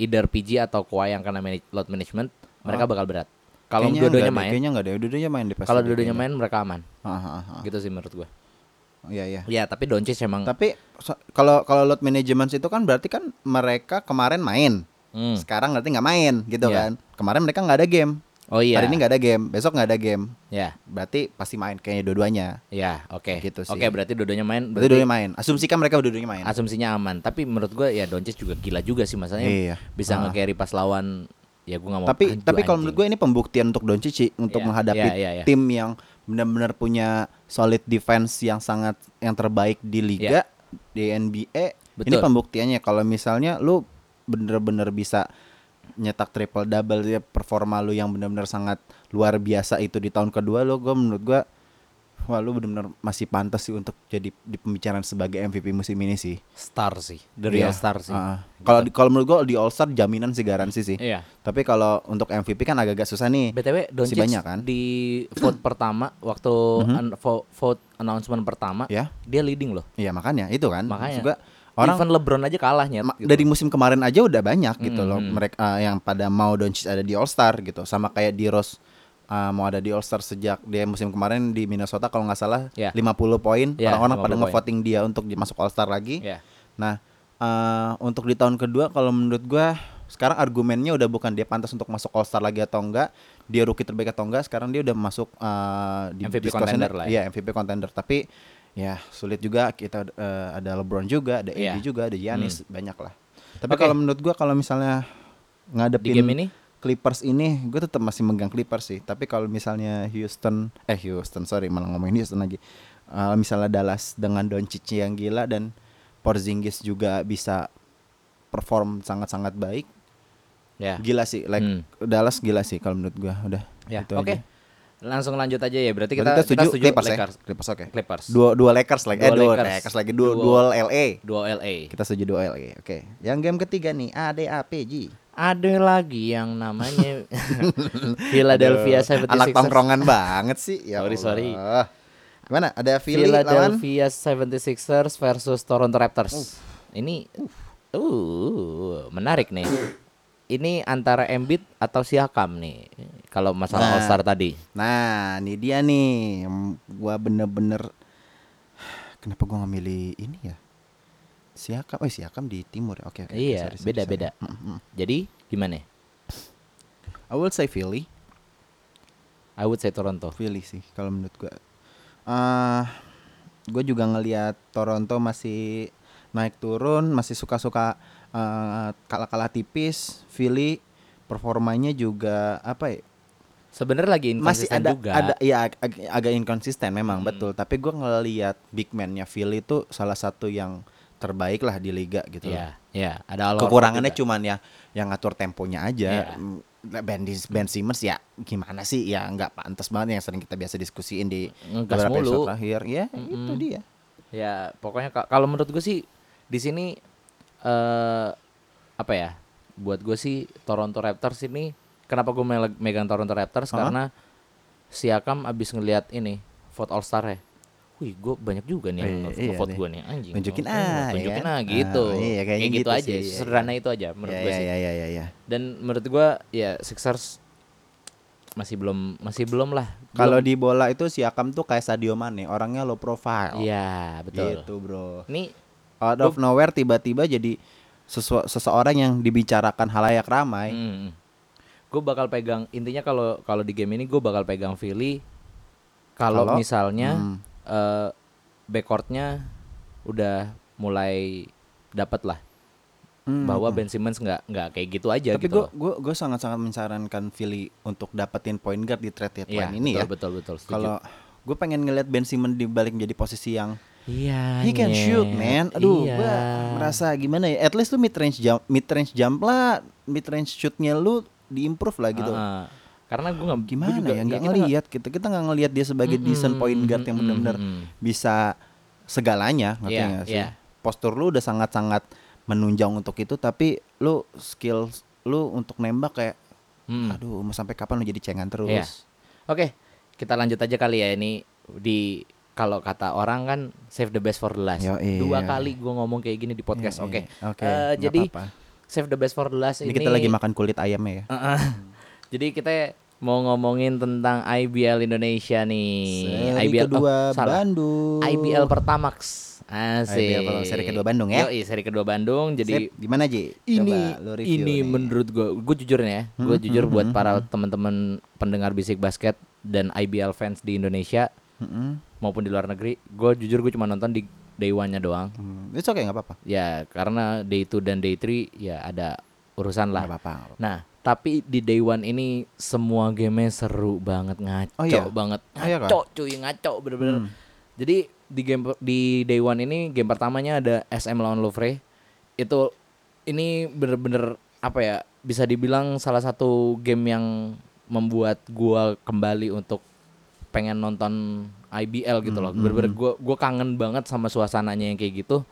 Speaker 1: either PG atau Kawhi yang kena manage, load management, mereka bakal berat. Kalau
Speaker 2: Kayaknya
Speaker 1: dua-duanya
Speaker 2: nggak deh,
Speaker 1: main,
Speaker 2: Kayaknya enggak deh. Dua-duanya main deh pasti.
Speaker 1: kalau
Speaker 2: deh
Speaker 1: dua-duanya
Speaker 2: kayaknya.
Speaker 1: main mereka aman.
Speaker 2: Ah, ah, ah.
Speaker 1: Gitu sih menurut gue.
Speaker 2: Iya, iya.
Speaker 1: Ya, tapi Doncic emang
Speaker 2: Tapi so- kalau kalau load management itu kan berarti kan mereka kemarin main.
Speaker 1: Hmm.
Speaker 2: Sekarang berarti nggak main gitu
Speaker 1: Iya.
Speaker 2: kan. Kemarin mereka nggak ada game.
Speaker 1: Oh iya.
Speaker 2: Hari ini nggak ada game, besok nggak ada game.
Speaker 1: Ya,
Speaker 2: Berarti pasti main kayaknya dua-duanya.
Speaker 1: ya, oke.
Speaker 2: Gitu sih.
Speaker 1: Oke, berarti dua-duanya main.
Speaker 2: Berarti dua-duanya main. Asumsikan mereka dua-duanya main.
Speaker 1: asumsinya aman tapi menurut gue ya Doncic juga gila juga sih masalahnya
Speaker 2: Iya.
Speaker 1: bisa
Speaker 2: Ah.
Speaker 1: nge-carry pas lawan ya gue nggak mau
Speaker 2: tapi tapi kalau menurut gue ini pembuktian untuk Doncic sih, untuk
Speaker 1: Iya,
Speaker 2: menghadapi
Speaker 1: iya, iya, iya.
Speaker 2: tim yang benar-benar punya solid defense yang sangat yang terbaik di liga di NBA. Ini
Speaker 1: Iya. Betul.
Speaker 2: pembuktiannya kalau misalnya lu bener-bener bisa nyetak triple double ya performa lu yang benar-benar sangat luar biasa itu di tahun kedua lu gue menurut gue wah lu benar-benar masih pantas sih untuk jadi di pembicaraan sebagai MVP musim ini sih.
Speaker 1: star sih the real
Speaker 2: Iya,
Speaker 1: star sih Gitu.
Speaker 2: ah. Kalau di- kalau menurut gue di All Star jaminan sih garansi sih.
Speaker 1: Iya.
Speaker 2: Tapi kalau untuk MVP kan agak-agak susah nih.
Speaker 1: btw Doncic
Speaker 2: Masih banyak kan? Mhm.
Speaker 1: di vote pertama waktu an- vo- vote announcement pertama
Speaker 2: Ya.
Speaker 1: dia leading loh
Speaker 2: Iya makanya itu kan.
Speaker 1: Makanya.
Speaker 2: Juga orang
Speaker 1: even LeBron aja gitu. kalahnya
Speaker 2: ma- dari musim kemarin aja udah banyak
Speaker 1: Hmm,
Speaker 2: gitu loh mereka ah, yang pada mau Doncic ada di All Star gitu. Sama kayak di Rose eh, mau ada di All Star sejak dia musim kemarin di Minnesota kalau nggak salah
Speaker 1: Iya.
Speaker 2: 50 poin.
Speaker 1: Iya,
Speaker 2: Orang-orang pada
Speaker 1: 50 poin.
Speaker 2: ngevoting dia untuk di- masuk All Star lagi.
Speaker 1: Iya.
Speaker 2: Nah, eh, untuk di tahun kedua kalau menurut gua sekarang argumennya udah bukan dia pantas untuk masuk All Star lagi atau enggak, dia rookie terbaik atau enggak, sekarang dia udah masuk eh, di
Speaker 1: MVP
Speaker 2: diskusinya-
Speaker 1: contender lah ya.
Speaker 2: Iya, MVP contender, tapi ya sulit juga kita eh, ada LeBron juga, ada AD
Speaker 1: Iya.
Speaker 2: juga, ada Giannis, banyak lah. Tapi
Speaker 1: Oke.
Speaker 2: kalau menurut gua kalau misalnya
Speaker 1: Di
Speaker 2: ngadepin
Speaker 1: game ini?
Speaker 2: Clippers ini gue tetap masih megang Clippers sih. Tapi kalau misalnya Houston, eh Houston, sorry malah ngomongin Houston lagi. Eh, misalnya Dallas dengan Doncic yang gila dan Porzingis juga bisa perform sangat-sangat baik.
Speaker 1: ya
Speaker 2: Gila sih, like
Speaker 1: Hmm.
Speaker 2: Dallas gila sih kalau menurut gua udah.
Speaker 1: ya
Speaker 2: itu
Speaker 1: oke
Speaker 2: aja.
Speaker 1: langsung lanjut aja ya berarti kita,
Speaker 2: Berarti
Speaker 1: kita setuju,
Speaker 2: Clippers, ya?
Speaker 1: Lakers
Speaker 2: Clippers oke.
Speaker 1: Clippers.
Speaker 2: Dua dua Lakers lagi, eh
Speaker 1: Dua
Speaker 2: dua
Speaker 1: Lakers.
Speaker 2: Lakers, lagi, dua
Speaker 1: Dua-
Speaker 2: duel LA.
Speaker 1: dua LA
Speaker 2: Kita setuju dua LA. Oke. Yang game ketiga nih ADAPG.
Speaker 1: ada lagi yang namanya Philadelphia
Speaker 2: Aduh,
Speaker 1: 76ers
Speaker 2: Anak tongkrongan banget sih. Ya
Speaker 1: Sorry,
Speaker 2: Allah.
Speaker 1: sorry.
Speaker 2: Gimana? Ada Philly lawan
Speaker 1: Philadelphia 76ers versus Toronto Raptors. Ini uh menarik nih. Ini antara Embiid atau Siakam nih. Kalau masalah
Speaker 2: Nah.
Speaker 1: All Star tadi.
Speaker 2: Nah, ini dia nih. Yang Gua bener-bener Kenapa gua nggak milih ini ya? Siakam, oh Siakam di timur ya. Oke, oke. oke,
Speaker 1: Iya,
Speaker 2: sorry, sorry,
Speaker 1: beda-beda.
Speaker 2: sorry. Mm, mm.
Speaker 1: Jadi gimana?
Speaker 2: I will say Philly.
Speaker 1: I would say Toronto.
Speaker 2: Philly sih kalau menurut gua. Eh, gua juga ngelihat Toronto masih naik turun, masih suka-suka eh, kalah-kalah tipis. Philly performanya juga apa ya?
Speaker 1: Sebenarnya lagi
Speaker 2: masih
Speaker 1: inkonsisten
Speaker 2: ada
Speaker 1: juga. Hmm.
Speaker 2: ada ya ag- ag- agak inkonsisten memang betul tapi gua ngelihat big man-nya Philly itu salah satu yang terbaik lah di liga gitu
Speaker 1: Iya,
Speaker 2: loh.
Speaker 1: iya, ada Al Horford
Speaker 2: kekurangannya
Speaker 1: juga.
Speaker 2: cuman ya yang ngatur
Speaker 1: Iya.
Speaker 2: temponya aja Mm, Ben, Dis- ben Simmons ya gimana sih ya nggak pantas banget yang sering kita biasa diskusiin di
Speaker 1: Ngegas
Speaker 2: beberapa
Speaker 1: mulu.
Speaker 2: episode terakhir ya itu dia
Speaker 1: Ya, pokoknya ka- kalau menurut gue sih di sini eh apa ya? Buat gue sih Toronto Raptors ini kenapa gue megang Toronto Raptors
Speaker 2: Hah?
Speaker 1: karena Siakam abis ngelihat ini vote All Star ya. Wih, gue banyak juga nih yang
Speaker 2: Eh, iya
Speaker 1: vote
Speaker 2: nih.
Speaker 1: gue nih anjing.
Speaker 2: Tunjukin
Speaker 1: oke,
Speaker 2: ah, ya
Speaker 1: tunjukin
Speaker 2: kan?
Speaker 1: ah gitu.
Speaker 2: Ah, iya,
Speaker 1: kayak
Speaker 2: kayaknya
Speaker 1: gitu,
Speaker 2: gitu
Speaker 1: aja,
Speaker 2: sih, iya, iya.
Speaker 1: sederhana itu aja menurut
Speaker 2: ya
Speaker 1: gue
Speaker 2: ya,
Speaker 1: sih.
Speaker 2: ya ya ya ya
Speaker 1: Dan menurut gue ya Sixers masih belum masih belum lah.
Speaker 2: kalau
Speaker 1: Belum.
Speaker 2: di bola itu Siakam tuh kayak Sadio Mane orangnya low profile
Speaker 1: Iya, betul.
Speaker 2: gitu bro
Speaker 1: Ini
Speaker 2: out of nowhere tiba-tiba jadi sesua- seseorang yang dibicarakan halayak ramai.
Speaker 1: Gue Hmm, bakal pegang intinya kalau kalau di game ini gue bakal pegang Philly kalau
Speaker 2: Kalau?
Speaker 1: misalnya
Speaker 2: Hmm.
Speaker 1: eh, backcourtnya udah mulai dapat lah
Speaker 2: Hmm,
Speaker 1: bahwa Ben Simmons nggak nggak kayak gitu aja
Speaker 2: Tapi
Speaker 1: gitu.
Speaker 2: gue
Speaker 1: loh.
Speaker 2: gue sangat-sangat mensarankan Philly untuk dapetin point guard di trade
Speaker 1: Iya,
Speaker 2: deadline ini
Speaker 1: betul,
Speaker 2: ya.
Speaker 1: betul betul setuju.
Speaker 2: Kalau gue pengen ngelihat Ben Simmons dibalik menjadi posisi yang
Speaker 1: iya.
Speaker 2: he can
Speaker 1: Nyet.
Speaker 2: shoot man. Aduh,
Speaker 1: Iya.
Speaker 2: gue merasa gimana ya? At least lu mid range jump mid range jump lah, mid range shootnya lu diimprove lah gitu.
Speaker 1: Heeh. Karena gue nggak Ah, Hmm, gua
Speaker 2: gimana
Speaker 1: juga,
Speaker 2: ya nggak
Speaker 1: kita
Speaker 2: ngelihat kita kita nggak ngelihat dia sebagai decent point guard yang
Speaker 1: hmm,
Speaker 2: benar-benar bisa segalanya ngerti
Speaker 1: Iya,
Speaker 2: nggak sih
Speaker 1: iya.
Speaker 2: postur lu udah sangat-sangat menunjang untuk itu tapi lu skill lu untuk nembak kayak
Speaker 1: Mm.
Speaker 2: aduh mau sampai kapan lu jadi cengan terus
Speaker 1: Iya. Oke, kita lanjut aja kali ya ini di kalau kata orang kan save the best for the last.
Speaker 2: Yoi,
Speaker 1: Dua
Speaker 2: yoi.
Speaker 1: kali gue ngomong kayak gini di podcast.
Speaker 2: Yoi,
Speaker 1: Oke.
Speaker 2: Iya, oke,
Speaker 1: Eh,
Speaker 2: nggak
Speaker 1: jadi
Speaker 2: apa-apa.
Speaker 1: Save the best for the last
Speaker 2: Ini
Speaker 1: ini.
Speaker 2: kita lagi makan kulit ayamnya ya.
Speaker 1: Heeh. Jadi kita mau ngomongin tentang IBL Indonesia nih.
Speaker 2: Seri
Speaker 1: IBL oh,
Speaker 2: kedua
Speaker 1: salah.
Speaker 2: Bandung.
Speaker 1: IBL Pertamax. Asik.
Speaker 2: IBL pertama, seri kedua Bandung ya.
Speaker 1: Yoi, seri kedua Bandung. Jadi
Speaker 2: Sip, gimana Ji?
Speaker 1: ini
Speaker 2: Coba lu review
Speaker 1: ini
Speaker 2: nih.
Speaker 1: menurut gue gue jujur nih ya gue jujur buat para teman-teman pendengar bisik basket dan IBL fans di Indonesia
Speaker 2: Mm-mm.
Speaker 1: maupun di luar negeri gue jujur gue cuma nonton di day one nya doang
Speaker 2: Hmm, It's okay, nggak apa-apa.
Speaker 1: ya karena day 2 dan day 3 ya ada urusan
Speaker 2: Nggak
Speaker 1: lah
Speaker 2: apa-apa. nggak apa-apa.
Speaker 1: nah tapi di day one ini semua game seru banget ngaco
Speaker 2: Oh iya?
Speaker 1: banget
Speaker 2: Oh iya Hmm. kah?
Speaker 1: ngaco cuy ngaco bener-bener jadi di game per- di day one ini game pertamanya ada SM lawan Louvre itu ini bener-bener apa ya bisa dibilang salah satu game yang membuat gua kembali untuk pengen nonton IBL gitu
Speaker 2: Hmm.
Speaker 1: loh bener-bener gua gua kangen banget sama suasananya yang kayak gitu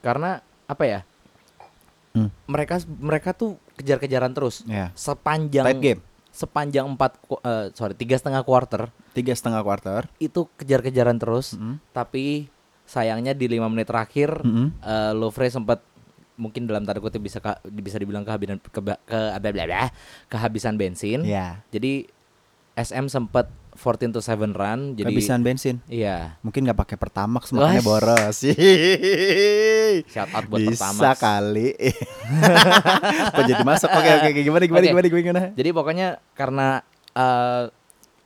Speaker 1: karena apa ya
Speaker 2: Hmm.
Speaker 1: mereka mereka tuh kejar-kejaran terus
Speaker 2: Ya.
Speaker 1: sepanjang
Speaker 2: Tight game.
Speaker 1: sepanjang empat ku- eh, sorry tiga setengah quarter
Speaker 2: Tiga setengah quarter.
Speaker 1: itu kejar-kejaran terus
Speaker 2: Mm-mm.
Speaker 1: tapi sayangnya di lima menit terakhir
Speaker 2: Mm-mm.
Speaker 1: eh, Louvre sempat mungkin dalam tanda kutip bisa ka- bisa dibilang kehabisan ke, ke, bla bla bla, kehabisan bensin
Speaker 2: Ya.
Speaker 1: jadi SM sempat 14 to 7 run jadi
Speaker 2: Kehabisan bensin.
Speaker 1: iya
Speaker 2: Mungkin nggak pakai pertamax makanya
Speaker 1: Wah.
Speaker 2: boros.
Speaker 1: shout out buat
Speaker 2: Bisa kan?
Speaker 1: pertama
Speaker 2: kali. Kok jadi masuk? Oke oke oke. gimana gimana
Speaker 1: Oke.
Speaker 2: gimana gimana.
Speaker 1: Jadi pokoknya karena eh,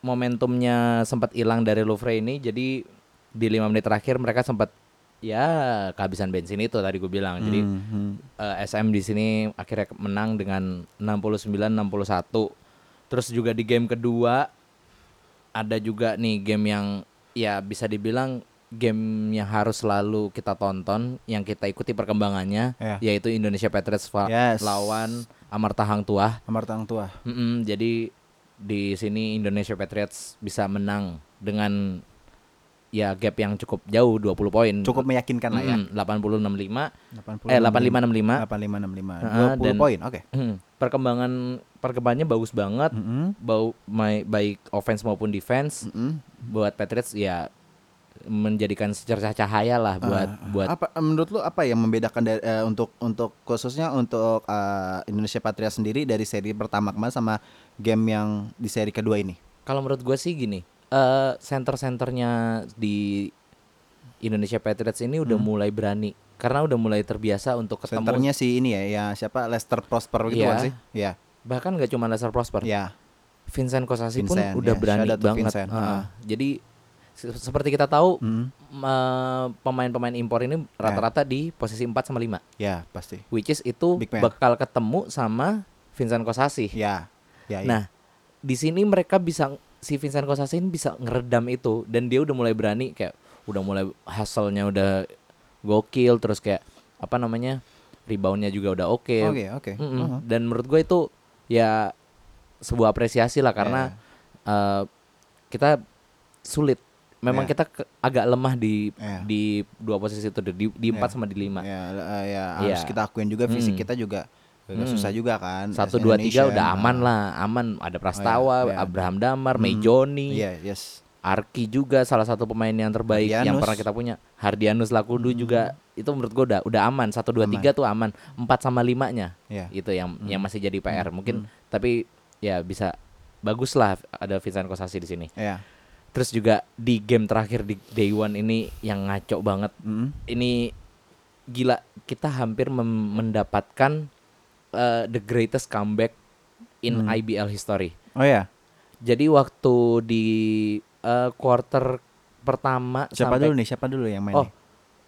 Speaker 1: momentumnya sempat hilang dari Louvre ini, jadi di lima menit terakhir mereka sempat ya kehabisan bensin itu tadi gue bilang. Jadi
Speaker 2: Mhm.
Speaker 1: eh, SM di sini akhirnya ke- menang dengan 69-61. Terus juga di game kedua ada juga nih game yang ya bisa dibilang game yang harus selalu kita tonton, yang kita ikuti perkembangannya,
Speaker 2: Iya.
Speaker 1: yaitu Indonesia Patriots fa-
Speaker 2: Yes.
Speaker 1: lawan Amarta Hang Tuah.
Speaker 2: Amar Tang Tua.
Speaker 1: Mm-mm, jadi di sini Indonesia Patriots bisa menang dengan ya gap yang cukup jauh 20 poin.
Speaker 2: Cukup meyakinkan lah ya.
Speaker 1: Mm-mm, 86-65.
Speaker 2: 80,
Speaker 1: Eh 85-65.
Speaker 2: 85
Speaker 1: Heeh, Ah,
Speaker 2: 20
Speaker 1: dan-
Speaker 2: poin. Oke.
Speaker 1: Mm, Perkembangan perkembangannya bagus banget.
Speaker 2: Mhm.
Speaker 1: Bau mai- baik offense maupun defense
Speaker 2: Mhm.
Speaker 1: buat Patriots ya menjadikan secercah cahaya lah buat
Speaker 2: Ah,
Speaker 1: buat
Speaker 2: apa menurut lu apa yang membedakan dari, eh, untuk untuk khususnya untuk eh, Indonesia Patria sendiri dari seri pertama kemarin sama game yang di seri kedua ini?
Speaker 1: Kalau menurut gue sih gini, eh center-centernya di Indonesia Patriots ini udah mulai berani karena udah mulai terbiasa untuk ketemu
Speaker 2: Hmm. Centernya si ini ya, ya siapa Lester Prosper gitu
Speaker 1: Iya.
Speaker 2: kan sih? Iya.
Speaker 1: bahkan nggak cuma Lesser Prosper,
Speaker 2: Iya.
Speaker 1: Vincent Kosasi pun
Speaker 2: Vincent,
Speaker 1: udah
Speaker 2: ya.
Speaker 1: berani
Speaker 2: Shout out to
Speaker 1: banget.
Speaker 2: Vincent,
Speaker 1: Ah,
Speaker 2: ah.
Speaker 1: Jadi se- seperti kita tahu
Speaker 2: Hmm. Iya.
Speaker 1: m- eh, pemain-pemain impor ini rata-rata di posisi 4 sama 5,
Speaker 2: Ya, pasti.
Speaker 1: which is itu
Speaker 2: Big man.
Speaker 1: bakal ketemu sama Vincent Kosasi.
Speaker 2: Ya. Ya, ya.
Speaker 1: Nah, di sini mereka bisa si Vincent Kosasin bisa ngeredam itu dan dia udah mulai berani kayak udah mulai hustle-nya udah gokil terus kayak apa namanya? rebound-nya juga udah oke.
Speaker 2: Oke, oke.
Speaker 1: Mm-mm.
Speaker 2: Uh-huh.
Speaker 1: Dan menurut gue itu ya sebuah apresiasi lah karena
Speaker 2: Iya.
Speaker 1: eh, kita sulit. Memang
Speaker 2: Yeah.
Speaker 1: kita ke- agak lemah di
Speaker 2: Yeah.
Speaker 1: di dua posisi itu di di empat
Speaker 2: Yeah.
Speaker 1: sama di lima.
Speaker 2: Ya, eh, ya,
Speaker 1: Nah.
Speaker 2: harus
Speaker 1: Iya.
Speaker 2: kita akuin juga fisik
Speaker 1: Hmm.
Speaker 2: kita juga agak
Speaker 1: Hmm.
Speaker 2: susah juga kan.
Speaker 1: Satu
Speaker 2: as
Speaker 1: dua tiga
Speaker 2: Indonesian.
Speaker 1: udah aman
Speaker 2: Ah.
Speaker 1: lah, aman ada Prastawa,
Speaker 2: yeah.
Speaker 1: Abraham Damar,
Speaker 2: Hmm.
Speaker 1: Mejoni.
Speaker 2: Iya, yes.
Speaker 1: Arki juga salah satu pemain yang terbaik yang
Speaker 2: Hardianus. Hmm.
Speaker 1: pernah kita punya. Hardianus Lakudu juga itu menurut gue udah udah aman. 1 2
Speaker 2: Aman.
Speaker 1: 3 tuh aman. 4 sama 5-nya
Speaker 2: Iya.
Speaker 1: itu yang yang masih jadi PR
Speaker 2: Hmm.
Speaker 1: mungkin tapi ya bisa bagus lah ada Vincent Kosasi di sini.
Speaker 2: Iya.
Speaker 1: Terus juga di game terakhir di day one ini yang ngaco banget.
Speaker 2: Mm-mm.
Speaker 1: Ini gila kita hampir mem- mendapatkan eh, the greatest comeback in
Speaker 2: Hmm.
Speaker 1: IBL history.
Speaker 2: Oh ya.
Speaker 1: Jadi waktu di eh, quarter pertama
Speaker 2: Siapa
Speaker 1: sampai
Speaker 2: dulu nih? Siapa dulu yang main?
Speaker 1: Oh.
Speaker 2: nih?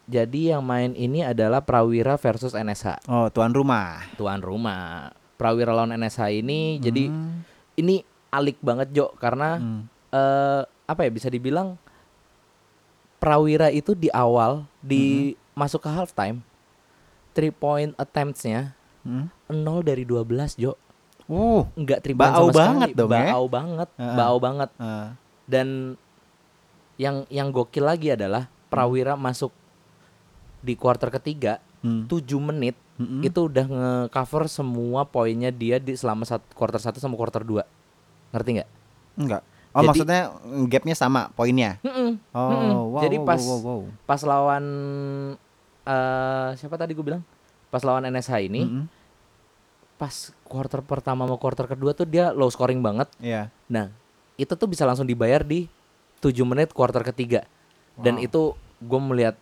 Speaker 1: Jadi yang main ini adalah Prawira versus NSH,
Speaker 2: oh tuan rumah.
Speaker 1: tuan rumah. Prawira lawan NSH ini jadi
Speaker 2: Mm.
Speaker 1: Ah. ini alik banget Jo karena
Speaker 2: Hmm.
Speaker 1: eh, apa ya bisa dibilang Prawira itu di awal di
Speaker 2: Hmm.
Speaker 1: masuk ke halftime 3 point attempts-nya 0 dari 12 Jo.
Speaker 2: Uh.
Speaker 1: Enggak 3 point
Speaker 2: Bau
Speaker 1: sama sekali.
Speaker 2: banget dong ya?
Speaker 1: Bau banget,
Speaker 2: Heeh.
Speaker 1: bau banget. dan yang yang gokil lagi adalah Prawira masuk di quarter ketiga
Speaker 2: Hmm,
Speaker 1: 7 menit itu udah nge-cover semua poinnya dia di selama sat- quarter 1 sama quarter 2. Ngerti nggak?
Speaker 2: Enggak. Oh
Speaker 1: Jadi-
Speaker 2: maksudnya mm, gapnya sama poinnya.
Speaker 1: Mm-mm.
Speaker 2: Oh
Speaker 1: Mm-mm.
Speaker 2: wow,
Speaker 1: Jadi
Speaker 2: wow,
Speaker 1: pas
Speaker 2: wow, wow.
Speaker 1: pas lawan eh siapa tadi gue bilang? Pas lawan NSH ini
Speaker 2: Mm-mm.
Speaker 1: pas quarter pertama sama quarter kedua tuh dia low scoring banget.
Speaker 2: Iya.
Speaker 1: Nah, itu tuh bisa langsung dibayar di 7 menit quarter ketiga. Dan itu gue melihat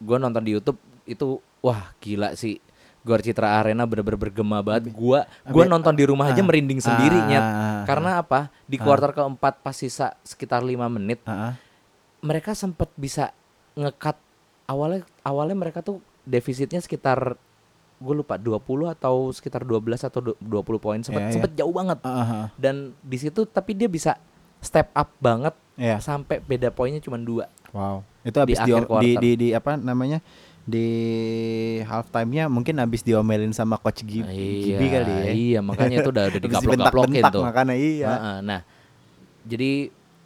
Speaker 1: gue nonton di YouTube itu wah gila sih. Gor Citra Arena bener-bener bergema banget. Gua gua
Speaker 2: Abi-
Speaker 1: nonton di rumah aja
Speaker 2: ah,
Speaker 1: merinding sendiri
Speaker 2: ah,
Speaker 1: Nyet.
Speaker 2: ah, ah,
Speaker 1: Karena apa? Di quarter keempat pas sisa sekitar 5 menit,
Speaker 2: Heeh.
Speaker 1: mereka sempat bisa ngekat awalnya awalnya mereka tuh defisitnya sekitar gue lupa 20 atau sekitar 12 atau du- 20 poin sempat
Speaker 2: Iya, iya.
Speaker 1: sempat jauh banget
Speaker 2: Heeh.
Speaker 1: dan di situ tapi dia bisa step up banget ya,
Speaker 2: Iya.
Speaker 1: sampai beda poinnya cuma dua
Speaker 2: Wow. Itu habis di,
Speaker 1: akhir
Speaker 2: di,
Speaker 1: quarter.
Speaker 2: di di apa namanya? Di half time-nya mungkin habis diomelin sama coach Gibi, Gibi kali ya.
Speaker 1: Ah, iya makanya itu udah udah
Speaker 2: Habis
Speaker 1: digaplok-gaplokin
Speaker 2: dibentak-bentak
Speaker 1: tuh
Speaker 2: makanya iya.
Speaker 1: Heeh, nah jadi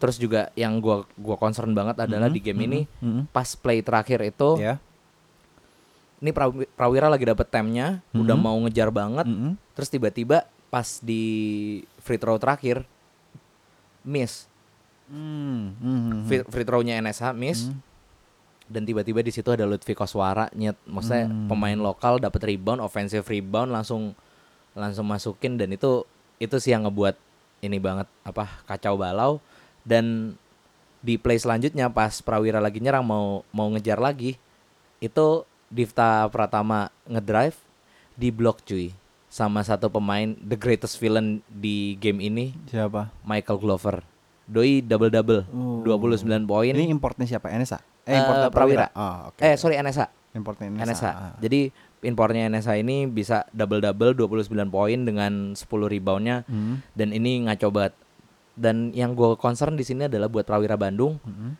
Speaker 1: terus juga yang gua gua concern banget adalah di game ini
Speaker 2: mhm.
Speaker 1: pas play terakhir itu
Speaker 2: Iya.
Speaker 1: ini Prawi- Prawira lagi dapet temnya udah mau ngejar banget
Speaker 2: Mhm.
Speaker 1: terus tiba-tiba pas di free throw terakhir miss
Speaker 2: Hmm, mhm.
Speaker 1: free, free throw-nya NSH miss dan tiba-tiba di situ ada Lutfi Koswara nyet maksudnya pemain lokal dapat rebound offensive rebound langsung langsung masukin dan itu itu sih yang ngebuat ini banget apa kacau balau dan di play selanjutnya pas Prawira lagi nyerang mau mau ngejar lagi itu Divta Pratama ngedrive di block cuy sama satu pemain the greatest villain di game ini
Speaker 2: Siapa?
Speaker 1: Michael Glover doi double double
Speaker 2: Oh.
Speaker 1: 29 poin
Speaker 2: Ini importnya siapa? NSA?
Speaker 1: Eh,
Speaker 2: importnya
Speaker 1: Prawira.
Speaker 2: Oh, oke.
Speaker 1: eh sorry NSA
Speaker 2: importnya NSA.
Speaker 1: NSA.
Speaker 2: Ah.
Speaker 1: Jadi impornya NSA ini bisa double double 29 poin dengan 10 reboundnya
Speaker 2: Hmm.
Speaker 1: dan ini ngaco banget. Dan yang gue concern di sini adalah buat Prawira Bandung,
Speaker 2: Mhm.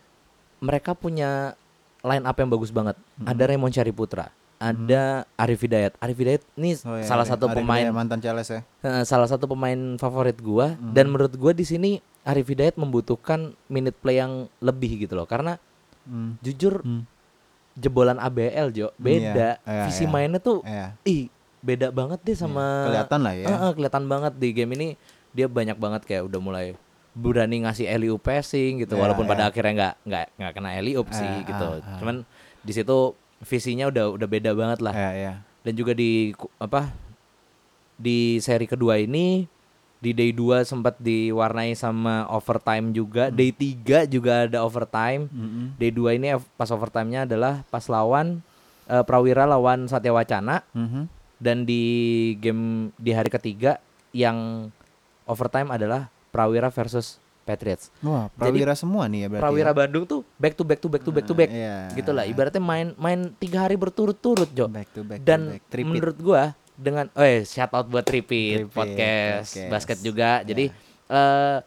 Speaker 1: mereka punya line up yang bagus banget.
Speaker 2: Hmm.
Speaker 1: Ada Raymond Syariputra, ada Arif Hidayat. Arif Hidayat ini
Speaker 2: Oh, iya,
Speaker 1: salah
Speaker 2: iya.
Speaker 1: satu
Speaker 2: Arif
Speaker 1: pemain
Speaker 2: Hidayat, mantan Cales ya.
Speaker 1: eh, salah satu pemain favorit gua
Speaker 2: Hmm.
Speaker 1: dan menurut gua di sini Arif Hidayat membutuhkan minute play yang lebih gitu loh karena
Speaker 2: Hmm.
Speaker 1: jujur
Speaker 2: Hmm.
Speaker 1: jebolan ABL Jo beda
Speaker 2: Iya, iya,
Speaker 1: visi
Speaker 2: iya.
Speaker 1: mainnya tuh
Speaker 2: Iya.
Speaker 1: ih beda banget deh sama
Speaker 2: Kelihatan lah ya.
Speaker 1: Heeh, kelihatan banget di game ini dia banyak banget kayak udah mulai berani ngasih LU passing gitu
Speaker 2: Iya,
Speaker 1: walaupun pada
Speaker 2: iya.
Speaker 1: akhirnya nggak nggak nggak kena LU sih
Speaker 2: Ah,
Speaker 1: gitu
Speaker 2: ah, ah.
Speaker 1: cuman di situ visinya udah udah beda banget lah
Speaker 2: Iya, iya.
Speaker 1: dan juga di ku- apa di seri kedua ini di day 2 sempat diwarnai sama overtime juga
Speaker 2: Hmm.
Speaker 1: day 3 juga ada overtime
Speaker 2: Mhm.
Speaker 1: day 2 ini ev- pas overtime-nya adalah pas lawan eh, Prawira lawan Satya Wacana
Speaker 2: Mhm.
Speaker 1: dan di game di hari ketiga yang overtime adalah Prawira versus Patriots.
Speaker 2: Wah, Prawira semua nih ya berarti.
Speaker 1: Prawira
Speaker 2: ya?
Speaker 1: Bandung tuh back to back to back to back to back.
Speaker 2: Iya.
Speaker 1: Gitulah ibaratnya main main tiga hari berturut-turut, Jo.
Speaker 2: back to back to
Speaker 1: Dan
Speaker 2: back. Tripit.
Speaker 1: menurut gua dengan eh shout out buat Tripit,
Speaker 2: Tripit,
Speaker 1: podcast,
Speaker 2: podcast. Ya.
Speaker 1: basket juga. Jadi eh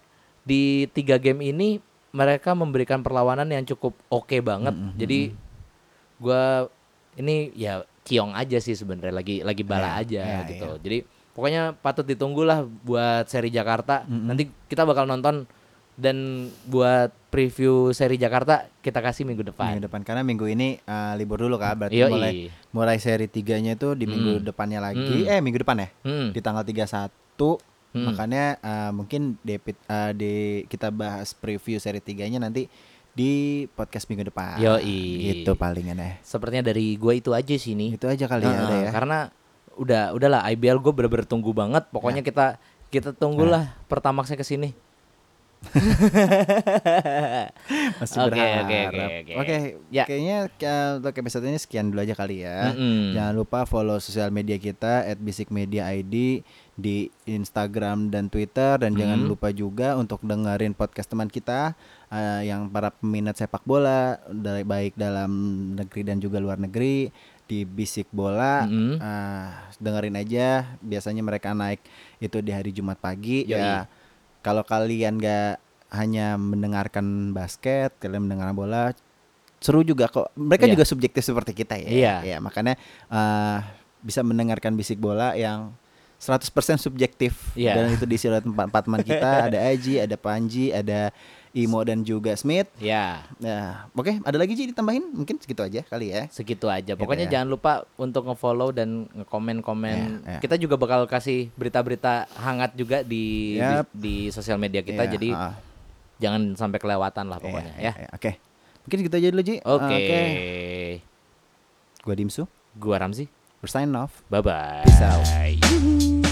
Speaker 1: di tiga game ini mereka memberikan perlawanan yang cukup oke banget. Jadi gua ini ya kiong aja sih sebenarnya lagi lagi bala aja
Speaker 2: iya,
Speaker 1: gitu. Jadi pokoknya patut ditunggulah buat seri Jakarta. Nanti kita bakal nonton dan buat preview seri Jakarta kita kasih minggu depan.
Speaker 2: minggu depan karena minggu ini uh, libur dulu kan
Speaker 1: Yoi.
Speaker 2: berarti
Speaker 1: Mm.
Speaker 2: mulai mulai seri tiganya itu di minggu depannya lagi. Eh, minggu depan ya?
Speaker 1: Hmm.
Speaker 2: Di tanggal 31
Speaker 1: Mm.
Speaker 2: Makanya uh, mungkin David uh, di kita bahas preview seri tiganya nanti di podcast minggu depan.
Speaker 1: Yoi.
Speaker 2: Gitu palingan ya.
Speaker 1: Sepertinya dari gue itu aja sih nih.
Speaker 2: Itu aja kali ya
Speaker 1: Heeh,
Speaker 2: ada ya.
Speaker 1: Karena udah udahlah IBL gue bener-bener tunggu banget. Pokoknya
Speaker 2: Ya.
Speaker 1: kita kita tunggulah pertamaxnya ke sini.
Speaker 2: Masih
Speaker 1: Oke,
Speaker 2: berharap.
Speaker 1: oke, oke, oke.
Speaker 2: Oke,
Speaker 1: Ya.
Speaker 2: kayaknya uh, untuk episode ini sekian dulu aja kali ya.
Speaker 1: Mm-mm.
Speaker 2: Jangan lupa follow sosial media kita @bisikmediaid di Instagram dan Twitter dan jangan lupa juga untuk dengerin podcast teman kita uh, yang para peminat sepak bola dari baik dalam negeri dan juga luar negeri di Bisik Bola.
Speaker 1: Mm-mm.
Speaker 2: Ah, dengerin aja biasanya mereka naik itu di hari Jumat pagi
Speaker 1: Yoi.
Speaker 2: ya kalau kalian nggak hanya mendengarkan basket kalian mendengar bola seru juga kok mereka
Speaker 1: Iya.
Speaker 2: juga subjektif seperti kita ya
Speaker 1: Iya.
Speaker 2: ya makanya ah, bisa mendengarkan bisik bola yang 100% subjektif
Speaker 1: Iya.
Speaker 2: dan itu diisi oleh tempat empat teman kita ada Aji ada Panji ada Imo dan juga Smith
Speaker 1: Ya,
Speaker 2: nah oke ada lagi Ji ditambahin mungkin segitu aja kali ya
Speaker 1: segitu aja. Pokoknya
Speaker 2: ya.
Speaker 1: jangan lupa untuk nge-follow dan nge-komen-komen.
Speaker 2: Iya, iya.
Speaker 1: Kita juga bakal kasih berita-berita hangat juga di
Speaker 2: Yap.
Speaker 1: di, di sosial media kita.
Speaker 2: Ya,
Speaker 1: Jadi
Speaker 2: ah.
Speaker 1: jangan sampai kelewatan lah pokoknya
Speaker 2: Iya,
Speaker 1: ya.
Speaker 2: iya, Oke. Mungkin kita aja dulu, Ji.
Speaker 1: Oke.
Speaker 2: Gua Dimsu.
Speaker 1: Gua Ramzi.
Speaker 2: We're signing off.
Speaker 1: Bye bye.
Speaker 2: Peace out.
Speaker 1: Yuhu.